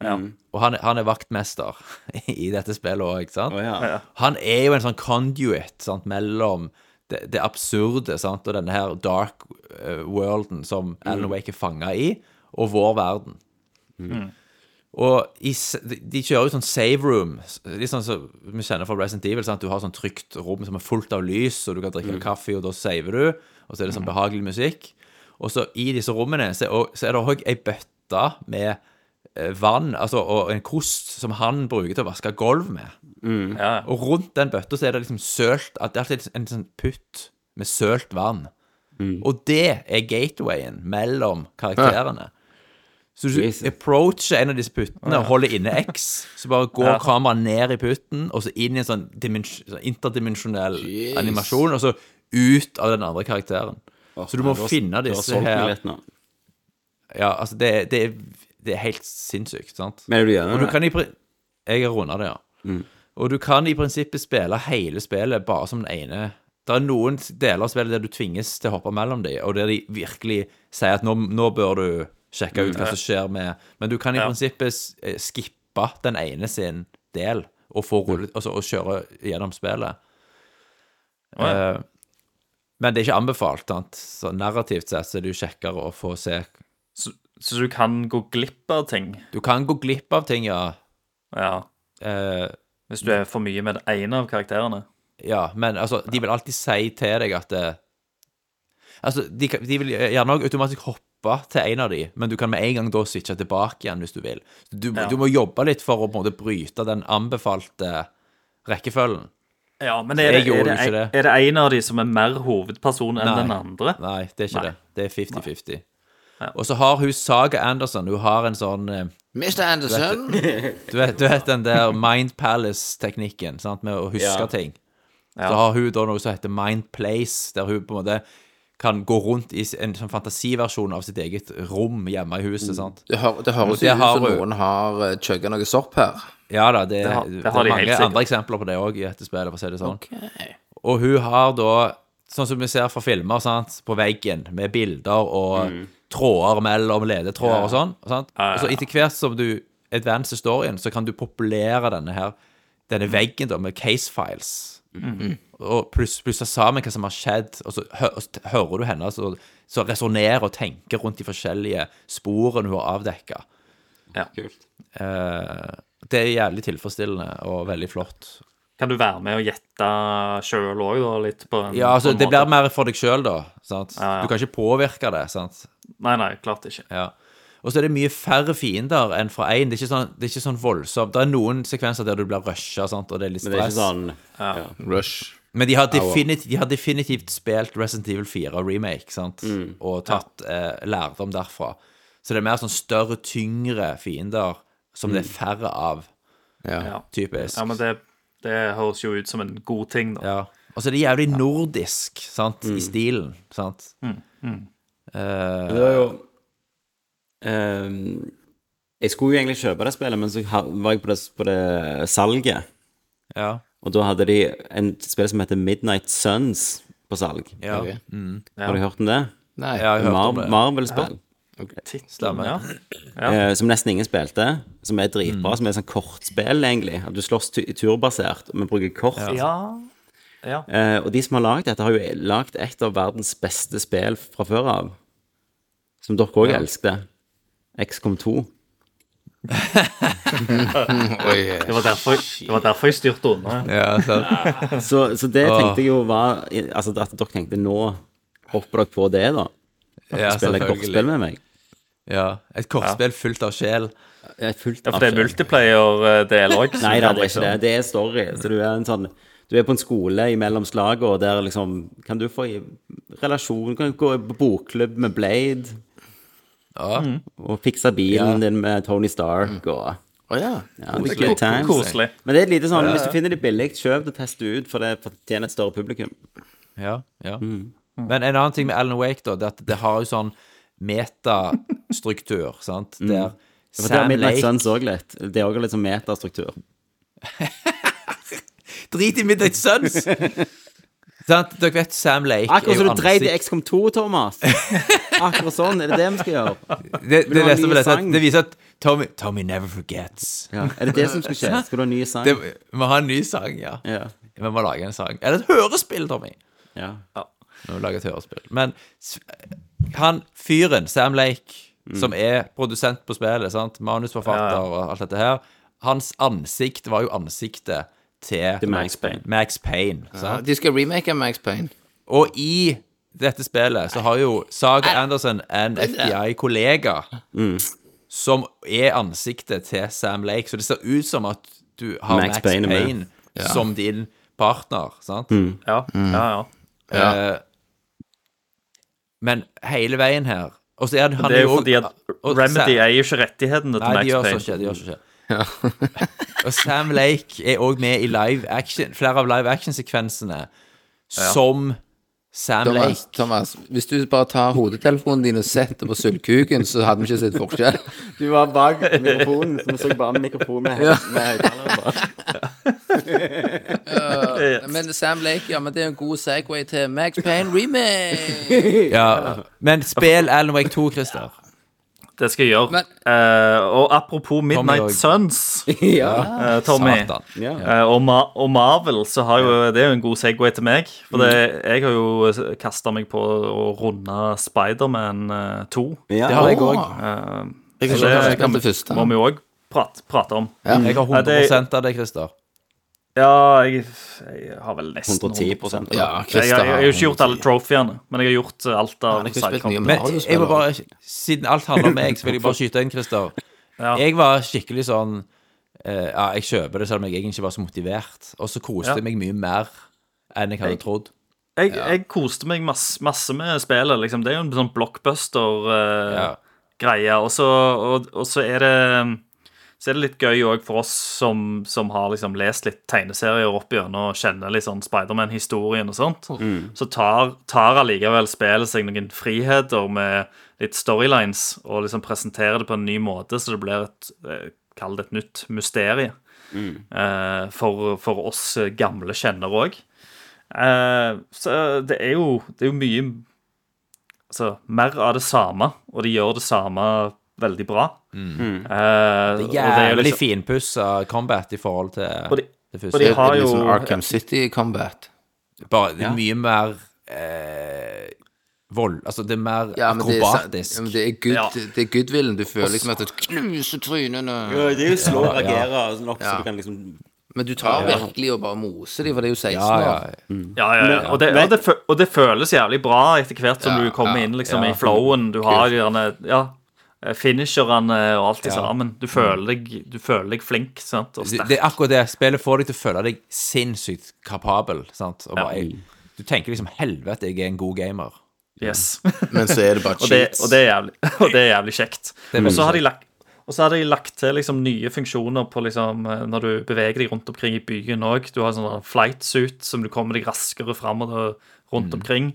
[SPEAKER 3] Og han, er- han er vaktmester i dette spillet òg, sant?
[SPEAKER 1] Å ja.
[SPEAKER 3] Han er jo en sånn conduit sant, mellom det, det absurde sant, og denne her dark eh, worlden som Alan Wake er fanga i, og vår verden. Og i, s- de de kjører jo sånn save room, s- litt sånn som vi kjenner fra Resident Evil. Sant? Du har sånn trygt rom som er fullt av lys, og du kan drikke kaffe, og da saver du. Og så er det sånn behagelig musikk. Og så i disse rommene så er, og- så er det òg ei bøtte med eh, vann, altså, og en kost som han bruker til å vaske gulv med.
[SPEAKER 1] Mm.
[SPEAKER 8] Ja, ja.
[SPEAKER 3] Og rundt den bøtta så er det liksom sølt at Det er alltid en sånn putt med sølt vann.
[SPEAKER 1] Mm.
[SPEAKER 3] Og det er gatewayen mellom karakterene. Så du
[SPEAKER 1] Jesus.
[SPEAKER 3] approacher en av disse puttene og holder inne X, så bare går
[SPEAKER 8] Ja.
[SPEAKER 3] kameraet ned i putten, og så inn i en sånn, dimens- sånn interdimensjonell animasjon, og så ut av den andre karakteren. så du må finne
[SPEAKER 1] Du har
[SPEAKER 3] disse
[SPEAKER 1] solgt meg
[SPEAKER 3] her
[SPEAKER 1] litt nå.
[SPEAKER 3] Ja, altså, det, er- det, er, det er helt sinnssykt, sant?
[SPEAKER 1] Men er du gjennom
[SPEAKER 3] Og du
[SPEAKER 1] det?
[SPEAKER 3] kan i pri- Jeg har runda det, ja. Og du kan i prinsippet spille hele spillet bare som den ene. Det er noen deler av spillet der du tvinges til å hoppe mellom dem, og der de virkelig sier at nå, nå bør du sjekke ut hva som skjer med Men du kan i prinsippet s- eh, skippe den ene sin del og, få rullet, altså, og kjøre gjennom spillet. Eh, men det er ikke anbefalt. sant? Så narrativt sett så er det jo kjekkere å få se
[SPEAKER 8] Så, så du kan gå glipp av ting.
[SPEAKER 3] Du kan gå glipp av ting, ja.
[SPEAKER 8] Ja.
[SPEAKER 3] Eh,
[SPEAKER 8] Hvis du er for mye med den ene av karakterene.
[SPEAKER 3] Ja, men altså, de vil alltid si til deg at eh, Altså, de, kan- de vil gjerne òg automatisk hoppe til en av de, men du kan med en gang da switche tilbake igjen hvis du vil. Du,
[SPEAKER 8] Ja.
[SPEAKER 3] du må jobbe litt for å på en måte bryte den anbefalte rekkefølgen.
[SPEAKER 8] Ja, men er det,
[SPEAKER 3] Jeg gjorde
[SPEAKER 8] er, det,
[SPEAKER 3] jo ikke det.
[SPEAKER 8] er det en av de som er mer hovedperson enn
[SPEAKER 3] Nei.
[SPEAKER 8] den andre?
[SPEAKER 3] Nei, det er ikke
[SPEAKER 8] Nei.
[SPEAKER 3] det. Det er 50-50. Og så har hun Saga Anderson. Hun har en sånn eh,
[SPEAKER 2] Mr. Anderson.
[SPEAKER 3] Du vet, du vet den der Mind Palace-teknikken, sant, med å huske
[SPEAKER 1] Ja.
[SPEAKER 3] ting. Så har hun da noe som heter Mind Place, der hun på en måte kan gå rundt i en sånn fantasiversjon av sitt eget rom hjemme i
[SPEAKER 1] Mm.
[SPEAKER 3] huset, sant.
[SPEAKER 2] Det, hø det høres
[SPEAKER 3] Det
[SPEAKER 2] jo ut
[SPEAKER 3] har
[SPEAKER 2] som
[SPEAKER 3] hun.
[SPEAKER 2] noen har eh, chugga noe sopp her.
[SPEAKER 3] Ja da, det, det,
[SPEAKER 8] har- det har de
[SPEAKER 3] er
[SPEAKER 8] helt
[SPEAKER 3] mange
[SPEAKER 8] sikkert.
[SPEAKER 3] andre eksempler på det òg i dette spillet, for å si det sånn. Og hun har da, sånn som vi ser fra filmer, sant, på veggen med bilder og
[SPEAKER 8] Mm.
[SPEAKER 3] tråder mellom ledetråder og sånn. Sant? Og så etter hvert som du advancer storyen, så kan du populere denne her
[SPEAKER 8] Mm.
[SPEAKER 3] denne veggen da med case files. Og pluss- plusse sammen hva som har skjedd, og så, hø og så hører du henne så, så resonnerer og tenker rundt de forskjellige sporene hun har avdekka.
[SPEAKER 1] Kult.
[SPEAKER 3] Eh, det er jævlig tilfredsstillende og veldig flott.
[SPEAKER 8] Kan du være med og gjette sjøl òg, da? Litt på en,
[SPEAKER 3] Ja, altså,
[SPEAKER 8] på en
[SPEAKER 3] det
[SPEAKER 8] måte?
[SPEAKER 3] blir mer for deg sjøl, da. Sant?
[SPEAKER 8] Ja, ja.
[SPEAKER 3] Du kan ikke påvirke det. sant?
[SPEAKER 8] Nei, nei, klart ikke.
[SPEAKER 3] Ja. Og så er det mye færre fiender enn fra én. Det, er ikke sånn, det er ikke sånn voldsomt. Det er noen sekvenser der du blir rusha, sant, og det er litt
[SPEAKER 1] Men det er
[SPEAKER 3] stress.
[SPEAKER 1] ikke sånn
[SPEAKER 2] Rush.
[SPEAKER 3] Men de har, definitivt, de har definitivt spilt Resident Evil 4 remake, sant? og tatt eh, lærdom derfra. Så det er mer sånn større, tyngre fiender som det er færre av,
[SPEAKER 8] Ja.
[SPEAKER 3] typisk.
[SPEAKER 8] Ja, men det, det høres jo ut som en god ting, da.
[SPEAKER 3] Ja. Og så er det jævlig nordisk sant?
[SPEAKER 1] Mm.
[SPEAKER 3] i stilen. Sant? Eh,
[SPEAKER 1] Det var jo Ehm, Jeg skulle jo egentlig kjøpe det spillet, men så ha- var jeg på det, på det salget.
[SPEAKER 3] ja,
[SPEAKER 1] Og da hadde de en spill som heter Midnight Suns på salg.
[SPEAKER 3] ja.
[SPEAKER 2] Ok.
[SPEAKER 1] Har du hørt om det?
[SPEAKER 2] Nei.
[SPEAKER 3] ja, jeg hørte
[SPEAKER 1] Mar
[SPEAKER 3] om det.
[SPEAKER 1] Marvel-spill.
[SPEAKER 8] Tittelen, ja.
[SPEAKER 1] eh, som nesten ingen spilte. Som er dritbra.
[SPEAKER 3] Mm.
[SPEAKER 1] Som er sånn kortspill, egentlig. At du slåss tu- turbasert, men bruker kort.
[SPEAKER 8] ja.
[SPEAKER 1] Eh, og de som har lagd dette, har jo lagd et av verdens beste spill fra før av. Som dere òg elsket. XCOM 2.
[SPEAKER 8] Det, var derfor, det var derfor jeg styrte unna.
[SPEAKER 3] Ja, sant.
[SPEAKER 1] Så, så det tenkte jeg jo var Altså at dere tenkte nå hopper dere på det, da.
[SPEAKER 3] ja,
[SPEAKER 1] Spiller
[SPEAKER 3] selvfølgelig.
[SPEAKER 1] kortspill med meg.
[SPEAKER 3] Ja. Et kortspill fullt av sjel.
[SPEAKER 1] Jeg er fullt
[SPEAKER 8] Ja, for det er multiplayer-del òg.
[SPEAKER 1] Nei da, det er ikke det. Det er story. Så du er en sånn Du er på en skole imellom slagene, og der liksom Kan du få i relasjon? Kan du gå på bokklubb med Blade? Mm.
[SPEAKER 3] Ja.
[SPEAKER 1] Og fikse bilen din med Tony Stark og
[SPEAKER 2] Å ja.
[SPEAKER 1] ja, det er good times.
[SPEAKER 8] Koselig.
[SPEAKER 1] Men det er et lite sånn, hvis du finner de billig, kjøp det, test det ut, for det fortjener et større publikum.
[SPEAKER 3] Ja, ja. Men en annen ting med Alan Wake, da, det er at det har jo sånn metastruktur, sant, der
[SPEAKER 1] Mm. For det har
[SPEAKER 3] Sam
[SPEAKER 1] Midnight
[SPEAKER 3] Lake
[SPEAKER 1] Suns òg litt. Det er òg litt sånn metastruktur.
[SPEAKER 3] Drit i Midnight Suns! sant, dere vet Sam Lake
[SPEAKER 1] Akkurat som du dreit i
[SPEAKER 3] ansikt-
[SPEAKER 1] XCOM 2, Thomas. Akkurat sånn. Er det det vi skal gjøre?
[SPEAKER 3] Det,
[SPEAKER 1] du
[SPEAKER 3] det,
[SPEAKER 1] ha en ny
[SPEAKER 3] leste vi leste,
[SPEAKER 1] sang?
[SPEAKER 3] det viser at Tommy, Tommy never forgets.
[SPEAKER 1] Ja. Er det det som skal skje? Skal du ha ny sang?
[SPEAKER 3] Det, vi må ha en ny sang, ja.
[SPEAKER 1] Ja.
[SPEAKER 3] Vi må lage en sang. Eller et hørespill, Tommy!
[SPEAKER 1] ja.
[SPEAKER 3] Vi må lage et hørespill. Men s- han fyren, Sam Lake,
[SPEAKER 1] Mm.
[SPEAKER 3] som er produsent på spillet, sant? manusforfatter og alt dette her, hans ansikt var jo ansiktet til
[SPEAKER 1] Til Max Payne.
[SPEAKER 3] Max Payne, sant?
[SPEAKER 2] De skal remake Max Payne.
[SPEAKER 3] Og i dette spillet så har jo Saga Anderson en FBI-kollega
[SPEAKER 1] Mm.
[SPEAKER 3] som er ansiktet til Sam Lake, så det ser ut som at du har
[SPEAKER 1] Max
[SPEAKER 3] Max,
[SPEAKER 1] Payne
[SPEAKER 3] Payne,
[SPEAKER 1] med.
[SPEAKER 3] som din partner, sant?
[SPEAKER 8] Ja, ja, ja.
[SPEAKER 3] Eh, men hele veien her Og så er han
[SPEAKER 8] Det er jo
[SPEAKER 3] også-
[SPEAKER 8] fordi at
[SPEAKER 3] og
[SPEAKER 8] Remedy
[SPEAKER 3] Sam-
[SPEAKER 8] eier ikke rettighetene til
[SPEAKER 3] Nei, de
[SPEAKER 8] Max
[SPEAKER 3] gjør så
[SPEAKER 8] Payne.
[SPEAKER 3] ikke. De gjør så ikke. og Sam Lake er òg med i live action, flere av live action-sekvensene som Sam Lake.
[SPEAKER 2] Thomas, Thomas, hvis du bare tar hodetelefonen din og setter på sølvkuken, så hadde vi ikke sett forskjell.
[SPEAKER 1] Du var bak mikrofonen, så vi så bare mikrofonen med, med høyttaler bak.
[SPEAKER 2] Men Sam Lake, ja, men det er en god segway til Max Payne remake.
[SPEAKER 3] Ja. Men spill Alan Wake 2, Christer.
[SPEAKER 8] Det skal jeg gjøre.
[SPEAKER 2] Men-
[SPEAKER 8] Eh, og apropos Midnight
[SPEAKER 3] og-
[SPEAKER 8] Suns,
[SPEAKER 1] Ja.
[SPEAKER 8] eh, Tommy.
[SPEAKER 3] Satan.
[SPEAKER 8] Eh, og, Ma og Marvel, så har jo, det er jo en god Segway til meg. For det,
[SPEAKER 3] Mm.
[SPEAKER 8] jeg har jo kasta meg på å runde Spiderman eh, 2.
[SPEAKER 1] Ja.
[SPEAKER 3] Det har jeg òg.
[SPEAKER 2] Jeg
[SPEAKER 8] Så det
[SPEAKER 2] kan
[SPEAKER 8] kan
[SPEAKER 2] det første.
[SPEAKER 8] må vi òg prate, prate om. Ja,
[SPEAKER 3] Jeg har 100 av det, Christer.
[SPEAKER 8] jeg, jeg har vel nesten
[SPEAKER 1] 110
[SPEAKER 8] 100%.
[SPEAKER 2] Ja,
[SPEAKER 8] Jeg, jeg, jeg,
[SPEAKER 2] Christer.
[SPEAKER 8] har jo ikke gjort alle trophyene, men jeg har gjort eh, alt av
[SPEAKER 2] ikke spilt mye
[SPEAKER 8] sidekonten.
[SPEAKER 3] Men
[SPEAKER 2] Mario-spill,
[SPEAKER 3] jeg må
[SPEAKER 2] da.
[SPEAKER 3] bare, siden alt handler om meg, så vil jeg bare skyte inn, Christer.
[SPEAKER 8] Ja.
[SPEAKER 3] Jeg var skikkelig sånn eh, Ja, jeg kjøper det, selv om jeg egentlig ikke var så motivert. Og så koste
[SPEAKER 8] Ja.
[SPEAKER 3] jeg meg mye mer enn jeg hadde trodd.
[SPEAKER 8] Jeg, jeg koste meg masse, masse med spillet. Liksom. Det er jo en sånn blockbuster-greie.
[SPEAKER 3] Ja.
[SPEAKER 8] Og, så- og, og så er det så er det litt gøy òg for oss som, som har liksom lest litt tegneserier opp igjennom og kjenner litt sånn Spiderman-historien og sånt. Så tar, tar allikevel spillet seg noen friheter med litt storylines og liksom presenterer det på en ny måte, så det blir et eh, Kall det et nytt mysterie eh, for, for oss gamle kjennere òg. Eh, så det er jo Det er jo mye Altså, mer av det samme, og de gjør det samme veldig bra. Eh, og det er jo
[SPEAKER 3] Jævlig
[SPEAKER 8] liksom-
[SPEAKER 3] finpussa combat i forhold til
[SPEAKER 8] Og de-
[SPEAKER 3] det
[SPEAKER 8] og de
[SPEAKER 3] første.
[SPEAKER 8] har jo
[SPEAKER 2] Liksom Arkham City Combat.
[SPEAKER 3] Bare det er mye mer eh, vold Altså, det er mer
[SPEAKER 2] Ja, men det er,
[SPEAKER 3] akrobatisk.
[SPEAKER 2] ja, men det er, good,
[SPEAKER 8] Ja.
[SPEAKER 2] det er goodwillen. Du føler liksom at det knuser trynene.
[SPEAKER 1] Det er jo slå og reagere nok så du kan liksom
[SPEAKER 2] Men du tar virkelig og bare moser dem, for det er jo 16
[SPEAKER 3] ja, ja.
[SPEAKER 2] år.
[SPEAKER 8] Ja, ja, ja. Og, det, og, det, fø- og det føles jævlig bra etter hvert som
[SPEAKER 2] Ja,
[SPEAKER 8] du kommer
[SPEAKER 2] ja,
[SPEAKER 8] inn liksom,
[SPEAKER 3] ja.
[SPEAKER 8] i flowen. Du har gjerne ja, eh, finisherne og alt det sammen. Du føler, deg, du føler deg flink sant? og
[SPEAKER 3] Det,
[SPEAKER 8] sterk.
[SPEAKER 3] det er akkurat det. Spillet får deg til å føle deg sinnssykt kapabel. Sant? Og
[SPEAKER 8] Ja.
[SPEAKER 3] bare, jeg, du tenker liksom 'helvete, jeg er en god gamer'.
[SPEAKER 8] Yes.
[SPEAKER 2] Men så er det bare
[SPEAKER 8] og, det,
[SPEAKER 2] cheats.
[SPEAKER 8] og, det er jævlig, og det er jævlig kjekt.
[SPEAKER 3] er
[SPEAKER 8] Og
[SPEAKER 3] veldig
[SPEAKER 8] så har de lagt og så har de lagt til liksom nye funksjoner på liksom, eh, når du beveger deg rundt omkring i byen òg. Du har en sånn flight suit som du kommer deg raskere fram og da- rundt omkring.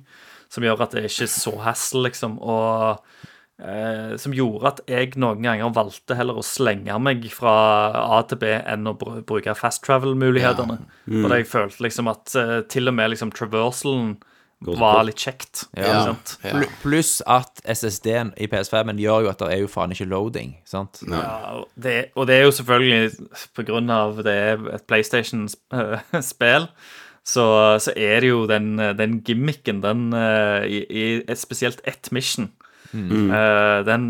[SPEAKER 8] Som gjør at det ikke er så hassle, liksom. Og eh, som gjorde at jeg noen ganger valgte heller å slenge meg fra A til B enn å br bruke fast travel-mulighetene. For jeg følte liksom at eh, til og med liksom traversalen var litt kjekt.
[SPEAKER 2] Ja.
[SPEAKER 8] Ikke sant?
[SPEAKER 2] Ja.
[SPEAKER 3] Pl- Pluss at SSD-en i PS5-en gjør jo at det er jo faen ikke loading. Sant?
[SPEAKER 8] Ja, og det, og det er jo selvfølgelig på grunn av det er et PlayStation-spill, så, så er det jo den, eh, den gimmicken, den eh, i, i et spesielt ett mission
[SPEAKER 3] Mm.
[SPEAKER 8] eh, Den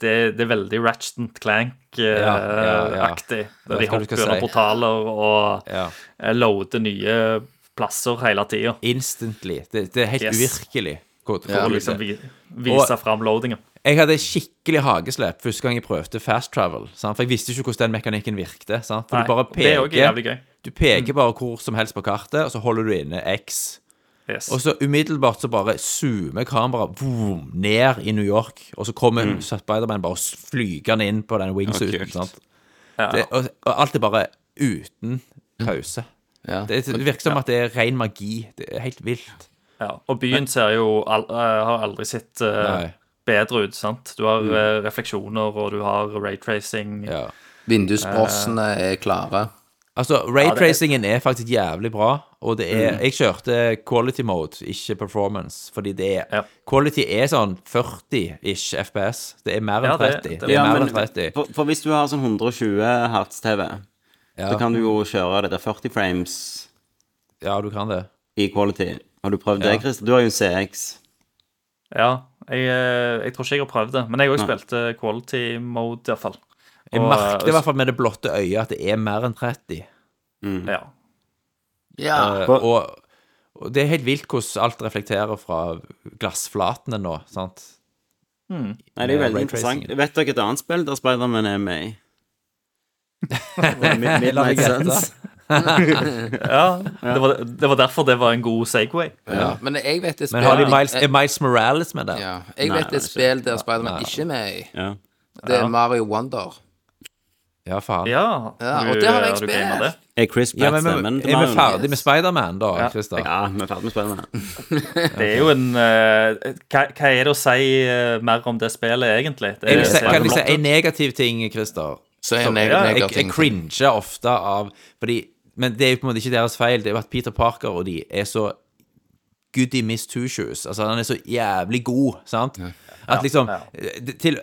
[SPEAKER 8] det, det er veldig Ratchet and
[SPEAKER 3] Ja, ja, ja.
[SPEAKER 8] Clank-aktig.
[SPEAKER 3] Jeg
[SPEAKER 8] Der de
[SPEAKER 3] vet hva du
[SPEAKER 8] hopper
[SPEAKER 3] skal
[SPEAKER 8] gjennom
[SPEAKER 3] si.
[SPEAKER 8] portaler og
[SPEAKER 3] Ja.
[SPEAKER 8] eh, loader nye plasser hele tida.
[SPEAKER 3] Instantly. Det, det er helt
[SPEAKER 8] Yes.
[SPEAKER 3] uvirkelig. hvor- hvor
[SPEAKER 8] For å
[SPEAKER 3] det-
[SPEAKER 8] liksom vi, vise
[SPEAKER 3] Og-
[SPEAKER 8] fram loadinga.
[SPEAKER 3] Jeg hadde skikkelig hageslepp første gang jeg prøvde fast travel. Sant? For jeg visste ikke hvordan den mekanikken virkte. Sant? For
[SPEAKER 8] Nei,
[SPEAKER 3] du bare
[SPEAKER 8] og det er jo
[SPEAKER 3] peker,
[SPEAKER 8] jævlig gøy. Mm.
[SPEAKER 3] du peker bare hvor som helst på kartet, og så holder du inne X.
[SPEAKER 8] Yes.
[SPEAKER 3] Og så umiddelbart så bare zoomer kameraet vroom, ned i New York, og så kommer
[SPEAKER 8] Mm.
[SPEAKER 3] Spiderman bare s- flygende inn på den wingsuiten. sant? Det, og, og alt er bare uten pause.
[SPEAKER 2] Ja.
[SPEAKER 3] Det, det virker som at det er ren magi. Det er helt vilt.
[SPEAKER 8] Ja. Og byen ser jo al eh, har aldri sett eh,
[SPEAKER 3] Nei. Mm.
[SPEAKER 8] bedre ut, sant? Du har eh, refleksjoner, og du har raytracing.
[SPEAKER 3] Ja.
[SPEAKER 2] Vindusbrossene er klare.
[SPEAKER 3] Altså, raytracingen er faktisk jævlig bra, og det er Jeg kjørte quality mode, ikke performance, fordi det er
[SPEAKER 8] Ja.
[SPEAKER 3] Quality er sånn 40-ish FPS. Det er mer enn
[SPEAKER 8] Ja, det-
[SPEAKER 3] 30. Det,
[SPEAKER 8] det-
[SPEAKER 3] er
[SPEAKER 1] Ja,
[SPEAKER 3] mer
[SPEAKER 1] men
[SPEAKER 3] enn 30.
[SPEAKER 1] for, for hvis du har sånn 120 hertz-TV,
[SPEAKER 3] Ja,
[SPEAKER 1] så kan du jo kjøre det der 40 frames
[SPEAKER 3] ja, du kan det.
[SPEAKER 1] i quality. Har du prøvd det, Christer? Du har jo en CX.
[SPEAKER 8] Ja, jeg, eh, jeg tror ikke jeg har prøvd det, men jeg òg spilte quality mode, iallfall.
[SPEAKER 3] Jeg
[SPEAKER 8] eh,
[SPEAKER 3] merket i hvert fall med det blotte øyet at det er mer enn 30.
[SPEAKER 8] Ja.
[SPEAKER 2] Ja.
[SPEAKER 3] Eh, og, og det er helt vilt hvordan alt reflekterer fra glassflatene nå, sant?
[SPEAKER 1] Nei, det er jo
[SPEAKER 3] Med
[SPEAKER 1] veldig
[SPEAKER 3] raytracing.
[SPEAKER 1] interessant. Vet dere et annet spill der Spider-Man er med i? Mid-
[SPEAKER 3] La meg
[SPEAKER 1] Midnight
[SPEAKER 3] gjette.
[SPEAKER 1] Suns.
[SPEAKER 8] Ja, det var, det var derfor det var en god Segway.
[SPEAKER 2] Ja. Men jeg vet et spill
[SPEAKER 3] Men har de Miles, er Miles Morales med der?
[SPEAKER 2] ja. Jeg
[SPEAKER 1] Nei,
[SPEAKER 2] vet
[SPEAKER 1] nei,
[SPEAKER 2] et spill der Spiderman ikke er med i.
[SPEAKER 1] Ja.
[SPEAKER 2] Det er Mario Wonder.
[SPEAKER 3] Ja, faen. Ja,
[SPEAKER 8] Ja,
[SPEAKER 2] Ja, og det har jeg
[SPEAKER 8] du gamet
[SPEAKER 2] spilt.
[SPEAKER 8] det.
[SPEAKER 1] Er Chris Pratt
[SPEAKER 3] men,
[SPEAKER 1] stemmen
[SPEAKER 3] men
[SPEAKER 1] til
[SPEAKER 3] er vi
[SPEAKER 1] Mario?
[SPEAKER 3] ferdig med Spiderman, da,
[SPEAKER 8] Ja.
[SPEAKER 3] Christer?
[SPEAKER 1] Ja, vi er ferdig med Spider-Man.
[SPEAKER 8] Det er jo en eh, hva, hva er det å si eh, mer om det spillet, egentlig? Det
[SPEAKER 3] Jeg
[SPEAKER 8] er,
[SPEAKER 3] vil si, kan jeg si
[SPEAKER 8] Spider-Man.
[SPEAKER 3] en negativ ting, Christer?
[SPEAKER 2] Så er
[SPEAKER 3] Som-
[SPEAKER 2] neg-
[SPEAKER 3] Ja,
[SPEAKER 2] negativ
[SPEAKER 3] jeg, jeg
[SPEAKER 2] ting.
[SPEAKER 3] cringer ofte av fordi, Men det er jo på en måte ikke deres feil. Det er jo at Peter Parker og de er så goody miss two shoes. Altså, han er så jævlig god, sant? At liksom eh, til,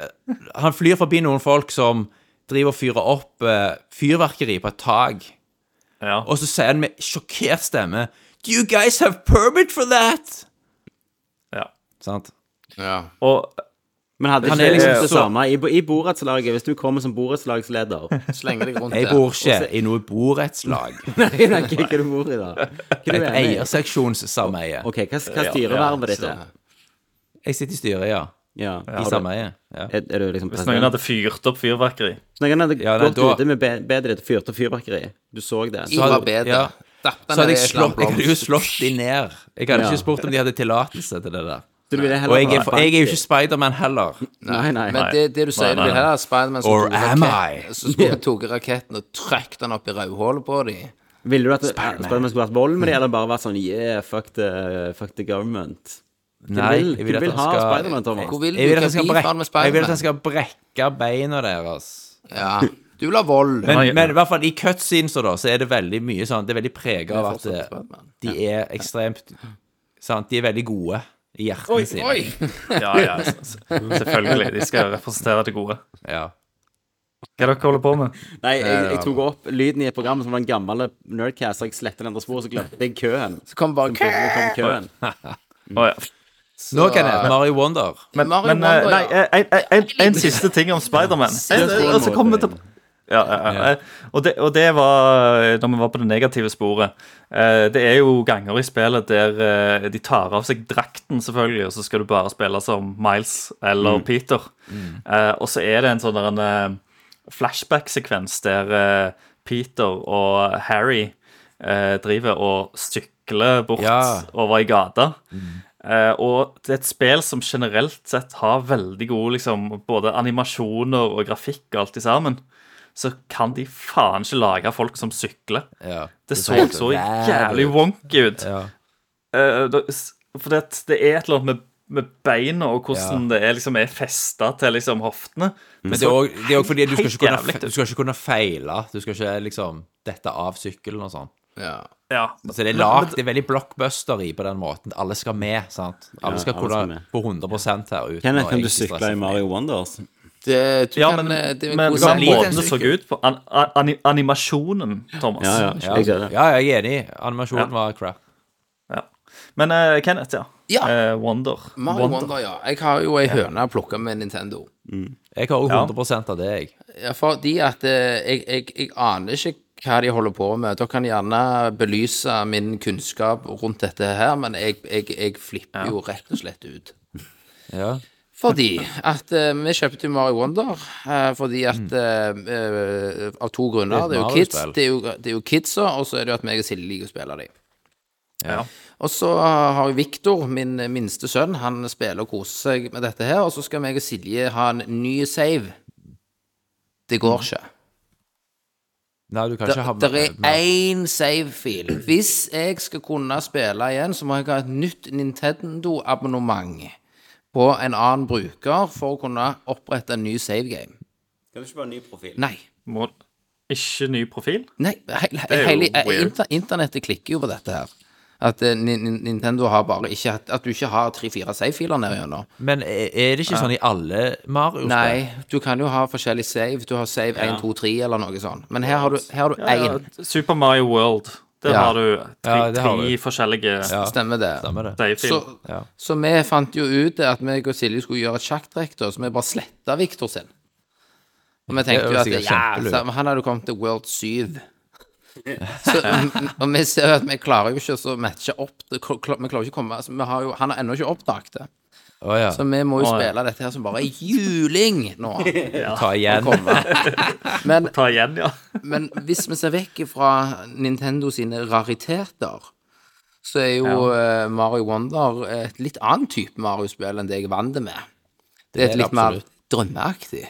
[SPEAKER 3] Han flyr forbi noen folk som driver og fyrer opp eh, fyrverkeri på et tak.
[SPEAKER 8] Ja.
[SPEAKER 3] Og så sier han med sjokkert stemme Do you guys have permit for that?
[SPEAKER 8] Ja.
[SPEAKER 3] Sant?
[SPEAKER 2] Ja.
[SPEAKER 8] Og
[SPEAKER 1] Men hadde
[SPEAKER 3] Han
[SPEAKER 1] ikke
[SPEAKER 3] er liksom
[SPEAKER 1] det
[SPEAKER 3] så-
[SPEAKER 1] samme i, bo- i borettslaget, hvis du kommer som borettslagsleder
[SPEAKER 2] Slenger deg rundt
[SPEAKER 3] Jeg
[SPEAKER 2] der.
[SPEAKER 3] bor ikke i noe borettslag.
[SPEAKER 1] Nei, nei, hva er det du bor i, da? Hva er det du er med i?
[SPEAKER 3] Eierseksjonssameie.
[SPEAKER 1] Ok, hva, hva styrevervet ditt er?
[SPEAKER 3] Jeg sitter i styret, ja.
[SPEAKER 1] Ja,
[SPEAKER 3] I
[SPEAKER 1] har du-
[SPEAKER 3] sameie. Ja.
[SPEAKER 1] Er, er du liksom
[SPEAKER 8] hvis noen
[SPEAKER 1] president?
[SPEAKER 8] hadde fyrt opp fyrverkeri
[SPEAKER 1] Hvis noen hadde
[SPEAKER 3] Ja, nei,
[SPEAKER 1] gått
[SPEAKER 3] da-
[SPEAKER 1] ute med be- bedre til fyrt og fyrverkeri, du så det
[SPEAKER 2] I var bedre.
[SPEAKER 3] ja.
[SPEAKER 2] Dapp
[SPEAKER 3] Så
[SPEAKER 2] ned
[SPEAKER 3] hadde jeg,
[SPEAKER 2] i et eller annet
[SPEAKER 3] slått, jeg hadde jo
[SPEAKER 2] blomst.
[SPEAKER 3] slått de ned. Jeg hadde
[SPEAKER 1] Ja.
[SPEAKER 3] ikke spurt om de hadde tillatelse til det der.
[SPEAKER 1] Så du ville heller
[SPEAKER 3] Og jeg
[SPEAKER 1] ha vært
[SPEAKER 3] er, jeg er jo
[SPEAKER 1] bank-
[SPEAKER 3] ikke Spiderman heller.
[SPEAKER 1] Nei, nei.
[SPEAKER 2] Men det, det du sier, du
[SPEAKER 8] nei,
[SPEAKER 2] vil heller ha Spiderman som
[SPEAKER 3] Or
[SPEAKER 2] tok
[SPEAKER 3] am
[SPEAKER 2] rakett-
[SPEAKER 3] I?
[SPEAKER 2] som skulle tok raketten og trykte den opp i rødhålet på dem.
[SPEAKER 1] Ville du at Spiderman skulle vært vold med det, eller bare vært sånn yeah, fuck the, fuck the government?
[SPEAKER 3] Nei,
[SPEAKER 1] vil-
[SPEAKER 3] jeg vil
[SPEAKER 1] du
[SPEAKER 3] at
[SPEAKER 1] vil
[SPEAKER 3] han
[SPEAKER 1] ha
[SPEAKER 3] skal
[SPEAKER 1] Spiderman, Thomas.
[SPEAKER 2] Hvor vil du
[SPEAKER 3] Jeg vil
[SPEAKER 2] hva
[SPEAKER 3] at han skal
[SPEAKER 2] blir
[SPEAKER 3] brekke-
[SPEAKER 2] faen med
[SPEAKER 3] jeg vil at han
[SPEAKER 2] Spiderman?
[SPEAKER 3] skal brekke beina deres.
[SPEAKER 2] Ja. Du vil ha vold.
[SPEAKER 3] Men,
[SPEAKER 8] Nei.
[SPEAKER 3] men i hvert fall i cutscenes og da, så er det veldig mye sånn Det er veldig prega av at
[SPEAKER 2] fortsatt
[SPEAKER 3] eh,
[SPEAKER 2] Spider-Man.
[SPEAKER 3] de er ekstremt Sant? De er veldig gode i hjertene sine.
[SPEAKER 2] Oi!
[SPEAKER 8] Ja, ja, s- s- selvfølgelig. De skal representere det gode.
[SPEAKER 3] Ja.
[SPEAKER 8] Hva er det dere holder på med?
[SPEAKER 1] Nei, jeg, jeg tok opp lyden i et program som var en gammel nerdcast, og jeg slettet den andre sporet, så glemte jeg køen.
[SPEAKER 2] Så kom bare
[SPEAKER 1] Så kom køen.
[SPEAKER 8] Å, ja.
[SPEAKER 3] Nå, Kenneth, Mario Wonder.
[SPEAKER 2] Men, Mario
[SPEAKER 8] Men eh,
[SPEAKER 2] Wonder,
[SPEAKER 8] nei,
[SPEAKER 2] ja.
[SPEAKER 8] eh, en, en, en, en siste ting om Spiderman. Eh, Og så kommer vi til ja, ja, ja. Og, det, og det var eh, når vi var på det negative sporet. Eh, Det er jo ganger i spillet der eh, de tar av seg drakten, selvfølgelig, og så skal du bare spille som Miles eller Peter. Eh, Og så er det en sånn der en eh, flashback-sekvens der eh, Peter og Harry eh, driver og sykler bort
[SPEAKER 3] Ja.
[SPEAKER 8] over i gata. Eh, og det er et spill som generelt sett har veldig gode liksom, både animasjoner og grafikk og alt i sammen. Så kan de faen ikke lage folk som sykler.
[SPEAKER 3] Ja.
[SPEAKER 8] Det så så jævlig wonky ut.
[SPEAKER 3] Ja.
[SPEAKER 8] Eh, da- s- for det, det er et eller annet med, med beina og hvordan det er, liksom, er festa til liksom, hoftene.
[SPEAKER 3] Men det er også- det er òg fordi du skal,
[SPEAKER 8] helt
[SPEAKER 3] ikke kunne,
[SPEAKER 8] jævlig,
[SPEAKER 3] fe- du skal ikke kunne feile. Du skal ikke liksom dette av sykkelen og sånn.
[SPEAKER 2] Ja.
[SPEAKER 8] Ja.
[SPEAKER 3] Så det er lagt, det er veldig blockbuster i på den måten. Alle skal med, sant. Alle
[SPEAKER 1] alle skal
[SPEAKER 3] skal kunne
[SPEAKER 1] med.
[SPEAKER 3] på 100 her uten
[SPEAKER 1] Kenneth,
[SPEAKER 3] å
[SPEAKER 1] kan du
[SPEAKER 3] egentlig stresse
[SPEAKER 1] sykle i
[SPEAKER 3] for
[SPEAKER 1] Mario Wonders?
[SPEAKER 2] Det, du
[SPEAKER 8] Ja,
[SPEAKER 2] kan,
[SPEAKER 8] men,
[SPEAKER 2] eh, det er en
[SPEAKER 8] men, men
[SPEAKER 2] god
[SPEAKER 3] men-
[SPEAKER 2] sammenligning.
[SPEAKER 8] måten det så ut på an, an, ani- Animasjonen, Thomas.
[SPEAKER 1] Ja, ja,
[SPEAKER 3] Ja,
[SPEAKER 1] jeg ser det.
[SPEAKER 3] ja, jeg er enig. Animasjonen var crap.
[SPEAKER 8] Ja. Men eh, Kenneth, ja.
[SPEAKER 2] Ja.
[SPEAKER 8] Eh, Wonder.
[SPEAKER 2] Mario Wonder. ja. Jeg har jo ei høne plukka med Nintendo.
[SPEAKER 3] Jeg har òg
[SPEAKER 8] Ja.
[SPEAKER 3] 100 av det, jeg.
[SPEAKER 2] Ja, Fordi at eh, jeg, jeg, jeg aner ikke hva de holder på med. Dere kan gjerne belyse min kunnskap rundt dette her, men jeg, jeg, jeg flipper jo rett og slett ut.
[SPEAKER 3] Ja.
[SPEAKER 2] Fordi at eh, vi kjøpte jo Mario Wonder eh, fordi at eh, eh, Av to grunner.
[SPEAKER 3] Det
[SPEAKER 2] Det
[SPEAKER 3] er
[SPEAKER 2] er
[SPEAKER 3] Mm. et
[SPEAKER 2] jo kids,
[SPEAKER 3] Mario-spill.
[SPEAKER 2] det er jo, det er jo kidsa, og så er det jo at meg og Silje liker å spille dem.
[SPEAKER 3] Ja.
[SPEAKER 2] Og så har jo Viktor, min minste sønn, han spiller og koser seg med dette her. Og så skal meg og
[SPEAKER 3] Mm.
[SPEAKER 2] Silje ha en ny save. Det går ikke.
[SPEAKER 3] Nei, du kan ikke ha
[SPEAKER 2] Det er én save-fil. Hvis jeg skal kunne spille igjen, så må jeg ha et nytt Nintendo-abonnement på en annen bruker for å kunne opprette en ny save-game.
[SPEAKER 1] Kan du ikke bare ha ny profil?
[SPEAKER 2] Nei.
[SPEAKER 8] Må, ikke ny profil?
[SPEAKER 2] Nei, hele,
[SPEAKER 8] er jo
[SPEAKER 2] hele, eh,
[SPEAKER 8] weird.
[SPEAKER 2] inter, Internettet klikker jo på dette her. At eh, Ni- Ni- Nintendo har bare ikke hatt- At du ikke har tre-fire save-filer nedgjennom.
[SPEAKER 3] Men er er det ikke sånn i alle Mario-spill?
[SPEAKER 2] Nei, du kan jo ha forskjellig save. Du har save 1, 2, 3 eller noe sånt. Men her har du her har du én.
[SPEAKER 8] Ja, Super Mario World. Der
[SPEAKER 2] Ja.
[SPEAKER 8] har du tre,
[SPEAKER 3] Ja, det har
[SPEAKER 8] tre
[SPEAKER 3] du.
[SPEAKER 8] forskjellige ja.
[SPEAKER 2] Stemmer det.
[SPEAKER 3] Stemmer det.
[SPEAKER 8] save-fil.
[SPEAKER 2] Så, så vi fant jo ut det at meg og Silje skulle gjøre et sjakktrekk, da, så vi bare sletta Victor sin. Og vi
[SPEAKER 3] Det er
[SPEAKER 2] tenkte
[SPEAKER 3] jo
[SPEAKER 2] jo at
[SPEAKER 3] sikkert
[SPEAKER 2] ja,
[SPEAKER 3] kjempelurt.
[SPEAKER 2] så, han hadde jo kommet til World 7. Så, og vi ser jo at vi klarer jo ikke å så matche opp det. Kla- kla- Vi klarer ikke å komme altså, vi har jo, Han har ennå ikke oppdaget det.
[SPEAKER 3] Å ja.
[SPEAKER 2] Så vi må jo
[SPEAKER 8] Å, ja.
[SPEAKER 2] spille dette her som bare juling nå.
[SPEAKER 3] Ta igjen.
[SPEAKER 2] Men,
[SPEAKER 8] Ta igjen, ja.
[SPEAKER 2] men hvis vi ser vekk fra Nintendo sine rariteter, så er jo eh, Mario Wonder et litt annen type Mario-spill enn det jeg er vant med. Det er
[SPEAKER 3] er
[SPEAKER 2] et
[SPEAKER 3] det
[SPEAKER 2] litt mer
[SPEAKER 3] absolutt.
[SPEAKER 2] drømmeaktig,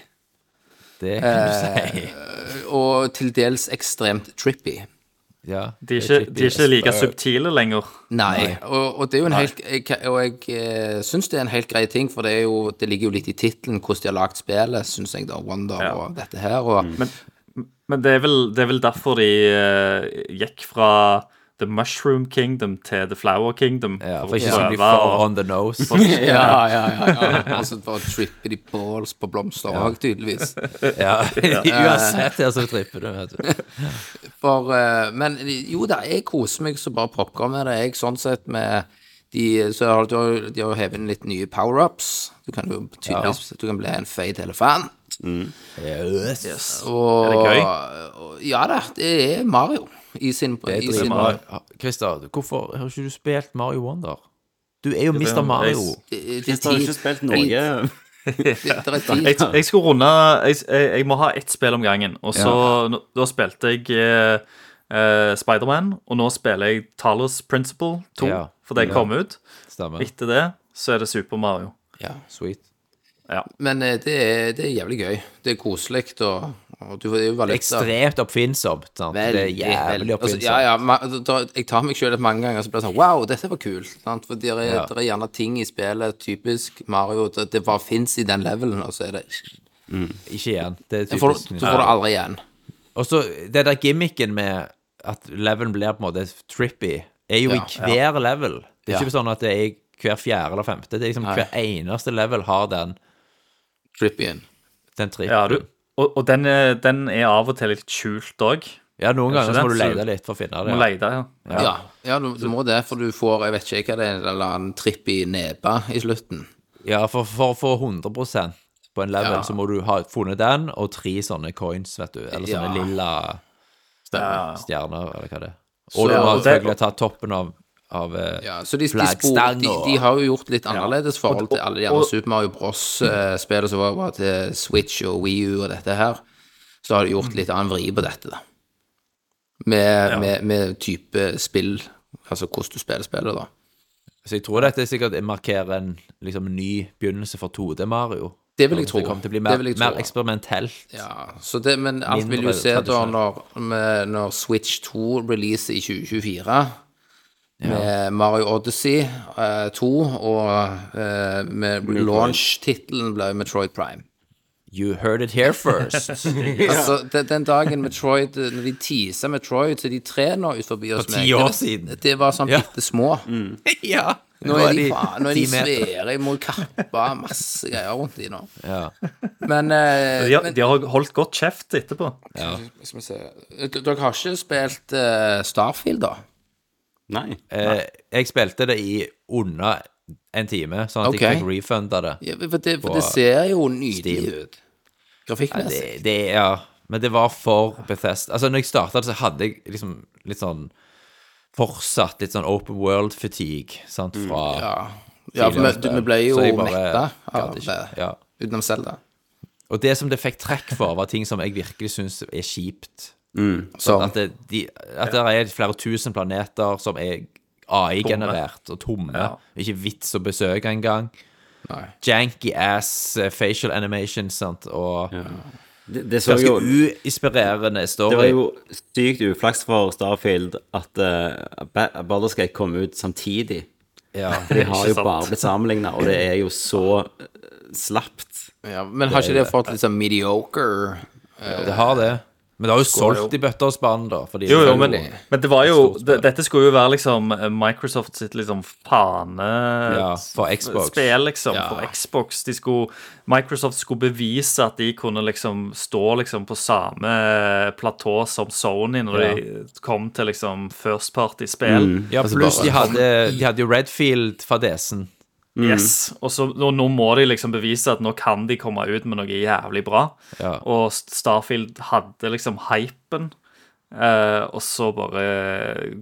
[SPEAKER 3] Det kan
[SPEAKER 2] Eh,
[SPEAKER 3] du si.
[SPEAKER 2] og til dels ekstremt trippy.
[SPEAKER 3] Ja.
[SPEAKER 8] De er ikke, de er ikke like subtile lenger.
[SPEAKER 2] Nei, og, og det er jo en helt jeg- Og jeg eh, syns det er en helt grei ting, for det, er jo, det ligger jo litt i tittelen hvordan de har lagd spillet, syns jeg, da, Wonder
[SPEAKER 8] Ja.
[SPEAKER 2] og dette her. Og,
[SPEAKER 8] Men det er vel, det er vel derfor de eh, gikk fra The Mushroom Kingdom til The Flower Kingdom.
[SPEAKER 3] Ja,
[SPEAKER 8] å
[SPEAKER 3] for ikke sånn de
[SPEAKER 8] prøve
[SPEAKER 3] får
[SPEAKER 8] å-
[SPEAKER 3] on the nose.
[SPEAKER 2] ja, ja, ja. ja. Altså bare tripper de balls på blomster òg, tydeligvis.
[SPEAKER 3] Ja. Uansett, her så tripper du, vet du.
[SPEAKER 2] For, eh, men jo da, jeg koser meg så bare popkorn med det. Jeg sånn sett med de, så har du, de har jo hevet inn litt nye power-ups. Du kan jo tydeligvis Du kan bli en feit elefant. Og,
[SPEAKER 8] Er det gøy?
[SPEAKER 2] og- Ja da, det er Mario i sin, i sin
[SPEAKER 3] Mario. Christer, hvorfor har ikke du spilt Mario Wonder? Du er jo Mr. Mario.
[SPEAKER 2] Det
[SPEAKER 1] Jeg har ikke spilt
[SPEAKER 2] det
[SPEAKER 1] noe
[SPEAKER 2] er tid.
[SPEAKER 8] Jeg, jeg skulle runde jeg, jeg, jeg må ha ett spill om gangen. Og så nå- Da spilte jeg eh, eh, Spiderman, og nå spiller jeg Talos Principle 2,
[SPEAKER 3] Ja.
[SPEAKER 8] for det
[SPEAKER 3] Ja.
[SPEAKER 8] kom ut.
[SPEAKER 3] Stemmer.
[SPEAKER 8] Etter det så er det Super Mario.
[SPEAKER 2] Ja.
[SPEAKER 3] Sweet.
[SPEAKER 2] Men eh, det er, det er jævlig gøy. Det er koselig, og, og du får jo være litt
[SPEAKER 3] Ekstremt oppfinnsomt. Sant? Det er
[SPEAKER 2] Veldig, veldig.
[SPEAKER 3] jævlig
[SPEAKER 2] Altså, ja,
[SPEAKER 3] oppfinnsomt.
[SPEAKER 2] ja, ma- altså, da- jeg tar meg selv et mange ganger så blir det sånn Wow, dette var kult. Sant? For det er,
[SPEAKER 3] Ja.
[SPEAKER 2] der er gjerne ting i spillet, typisk Mario, det, det bare fins i den levelen, og så er det
[SPEAKER 3] Ikke igjen. Det er
[SPEAKER 2] Så får,
[SPEAKER 3] typisk.
[SPEAKER 2] du- så får du aldri igjen.
[SPEAKER 3] Og så det der gimmicken med at levelen blir på en måte trippy, er jo i
[SPEAKER 2] Ja.
[SPEAKER 3] hver level. Det
[SPEAKER 2] Ja.
[SPEAKER 3] er ikke sånn at det er i hver fjerde eller femte. Det er liksom hver eneste level har den,
[SPEAKER 2] Trippy igjen.
[SPEAKER 3] den trippen.
[SPEAKER 8] Ja,
[SPEAKER 3] Ja,
[SPEAKER 8] du, og og den, er, den er av og til litt skjult òg.
[SPEAKER 3] noen
[SPEAKER 8] Kanskje
[SPEAKER 3] ganger så må
[SPEAKER 8] det,
[SPEAKER 3] du
[SPEAKER 8] så-
[SPEAKER 3] lete litt for å finne
[SPEAKER 8] Må
[SPEAKER 3] det. Ja.
[SPEAKER 8] leite, ja.
[SPEAKER 2] Ja, ja, du, du må det, for du får jeg vet ikke hva det er, en eller annen trippy nebe i slutten.
[SPEAKER 3] Ja, for for å få 100 på en level, så må du ha funnet den og tre sånne coins, vet du. Eller sånne
[SPEAKER 2] Ja.
[SPEAKER 3] lilla
[SPEAKER 8] Ja.
[SPEAKER 3] stjerner, eller hva det er.
[SPEAKER 2] Så-
[SPEAKER 3] Og du må
[SPEAKER 2] og det-
[SPEAKER 3] selvfølgelig ta toppen av, av eh,
[SPEAKER 2] Ja, så de, de, spor,
[SPEAKER 3] flaggstang
[SPEAKER 2] de,
[SPEAKER 3] og
[SPEAKER 2] de har jo gjort litt annerledes forhold til
[SPEAKER 8] og-
[SPEAKER 2] alle de
[SPEAKER 8] og-
[SPEAKER 2] andre Super Mario Bros-spillene som var var til Switch og Wii U og dette her. Så har de gjort litt annen vri på dette, da. Med, med, med type spill, altså hvordan du spiller spillet, da.
[SPEAKER 3] Så jeg tror dette sikkert markerer en liksom, ny begynnelse for 2D Mario.
[SPEAKER 2] Det vil jeg tro.
[SPEAKER 3] Det kommer til å bli
[SPEAKER 2] Det
[SPEAKER 3] mer,
[SPEAKER 2] vil jeg tro.
[SPEAKER 3] mer eksperimentelt.
[SPEAKER 2] Ja, så det, men alt vil jo
[SPEAKER 3] Mindre
[SPEAKER 2] se da
[SPEAKER 3] tradisjonelt.
[SPEAKER 2] når, med, når Switch 2 releaser i 2024 med Mario Odyssey eh, 2 og eh, med launch-tittelen ble Metroid Prime.
[SPEAKER 3] You heard it here first.
[SPEAKER 2] Altså, den, den dagen Metroid Når de teaser Metroid, så er de tre nå ut forbi oss.
[SPEAKER 3] For
[SPEAKER 2] meg.
[SPEAKER 3] ti år
[SPEAKER 2] Det-
[SPEAKER 3] siden.
[SPEAKER 2] Det var sånn
[SPEAKER 3] Ja. Mm.
[SPEAKER 2] bitte små.
[SPEAKER 3] ja.
[SPEAKER 2] Nå er de, faen, nå er de
[SPEAKER 3] ti meter.
[SPEAKER 2] svære, jeg må kappe masse greier rundt de nå.
[SPEAKER 3] Ja.
[SPEAKER 2] Men, eh,
[SPEAKER 8] De, har-
[SPEAKER 2] men
[SPEAKER 8] de har holdt godt kjeft etterpå.
[SPEAKER 2] skal vi se. D- Dere har ikke spilt eh, Starfield, da?
[SPEAKER 1] Nei.
[SPEAKER 3] Eh, jeg spilte det i under en time, sånn at
[SPEAKER 2] Ok.
[SPEAKER 3] jeg fikk refunda det.
[SPEAKER 2] Ja, for det, for
[SPEAKER 3] På
[SPEAKER 2] det ser jo nydelig
[SPEAKER 3] Steam.
[SPEAKER 2] ut.
[SPEAKER 3] det,
[SPEAKER 2] Grafikkmessig.
[SPEAKER 3] det ja. Men det var for Bethesda. Altså, når jeg starta det, så hadde jeg liksom litt sånn Fortsatt litt sånn open world-fatigue, sant, fra
[SPEAKER 2] Mm, Ja. ja, for vi, vi ble jo
[SPEAKER 3] Så jeg bare
[SPEAKER 2] metta
[SPEAKER 3] gadd
[SPEAKER 2] av
[SPEAKER 3] ikke.
[SPEAKER 2] det,
[SPEAKER 3] Ja.
[SPEAKER 2] utenom Selda.
[SPEAKER 3] Og det som det fikk trekk for, var ting som jeg virkelig syns er kjipt.
[SPEAKER 2] Så
[SPEAKER 3] At det, de, at det er flere tusen planeter som er AI-generert og tomme. Ikke vits å besøke engang.
[SPEAKER 2] Nei.
[SPEAKER 3] Janky ass eh, facial animation, sant, og
[SPEAKER 1] Det, det så
[SPEAKER 3] Ganske
[SPEAKER 1] jo
[SPEAKER 3] uinspirerende story.
[SPEAKER 1] Det var jo sykt uflaks for Starfield at uh, Ba- Baldur's Gate kom ut samtidig.
[SPEAKER 3] ja.
[SPEAKER 1] De har jo
[SPEAKER 8] sant.
[SPEAKER 1] bare blitt sammenligna, og det er jo så eh, slapt.
[SPEAKER 2] Ja, men har ikke det fått litt sånn mediocre
[SPEAKER 3] Det har det. Men det har jo solgt i bøtter og spann, da. Fordi
[SPEAKER 8] Jo, jo, men,
[SPEAKER 3] selvfølgelig.
[SPEAKER 8] men det var jo
[SPEAKER 3] stort spill.
[SPEAKER 8] det, Dette skulle jo være liksom Microsoft sitt liksom
[SPEAKER 3] Ja,
[SPEAKER 8] fane
[SPEAKER 3] for Xbox.
[SPEAKER 8] Spill liksom for Xbox. De skulle, Microsoft skulle bevise at de kunne liksom stå liksom på samme eh, platå som Sony når
[SPEAKER 3] Ja. Mm.
[SPEAKER 8] de kom til liksom first party-spill.
[SPEAKER 3] Ja, pluss de
[SPEAKER 2] bare-
[SPEAKER 3] hadde, de hadde jo Redfield-fadesen.
[SPEAKER 2] Mm.
[SPEAKER 8] Yes. Og, så, og nå må de liksom bevise at nå kan de komme ut med noe jævlig bra.
[SPEAKER 3] Ja.
[SPEAKER 8] Og Starfield hadde liksom hypen, eh, og så bare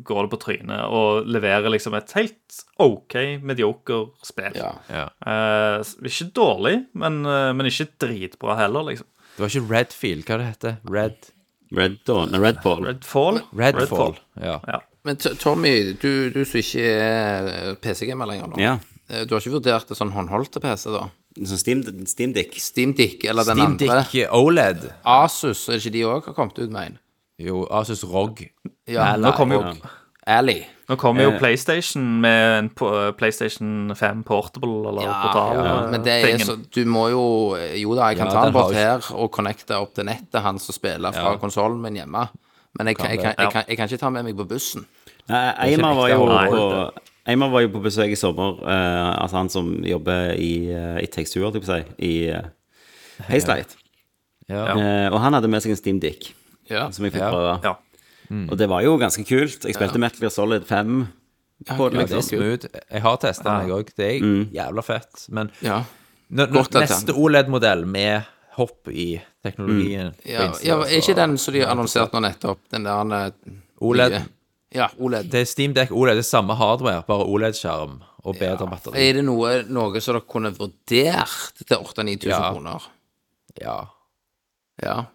[SPEAKER 8] går det på trynet og leverer liksom et helt OK, medioker spill.
[SPEAKER 2] Ja.
[SPEAKER 3] Ja.
[SPEAKER 8] Eh, s- ikke dårlig, men, eh, men ikke dritbra heller, liksom.
[SPEAKER 3] Det var ikke Redfield, hva det heter Red,
[SPEAKER 1] Red Dawn, nei, Red Ball.
[SPEAKER 8] Redfall.
[SPEAKER 3] Redfall. Ja.
[SPEAKER 8] Ja.
[SPEAKER 2] Men T- Tommy, du, du som ikke er PC-gamer lenger nå,
[SPEAKER 1] Ja.
[SPEAKER 2] eh, du har ikke vurdert det sånn håndholdte PC, da?
[SPEAKER 1] Sånn Steam, Steam Dick.
[SPEAKER 2] Steamdick eller den
[SPEAKER 3] Steam
[SPEAKER 2] andre?
[SPEAKER 3] Dick OLED.
[SPEAKER 2] Asus, er det ikke de òg har kommet ut med en?
[SPEAKER 3] E Jo, Asus ROG.
[SPEAKER 2] Ja,
[SPEAKER 8] Nå kommer jo,
[SPEAKER 2] Ally.
[SPEAKER 8] nå kommer
[SPEAKER 2] Eh.
[SPEAKER 8] jo PlayStation med en po- PlayStation 5 Portable eller portal. eh,
[SPEAKER 2] Men det er
[SPEAKER 8] tingen.
[SPEAKER 2] så Du må jo eh, Jo da, jeg kan
[SPEAKER 3] Ja,
[SPEAKER 2] ta
[SPEAKER 3] den
[SPEAKER 2] den bort
[SPEAKER 3] har jo-
[SPEAKER 2] her og connecte opp til nettet hans og spille fra konsollen min hjemme. Men jeg kan, jeg, kan, jeg, kan, jeg kan ikke ta med meg på bussen.
[SPEAKER 1] Nei, Eimer Eh, var, jo
[SPEAKER 8] ekte håndholdte.
[SPEAKER 1] på- Eimer var jo på besøk i sommer, eh, altså han som jobber i, eh, i Textur, holdt jeg på å si, i uh, Hazelight.
[SPEAKER 3] Ja.
[SPEAKER 1] Eh, og han hadde med seg en Steam Dick,
[SPEAKER 2] Ja.
[SPEAKER 1] som jeg fikk
[SPEAKER 3] Ja.
[SPEAKER 1] prøve.
[SPEAKER 8] Ja.
[SPEAKER 1] Og det var jo ganske kult. Jeg spilte Metal Gear Solid 5 på det,
[SPEAKER 2] ja,
[SPEAKER 3] Det er
[SPEAKER 1] liksom.
[SPEAKER 3] smooth. Jeg har testa den, jeg òg. Det er jævla fett. Men
[SPEAKER 2] Ja.
[SPEAKER 3] n-
[SPEAKER 2] Godt
[SPEAKER 3] n-
[SPEAKER 2] at
[SPEAKER 3] neste OLED-modell med hopp i teknologien
[SPEAKER 2] Ja,
[SPEAKER 3] finnes det,
[SPEAKER 2] ja, er ikke
[SPEAKER 3] altså. E
[SPEAKER 2] den som de annonserte nå nettopp, den der eh,
[SPEAKER 3] OLED.
[SPEAKER 2] nye- Ja, E OLED.
[SPEAKER 3] Det er Steam Deck OLED, det er samme hardware, bare OLED-skjerm og bedre batteri.
[SPEAKER 2] Er det noe, noe som dere kunne vurdert til 8000-9000
[SPEAKER 3] Ja.
[SPEAKER 2] kroner?
[SPEAKER 3] Ja,
[SPEAKER 2] Ja.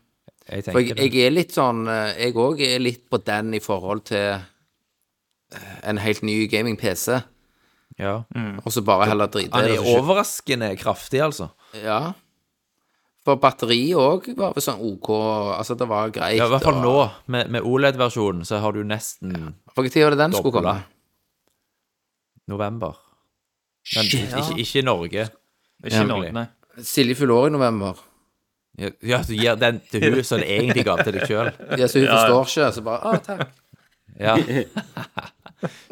[SPEAKER 3] jeg
[SPEAKER 2] For
[SPEAKER 3] tenker
[SPEAKER 2] jeg, jeg er litt sånn eh, Jeg òg er litt på den i forhold til eh, en helt ny gaming-PC,
[SPEAKER 3] det. Mm. Ja.
[SPEAKER 2] og så bare heller drite
[SPEAKER 3] Han
[SPEAKER 2] i det.
[SPEAKER 3] er
[SPEAKER 2] så kjø-
[SPEAKER 3] overraskende kraftig, altså.
[SPEAKER 2] Ja. For batteriet òg var vel sånn OK Altså, det var greit.
[SPEAKER 3] Ja, I hvert
[SPEAKER 2] og-
[SPEAKER 3] fall nå, med, med OLED-versjonen, så har du nesten
[SPEAKER 2] For Når var det den skulle komme?
[SPEAKER 3] Dobla. november. Men ikke, ikke i Norge.
[SPEAKER 8] Ikke i Norge, nei.
[SPEAKER 2] Silje fyller år i november.
[SPEAKER 3] Ja, Ja, du gir den til hun som det egentlig ga til deg sjøl.
[SPEAKER 2] Ja, så hun forstår ikke, så bare Å, takk.
[SPEAKER 3] Ja.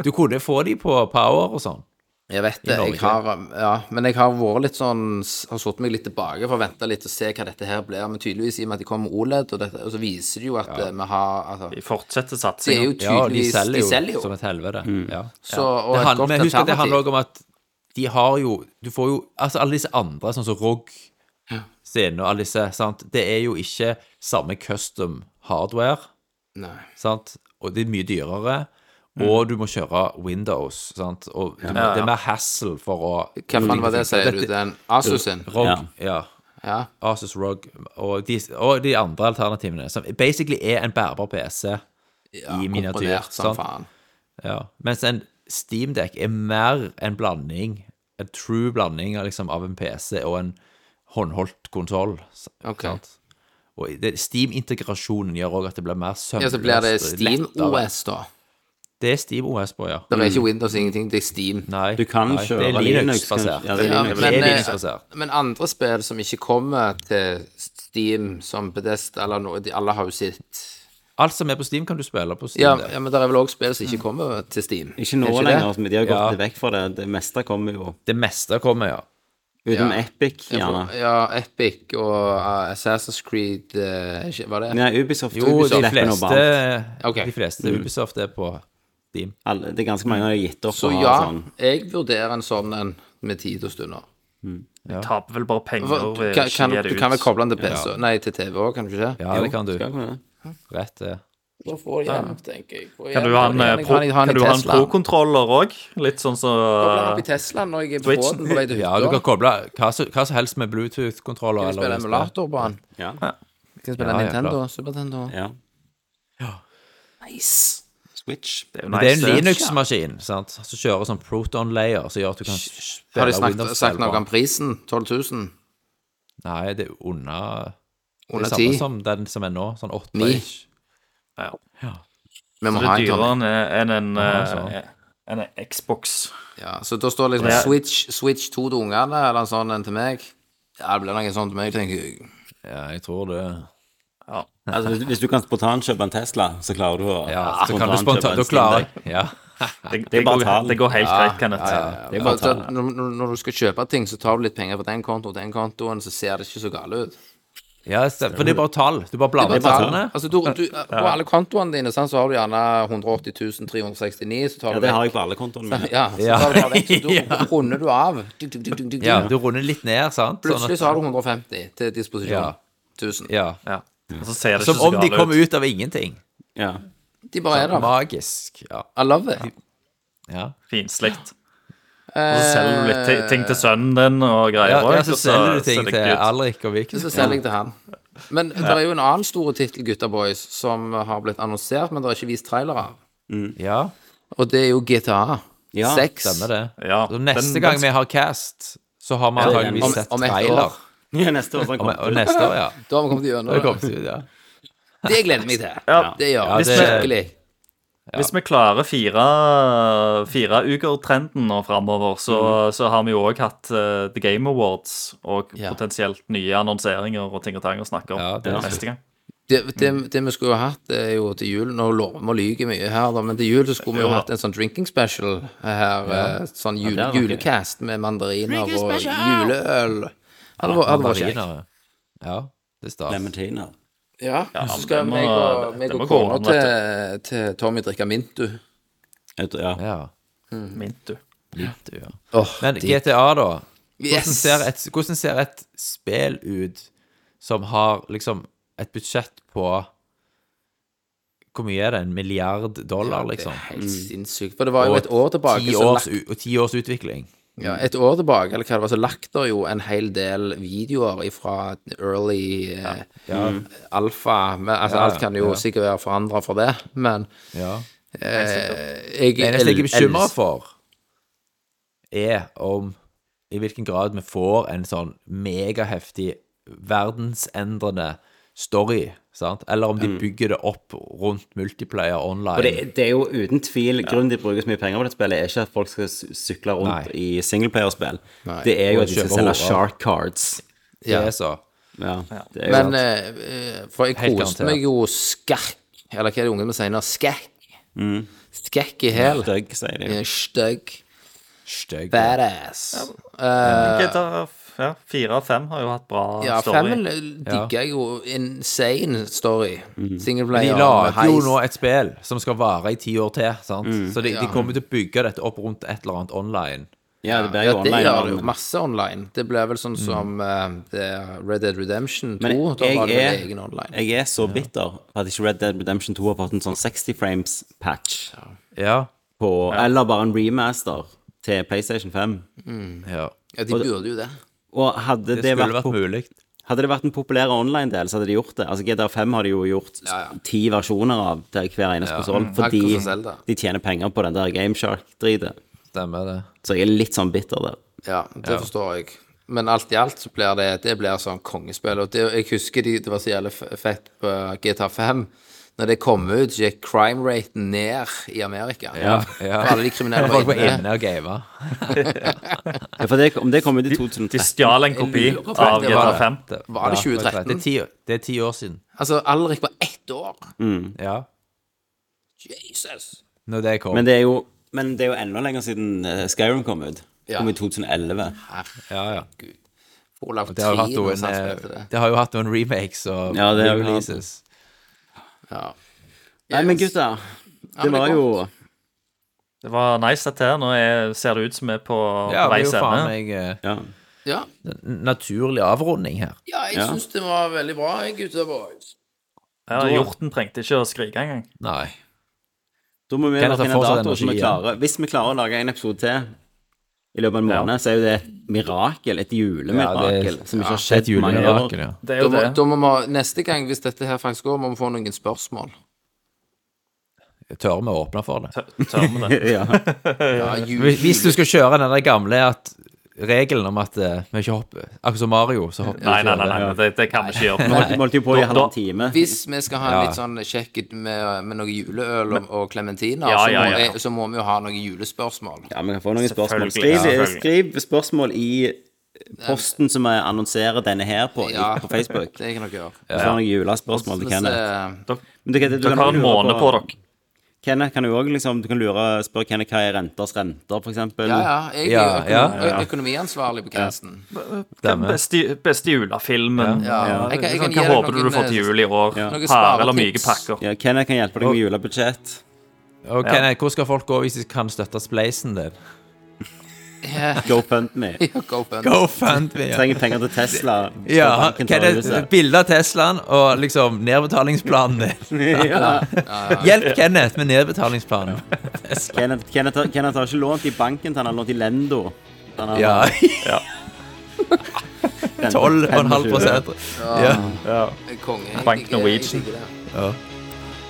[SPEAKER 3] Du kunne få de på Power og sånn.
[SPEAKER 2] Jeg vet
[SPEAKER 3] I
[SPEAKER 2] det.
[SPEAKER 3] Norge.
[SPEAKER 2] Jeg har, ja, men jeg har vært litt sånn Har satt meg litt tilbake for å vente litt og se hva dette her blir. Men tydeligvis, i og med at de kommer med OLED, og, dette, og så viser det jo at eh, vi har altså,
[SPEAKER 8] De fortsetter
[SPEAKER 2] Det er
[SPEAKER 8] satsinga.
[SPEAKER 2] jo
[SPEAKER 3] Ja, og de
[SPEAKER 2] tydeligvis
[SPEAKER 3] selger jo, som et helvete. Ja.
[SPEAKER 2] Så, og
[SPEAKER 3] det
[SPEAKER 2] et
[SPEAKER 3] handler,
[SPEAKER 2] godt
[SPEAKER 3] men husk at det handler
[SPEAKER 2] alternativ.
[SPEAKER 3] også om at de har jo Du får jo Altså, alle disse andre, sånn som ROG sin og alle disse, sant Det er jo ikke samme custom hardware,
[SPEAKER 2] Nei.
[SPEAKER 3] sant? Og det er mye dyrere.
[SPEAKER 2] Mm.
[SPEAKER 3] Og du må kjøre Windows, sant? Og du, må- det er mer hassle for å
[SPEAKER 2] Hva faen var det, sier du?
[SPEAKER 3] Dette-
[SPEAKER 2] Den Asus sin?
[SPEAKER 3] ROG,
[SPEAKER 1] Ja.
[SPEAKER 3] ja.
[SPEAKER 2] Ja.
[SPEAKER 3] Asus ROG og de, og de andre alternativene, som basically er en bærbar PC i miniatyr.
[SPEAKER 2] Komponert som
[SPEAKER 3] Sant?
[SPEAKER 2] faen.
[SPEAKER 3] Ja. Mens en Steamdeck er mer en blanding, en true blanding av liksom, av en PC og en håndholdt konsoll. s-
[SPEAKER 2] Ok.
[SPEAKER 3] sant? Og det- Steam-integrasjonen gjør òg at det blir mer sømløst.
[SPEAKER 2] Ja, så blir det
[SPEAKER 3] og
[SPEAKER 2] Steam
[SPEAKER 3] lettere.
[SPEAKER 2] OS, da.
[SPEAKER 3] Det er Steam OS på, ja.
[SPEAKER 2] Det er ikke Windows ingenting, det er Steam.
[SPEAKER 3] Nei,
[SPEAKER 1] Du kan
[SPEAKER 3] nei, det er
[SPEAKER 1] kjøre Linux,
[SPEAKER 3] Linux-basert.
[SPEAKER 1] kanskje. Ja, det er
[SPEAKER 2] Ja,
[SPEAKER 1] Linux.
[SPEAKER 3] det
[SPEAKER 2] men,
[SPEAKER 3] er
[SPEAKER 2] eh,
[SPEAKER 3] Linux-basert.
[SPEAKER 2] men andre spill som ikke kommer til Steam, som Bedest eller noe de Alle har jo sitt
[SPEAKER 3] Alt som er på Steam, kan du spille på Steam.
[SPEAKER 2] ja,
[SPEAKER 3] Deck.
[SPEAKER 2] ja, men det er vel òg spill som ikke kommer til Steam.
[SPEAKER 1] Ikke nå
[SPEAKER 2] Er det
[SPEAKER 1] lenger, altså, men de har gått
[SPEAKER 3] Ja.
[SPEAKER 1] vekk fra det. Det meste kommer jo
[SPEAKER 3] Det meste kommer, ja.
[SPEAKER 1] utenom
[SPEAKER 2] Ja.
[SPEAKER 1] Epic, gjerne.
[SPEAKER 2] det? Ja, Epic og uh, Assassin's Creed uh, ikke- Var det?
[SPEAKER 1] Nei, Ubisoft,
[SPEAKER 3] Jo, de
[SPEAKER 1] slipper nå
[SPEAKER 3] fleste,
[SPEAKER 1] bare.
[SPEAKER 2] Ok.
[SPEAKER 3] de fleste
[SPEAKER 1] Mm.
[SPEAKER 3] Ubisoft er på Steam.
[SPEAKER 1] Alle- Det er ganske mange som har gitt opp.
[SPEAKER 2] Så
[SPEAKER 1] og har
[SPEAKER 2] ja,
[SPEAKER 1] sånn.
[SPEAKER 2] jeg vurderer en sånn en med tid og stunder.
[SPEAKER 8] Taper vel bare penger
[SPEAKER 2] For,
[SPEAKER 8] ved
[SPEAKER 2] kan,
[SPEAKER 8] å
[SPEAKER 2] kan,
[SPEAKER 8] gi det
[SPEAKER 2] du
[SPEAKER 8] ut.
[SPEAKER 2] kan vel koble den til PC? Nei, til TV òg, kan du ikke det?
[SPEAKER 3] Ja, det kan du.
[SPEAKER 1] Ja, kan det.
[SPEAKER 3] Rett eh. det.
[SPEAKER 2] Da får jeg hjem, tenker jeg. Får
[SPEAKER 8] Kan
[SPEAKER 2] hjem,
[SPEAKER 8] du ha en,
[SPEAKER 2] får hjem.
[SPEAKER 8] eh,
[SPEAKER 2] Jeg
[SPEAKER 8] pro,
[SPEAKER 2] kan- jeg har
[SPEAKER 8] kan
[SPEAKER 2] den
[SPEAKER 8] du
[SPEAKER 2] i
[SPEAKER 8] ha en
[SPEAKER 2] Teslaen.
[SPEAKER 8] pro-kontroller òg? Litt sånn som
[SPEAKER 2] Kobler den opp i Teslaen når jeg er på
[SPEAKER 8] Switchen.
[SPEAKER 2] båten på vei til
[SPEAKER 3] Ja, du kan
[SPEAKER 2] hytta.
[SPEAKER 3] koble hva, som- hva som helst med Bluetooth-kontroller.
[SPEAKER 2] Kan spille
[SPEAKER 3] eller USB.
[SPEAKER 2] emulator på den.
[SPEAKER 1] Ja.
[SPEAKER 2] Kan spille
[SPEAKER 3] Ja, ja,
[SPEAKER 2] Nintendo, Super Nintendo.
[SPEAKER 1] ja.
[SPEAKER 2] Nice.
[SPEAKER 1] Switch.
[SPEAKER 8] Det er jo
[SPEAKER 3] Men det er
[SPEAKER 8] nice,
[SPEAKER 3] en
[SPEAKER 8] det.
[SPEAKER 3] Linux-maskin sant, som kjører sånn proton-layer, som gjør at du kan spille
[SPEAKER 2] Har de snakket,
[SPEAKER 3] Windows-spill
[SPEAKER 2] sagt
[SPEAKER 3] på
[SPEAKER 2] noe om
[SPEAKER 3] den.
[SPEAKER 2] prisen? 12 000?
[SPEAKER 3] Nei, det er under Det
[SPEAKER 2] Under
[SPEAKER 3] er samme
[SPEAKER 2] ti.
[SPEAKER 3] som den som er nå, sånn åtte
[SPEAKER 2] Ni.
[SPEAKER 3] ish.
[SPEAKER 2] Vi må
[SPEAKER 8] Det
[SPEAKER 2] ha
[SPEAKER 8] er
[SPEAKER 2] en Tommy.
[SPEAKER 8] dyrere enn enn en,
[SPEAKER 3] sånn.
[SPEAKER 8] eh, enn en Xbox.
[SPEAKER 2] Ja, så da står det liksom
[SPEAKER 8] Ja.
[SPEAKER 2] Switch, Switch 2 til ungene, eller en sånn en til meg. Ja, det blir noe sånt til meg, tenker jeg.
[SPEAKER 3] Ja, jeg tror det.
[SPEAKER 1] Altså, hvis, hvis du kan spontankjøpe en Tesla, så klarer du å
[SPEAKER 3] Ja, så kan du spontant Da klarer jeg. Ja.
[SPEAKER 8] Det, det,
[SPEAKER 1] er bare
[SPEAKER 8] går,
[SPEAKER 1] tall.
[SPEAKER 8] det går helt greit, Kenneth.
[SPEAKER 1] Det er
[SPEAKER 2] For
[SPEAKER 1] bare
[SPEAKER 2] at-
[SPEAKER 1] tall.
[SPEAKER 2] Altså, når, når- når du skal kjøpe ting, så tar du litt penger fra den kontoen til den kontoen, så ser det ikke så galt ut.
[SPEAKER 3] ja, stemmer. For det er bare tall. Du bare blander
[SPEAKER 2] Det
[SPEAKER 3] i
[SPEAKER 2] er bare tall.
[SPEAKER 3] tallene.
[SPEAKER 2] Altså, du, du, på alle kontoene dine sant, så har du gjerne 180 369, så tar
[SPEAKER 1] Ja,
[SPEAKER 2] du
[SPEAKER 1] det
[SPEAKER 2] vekk-
[SPEAKER 1] har jeg på alle kontoene mine.
[SPEAKER 2] Ja, så
[SPEAKER 3] Ja.
[SPEAKER 2] tar du bare vekk, så du, runder du av. Ding, ding, ding, ding, ding,
[SPEAKER 3] Ja,
[SPEAKER 2] ding.
[SPEAKER 3] du runder litt ned, sant? Sånn
[SPEAKER 2] Plutselig
[SPEAKER 3] at,
[SPEAKER 2] så har du 150 til disposisjon.
[SPEAKER 3] Ja.
[SPEAKER 2] 1000.
[SPEAKER 3] ja.
[SPEAKER 8] Ja. Og så ser det
[SPEAKER 3] Som
[SPEAKER 8] ikke så
[SPEAKER 3] om de
[SPEAKER 8] galt
[SPEAKER 3] kom
[SPEAKER 8] ut.
[SPEAKER 3] ut av ingenting.
[SPEAKER 1] Ja.
[SPEAKER 2] De bare er der.
[SPEAKER 3] Magisk. Ja.
[SPEAKER 2] I love it.
[SPEAKER 3] ja.
[SPEAKER 8] Finslikt.
[SPEAKER 2] Eh,
[SPEAKER 8] Og så selger du litt ti- ting til sønnen din og
[SPEAKER 3] Ja,
[SPEAKER 8] greier.
[SPEAKER 3] ja, så
[SPEAKER 8] også, og
[SPEAKER 3] selger du ting
[SPEAKER 8] ser det
[SPEAKER 3] til
[SPEAKER 8] ikke ut.
[SPEAKER 3] Alrik og Viken.
[SPEAKER 2] Så selger jeg til han. Men det er jo en annen store tittel, Gutta Boys, som har blitt annonsert, men det er ikke vist trailer av.
[SPEAKER 3] Ja,
[SPEAKER 2] Og det er jo GTA.
[SPEAKER 1] Ja,
[SPEAKER 2] 6.
[SPEAKER 3] stemmer det.
[SPEAKER 8] Ja,
[SPEAKER 3] Så neste
[SPEAKER 8] den-
[SPEAKER 3] gang
[SPEAKER 8] den-
[SPEAKER 3] vi har cast, så har vi antageligvis
[SPEAKER 2] Om,
[SPEAKER 3] sett
[SPEAKER 2] om ett
[SPEAKER 3] trailer.
[SPEAKER 2] år.
[SPEAKER 1] Ja, Neste år så
[SPEAKER 3] Om,
[SPEAKER 1] kommer
[SPEAKER 3] og neste år, ja.
[SPEAKER 2] Da har vi kommet
[SPEAKER 3] Da
[SPEAKER 2] gjennom det.
[SPEAKER 3] kommer det ut, ja.
[SPEAKER 2] Det gleder jeg meg til.
[SPEAKER 8] Ja.
[SPEAKER 2] Det gjør
[SPEAKER 3] Ja,
[SPEAKER 2] jeg
[SPEAKER 3] det-
[SPEAKER 2] skikkelig.
[SPEAKER 8] Hvis vi klarer fire, fire uker trenden nå framover, så, så har vi jo òg hatt eh, The Game Awards og
[SPEAKER 2] Mm. Ja.
[SPEAKER 8] potensielt nye annonseringer og ting og tang å snakke om
[SPEAKER 3] Ja, det er sant.
[SPEAKER 8] neste gang.
[SPEAKER 2] Det, det, det vi skulle jo hatt, det er jo til jul Nå lover vi å lyge mye her, da, men til jul så skulle vi jo
[SPEAKER 8] Ja.
[SPEAKER 2] hatt en sånn drinking special her. eh, Sånn jule,
[SPEAKER 1] det er nok-
[SPEAKER 2] julekast med mandariner og juleøl. Hadde vært- hadde vært kjekt.
[SPEAKER 3] Mandariner. Ja, det er stas.
[SPEAKER 1] Clementiner.
[SPEAKER 2] Ja, så
[SPEAKER 8] men
[SPEAKER 2] skal
[SPEAKER 8] det må-
[SPEAKER 2] meg og, meg
[SPEAKER 8] det
[SPEAKER 2] og
[SPEAKER 8] må gå
[SPEAKER 2] kona
[SPEAKER 8] an,
[SPEAKER 2] til,
[SPEAKER 8] vet
[SPEAKER 2] til Tommy drikke Mintu.
[SPEAKER 1] Jeg tror- Ja.
[SPEAKER 3] Ja.
[SPEAKER 2] Mm.
[SPEAKER 8] Mint, du.
[SPEAKER 3] Litt, ja.
[SPEAKER 2] Åh,
[SPEAKER 3] Men
[SPEAKER 2] de-
[SPEAKER 3] GTA, da. Hvordan
[SPEAKER 2] Yes.
[SPEAKER 3] ser, et, hvordan ser et spill ut som har liksom et budsjett på Hvor mye er det? En milliard dollar,
[SPEAKER 2] Det
[SPEAKER 3] liksom?
[SPEAKER 2] er helt sinnssykt. For det var jo et år tilbake
[SPEAKER 3] Ti
[SPEAKER 2] så
[SPEAKER 3] års,
[SPEAKER 2] lagt-
[SPEAKER 3] u- og ti års utvikling.
[SPEAKER 2] Ja, et år tilbake, eller hva det var, så lagt der jo en hel del videoer ifra early eh, alfa men, Altså,
[SPEAKER 3] Ja,
[SPEAKER 2] alt kan jo
[SPEAKER 3] ja.
[SPEAKER 2] sikkert være forandra for det, men
[SPEAKER 3] Ja.
[SPEAKER 2] eh, jeg
[SPEAKER 3] Det eneste jeg er
[SPEAKER 2] el-
[SPEAKER 3] bekymra
[SPEAKER 2] els-
[SPEAKER 3] for, er om i hvilken grad vi får en sånn megaheftig, verdensendrende story, sant? Eller om de bygger det opp rundt multiplayer
[SPEAKER 1] Og
[SPEAKER 3] online.
[SPEAKER 1] det, det er jo uten tvil Grunnen til at de bruker så mye penger på dette spillet, er ikke at folk skal sy- sykle rundt
[SPEAKER 3] Nei.
[SPEAKER 1] i singleplayerspill.
[SPEAKER 2] Nei.
[SPEAKER 1] Det er jo
[SPEAKER 3] Og
[SPEAKER 1] at de skal
[SPEAKER 3] kjøpe
[SPEAKER 1] selge
[SPEAKER 3] horer.
[SPEAKER 1] shark cards.
[SPEAKER 3] Det er så.
[SPEAKER 1] Ja, det er jo
[SPEAKER 2] Men eh, for jeg
[SPEAKER 3] Helt
[SPEAKER 2] koste
[SPEAKER 3] garantert.
[SPEAKER 2] meg jo skakk, eller hva er det ungene sier nå, skakk. Skakk i hæl.
[SPEAKER 1] Støgg, sier
[SPEAKER 2] eh,
[SPEAKER 1] de.
[SPEAKER 2] Stygg.
[SPEAKER 3] Stygg.
[SPEAKER 2] Badass. Eh,
[SPEAKER 8] GTA f- ja, fire av fem har jo hatt bra
[SPEAKER 2] Ja,
[SPEAKER 8] story.
[SPEAKER 2] Femmen digger jeg jo insane story.
[SPEAKER 3] De
[SPEAKER 2] Singleplayer med
[SPEAKER 3] lager jo
[SPEAKER 2] heist.
[SPEAKER 3] nå et spill som skal vare i ti år til, sant? Så de, de kommer til å bygge dette opp rundt et eller annet online.
[SPEAKER 1] Ja, det blir
[SPEAKER 2] Ja,
[SPEAKER 1] jo
[SPEAKER 2] det
[SPEAKER 1] online.
[SPEAKER 2] gjør det
[SPEAKER 1] men-
[SPEAKER 2] jo. Masse online. Det ble vel sånn som eh, det er Red Dead Redemption 2.
[SPEAKER 1] Men
[SPEAKER 2] da
[SPEAKER 1] jeg
[SPEAKER 2] var det vel
[SPEAKER 1] er-
[SPEAKER 2] egen online.
[SPEAKER 1] Jeg er så bitter at ikke Red Dead Redemption 2 har fått en sånn 60 frames-patch.
[SPEAKER 3] Ja.
[SPEAKER 1] på Eller bare en remaster til PlayStation 5.
[SPEAKER 3] ja.
[SPEAKER 2] Ja, de burde jo det.
[SPEAKER 1] Og hadde det,
[SPEAKER 3] Det skulle
[SPEAKER 1] vært,
[SPEAKER 3] vært
[SPEAKER 1] pop-
[SPEAKER 3] mulig.
[SPEAKER 1] hadde det vært en populær online-del, så hadde de gjort det. Altså GDR5 har de jo gjort ti versjoner av til hver eneste konsoll, fordi
[SPEAKER 2] Mm. Akkurat som Zelda.
[SPEAKER 1] de tjener penger på den der GameShark-dritet.
[SPEAKER 3] Stemmer det.
[SPEAKER 1] Så jeg er litt sånn bitter der.
[SPEAKER 2] Ja, det forstår jeg. Men alt i alt så blir det Det blir sånn kongespill. Og det, jeg husker de, det var så jævlig f- fett på GTA 5. Når det kom ut, gikk crime raten ned i Amerika.
[SPEAKER 3] Ja, ja.
[SPEAKER 2] For alle de kriminelle
[SPEAKER 3] Folk
[SPEAKER 2] var
[SPEAKER 3] var
[SPEAKER 2] inne.
[SPEAKER 3] inne og gama.
[SPEAKER 1] Ja, for det, om det kom ut i
[SPEAKER 8] De
[SPEAKER 1] 2013
[SPEAKER 8] stjal en kopi
[SPEAKER 2] lurer på
[SPEAKER 8] av
[SPEAKER 2] det var
[SPEAKER 8] GTA
[SPEAKER 2] det.
[SPEAKER 8] 5.
[SPEAKER 2] Var det
[SPEAKER 3] Ja,
[SPEAKER 2] 2013?
[SPEAKER 3] Det er ti, det er ti år siden.
[SPEAKER 2] Altså, Alrik var ett år.
[SPEAKER 3] Ja.
[SPEAKER 2] Jesus!
[SPEAKER 3] Når det kom.
[SPEAKER 1] Men det er jo men det er jo enda lenger siden eh, Skyrim kom ut.
[SPEAKER 2] Ja.
[SPEAKER 1] Kom i 2011.
[SPEAKER 3] ja, ja.
[SPEAKER 2] Olav
[SPEAKER 3] Det har, jo
[SPEAKER 2] Trien
[SPEAKER 3] hatt noen,
[SPEAKER 2] han
[SPEAKER 3] eh,
[SPEAKER 2] spilte det.
[SPEAKER 3] det har jo hatt noen remakes og
[SPEAKER 1] Ja, det har jo
[SPEAKER 3] releases.
[SPEAKER 2] Ja.
[SPEAKER 1] Nei, men gutta, det
[SPEAKER 2] men det
[SPEAKER 1] var
[SPEAKER 2] er
[SPEAKER 1] jo
[SPEAKER 8] Det var nice, dette her. Nå er, ser det ut som vi er på
[SPEAKER 3] Ja, det er
[SPEAKER 8] veis
[SPEAKER 3] jo faen
[SPEAKER 8] ende.
[SPEAKER 3] meg eh,
[SPEAKER 1] ja.
[SPEAKER 2] ja.
[SPEAKER 3] en naturlig avrunding her.
[SPEAKER 2] Ja, jeg
[SPEAKER 1] Ja.
[SPEAKER 2] synes det var veldig bra, jeg, gutter boys.
[SPEAKER 8] Ja, Hjorten trengte ikke å skrike engang.
[SPEAKER 3] Nei.
[SPEAKER 1] Da må vi bare
[SPEAKER 3] Kenneth har
[SPEAKER 1] finne en
[SPEAKER 3] fortsatt
[SPEAKER 1] dato som vi
[SPEAKER 3] energi, ja.
[SPEAKER 1] klarer. Hvis vi klarer å lage en episode til i løpet av en måned, så er jo det et mirakel, et
[SPEAKER 3] Ja,
[SPEAKER 1] julemirakel,
[SPEAKER 3] det er-
[SPEAKER 1] som ikke har
[SPEAKER 3] Det er et
[SPEAKER 1] skjedd på mange år.
[SPEAKER 3] julemirakel, ja.
[SPEAKER 8] Det er
[SPEAKER 2] Da
[SPEAKER 8] jo
[SPEAKER 2] må,
[SPEAKER 8] det.
[SPEAKER 2] da må vi, neste gang, hvis dette her faktisk går, må vi få noen spørsmål.
[SPEAKER 3] Tør vi å åpne for det?
[SPEAKER 8] Tør med det.
[SPEAKER 1] Ja.
[SPEAKER 2] Ja, jul.
[SPEAKER 3] Hvis hvis du skal kjøre den der gamle at regelen om at eh, vi ikke hopper Akkurat som Mario, så hopper vi
[SPEAKER 8] Nei,
[SPEAKER 3] ikke
[SPEAKER 8] nei, nei,
[SPEAKER 3] over.
[SPEAKER 8] nei, det, det kan vi ikke gjøre.
[SPEAKER 1] Vi holdt, vi holdt jo på i
[SPEAKER 8] Da-
[SPEAKER 1] halvannen
[SPEAKER 8] da-
[SPEAKER 1] time.
[SPEAKER 2] Hvis vi skal ha en
[SPEAKER 3] Ja.
[SPEAKER 2] litt sånn sjekk ut med, med noe juleøl og, og clementiner,
[SPEAKER 8] Ja,
[SPEAKER 2] så,
[SPEAKER 8] ja,
[SPEAKER 2] må
[SPEAKER 8] ja.
[SPEAKER 2] jeg- så må vi jo ha noen julespørsmål.
[SPEAKER 1] Ja, vi kan få noen spørsmål.
[SPEAKER 8] Selvfølgelig,
[SPEAKER 1] Skriv,
[SPEAKER 8] selvfølgelig.
[SPEAKER 1] skriv spørsmål i posten som vi annonserer denne her på, i- på Facebook.
[SPEAKER 2] Det kan dere gjøre.
[SPEAKER 1] Så får noen julespørsmål til
[SPEAKER 2] Mens,
[SPEAKER 1] Kenneth.
[SPEAKER 2] eh,
[SPEAKER 1] Men du, Kenneth, du
[SPEAKER 8] Dere
[SPEAKER 1] kan
[SPEAKER 8] har en
[SPEAKER 1] lure
[SPEAKER 8] måned på dere.
[SPEAKER 1] Kenneth kan jo også, liksom, du kan lure, spørre Kenneth hva er renters renter, for eksempel.
[SPEAKER 2] ja, ja. Jeg
[SPEAKER 3] Ja,
[SPEAKER 2] er jo økonom,
[SPEAKER 3] ja,
[SPEAKER 2] ø- økonomiansvarlig på grensen.
[SPEAKER 8] Den
[SPEAKER 3] Stemmer.
[SPEAKER 8] beste, beste julefilmen.
[SPEAKER 2] Ja. Jeg kan- jeg kan
[SPEAKER 8] Hva
[SPEAKER 2] gi deg
[SPEAKER 8] håper du
[SPEAKER 2] noen,
[SPEAKER 8] du får til
[SPEAKER 2] eh,
[SPEAKER 8] jul i år?
[SPEAKER 1] Ja.
[SPEAKER 2] noen
[SPEAKER 8] Harde eller myke
[SPEAKER 2] sparetips.
[SPEAKER 8] pakker?
[SPEAKER 1] Ja, Kenneth kan hjelpe deg med julebudsjett.
[SPEAKER 3] Og Kenneth, hvor skal folk gå hvis de kan støtte spleisen din?
[SPEAKER 1] GoFundMe.
[SPEAKER 2] Ja, go fund.
[SPEAKER 3] Go fund me! Ja,
[SPEAKER 1] Trenger penger til Tesla.
[SPEAKER 3] ja
[SPEAKER 1] banken tar
[SPEAKER 3] Kenneth,
[SPEAKER 1] huset.
[SPEAKER 3] bilde av Teslaen og liksom nedbetalingsplanen din.
[SPEAKER 1] ja.
[SPEAKER 3] Hjelp Kenneth med nedbetalingsplanen. Tesla.
[SPEAKER 1] Kenneth, Kenneth, har- Kenneth har ikke lånt i banken, han har lånt i Lendo. Han har
[SPEAKER 3] Ja,
[SPEAKER 1] rente
[SPEAKER 3] 12,5 prosent. Ja.
[SPEAKER 2] Eh, Konge. Jeg-
[SPEAKER 8] Bank
[SPEAKER 2] jeg-
[SPEAKER 8] Norwegian.
[SPEAKER 2] jeg digger det.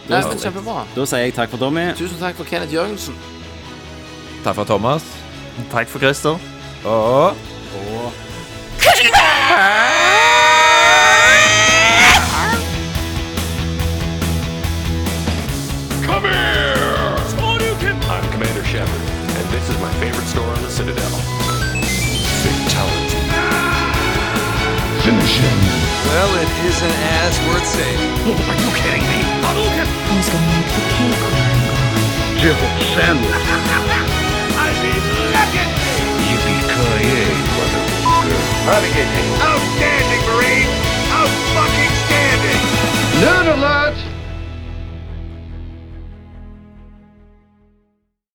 [SPEAKER 3] Ja.
[SPEAKER 2] Nei, men Kjempebra.
[SPEAKER 1] Da sier jeg takk for Tommy.
[SPEAKER 2] Tusen takk for Kenneth Jørgensen.
[SPEAKER 3] Takk for Thomas.
[SPEAKER 8] Takk for Christer.
[SPEAKER 3] Og
[SPEAKER 4] Come here! I'm Commander Shepard, and this is my favorite store on the Citadel.
[SPEAKER 5] Fatality. Finish him. Well, it isn't as worth saying.
[SPEAKER 7] Oh, Are you kidding me? Who's gonna make the cake? Jill sandwich. I mean, look at me! Yippee-ki-yay, motherfucker. How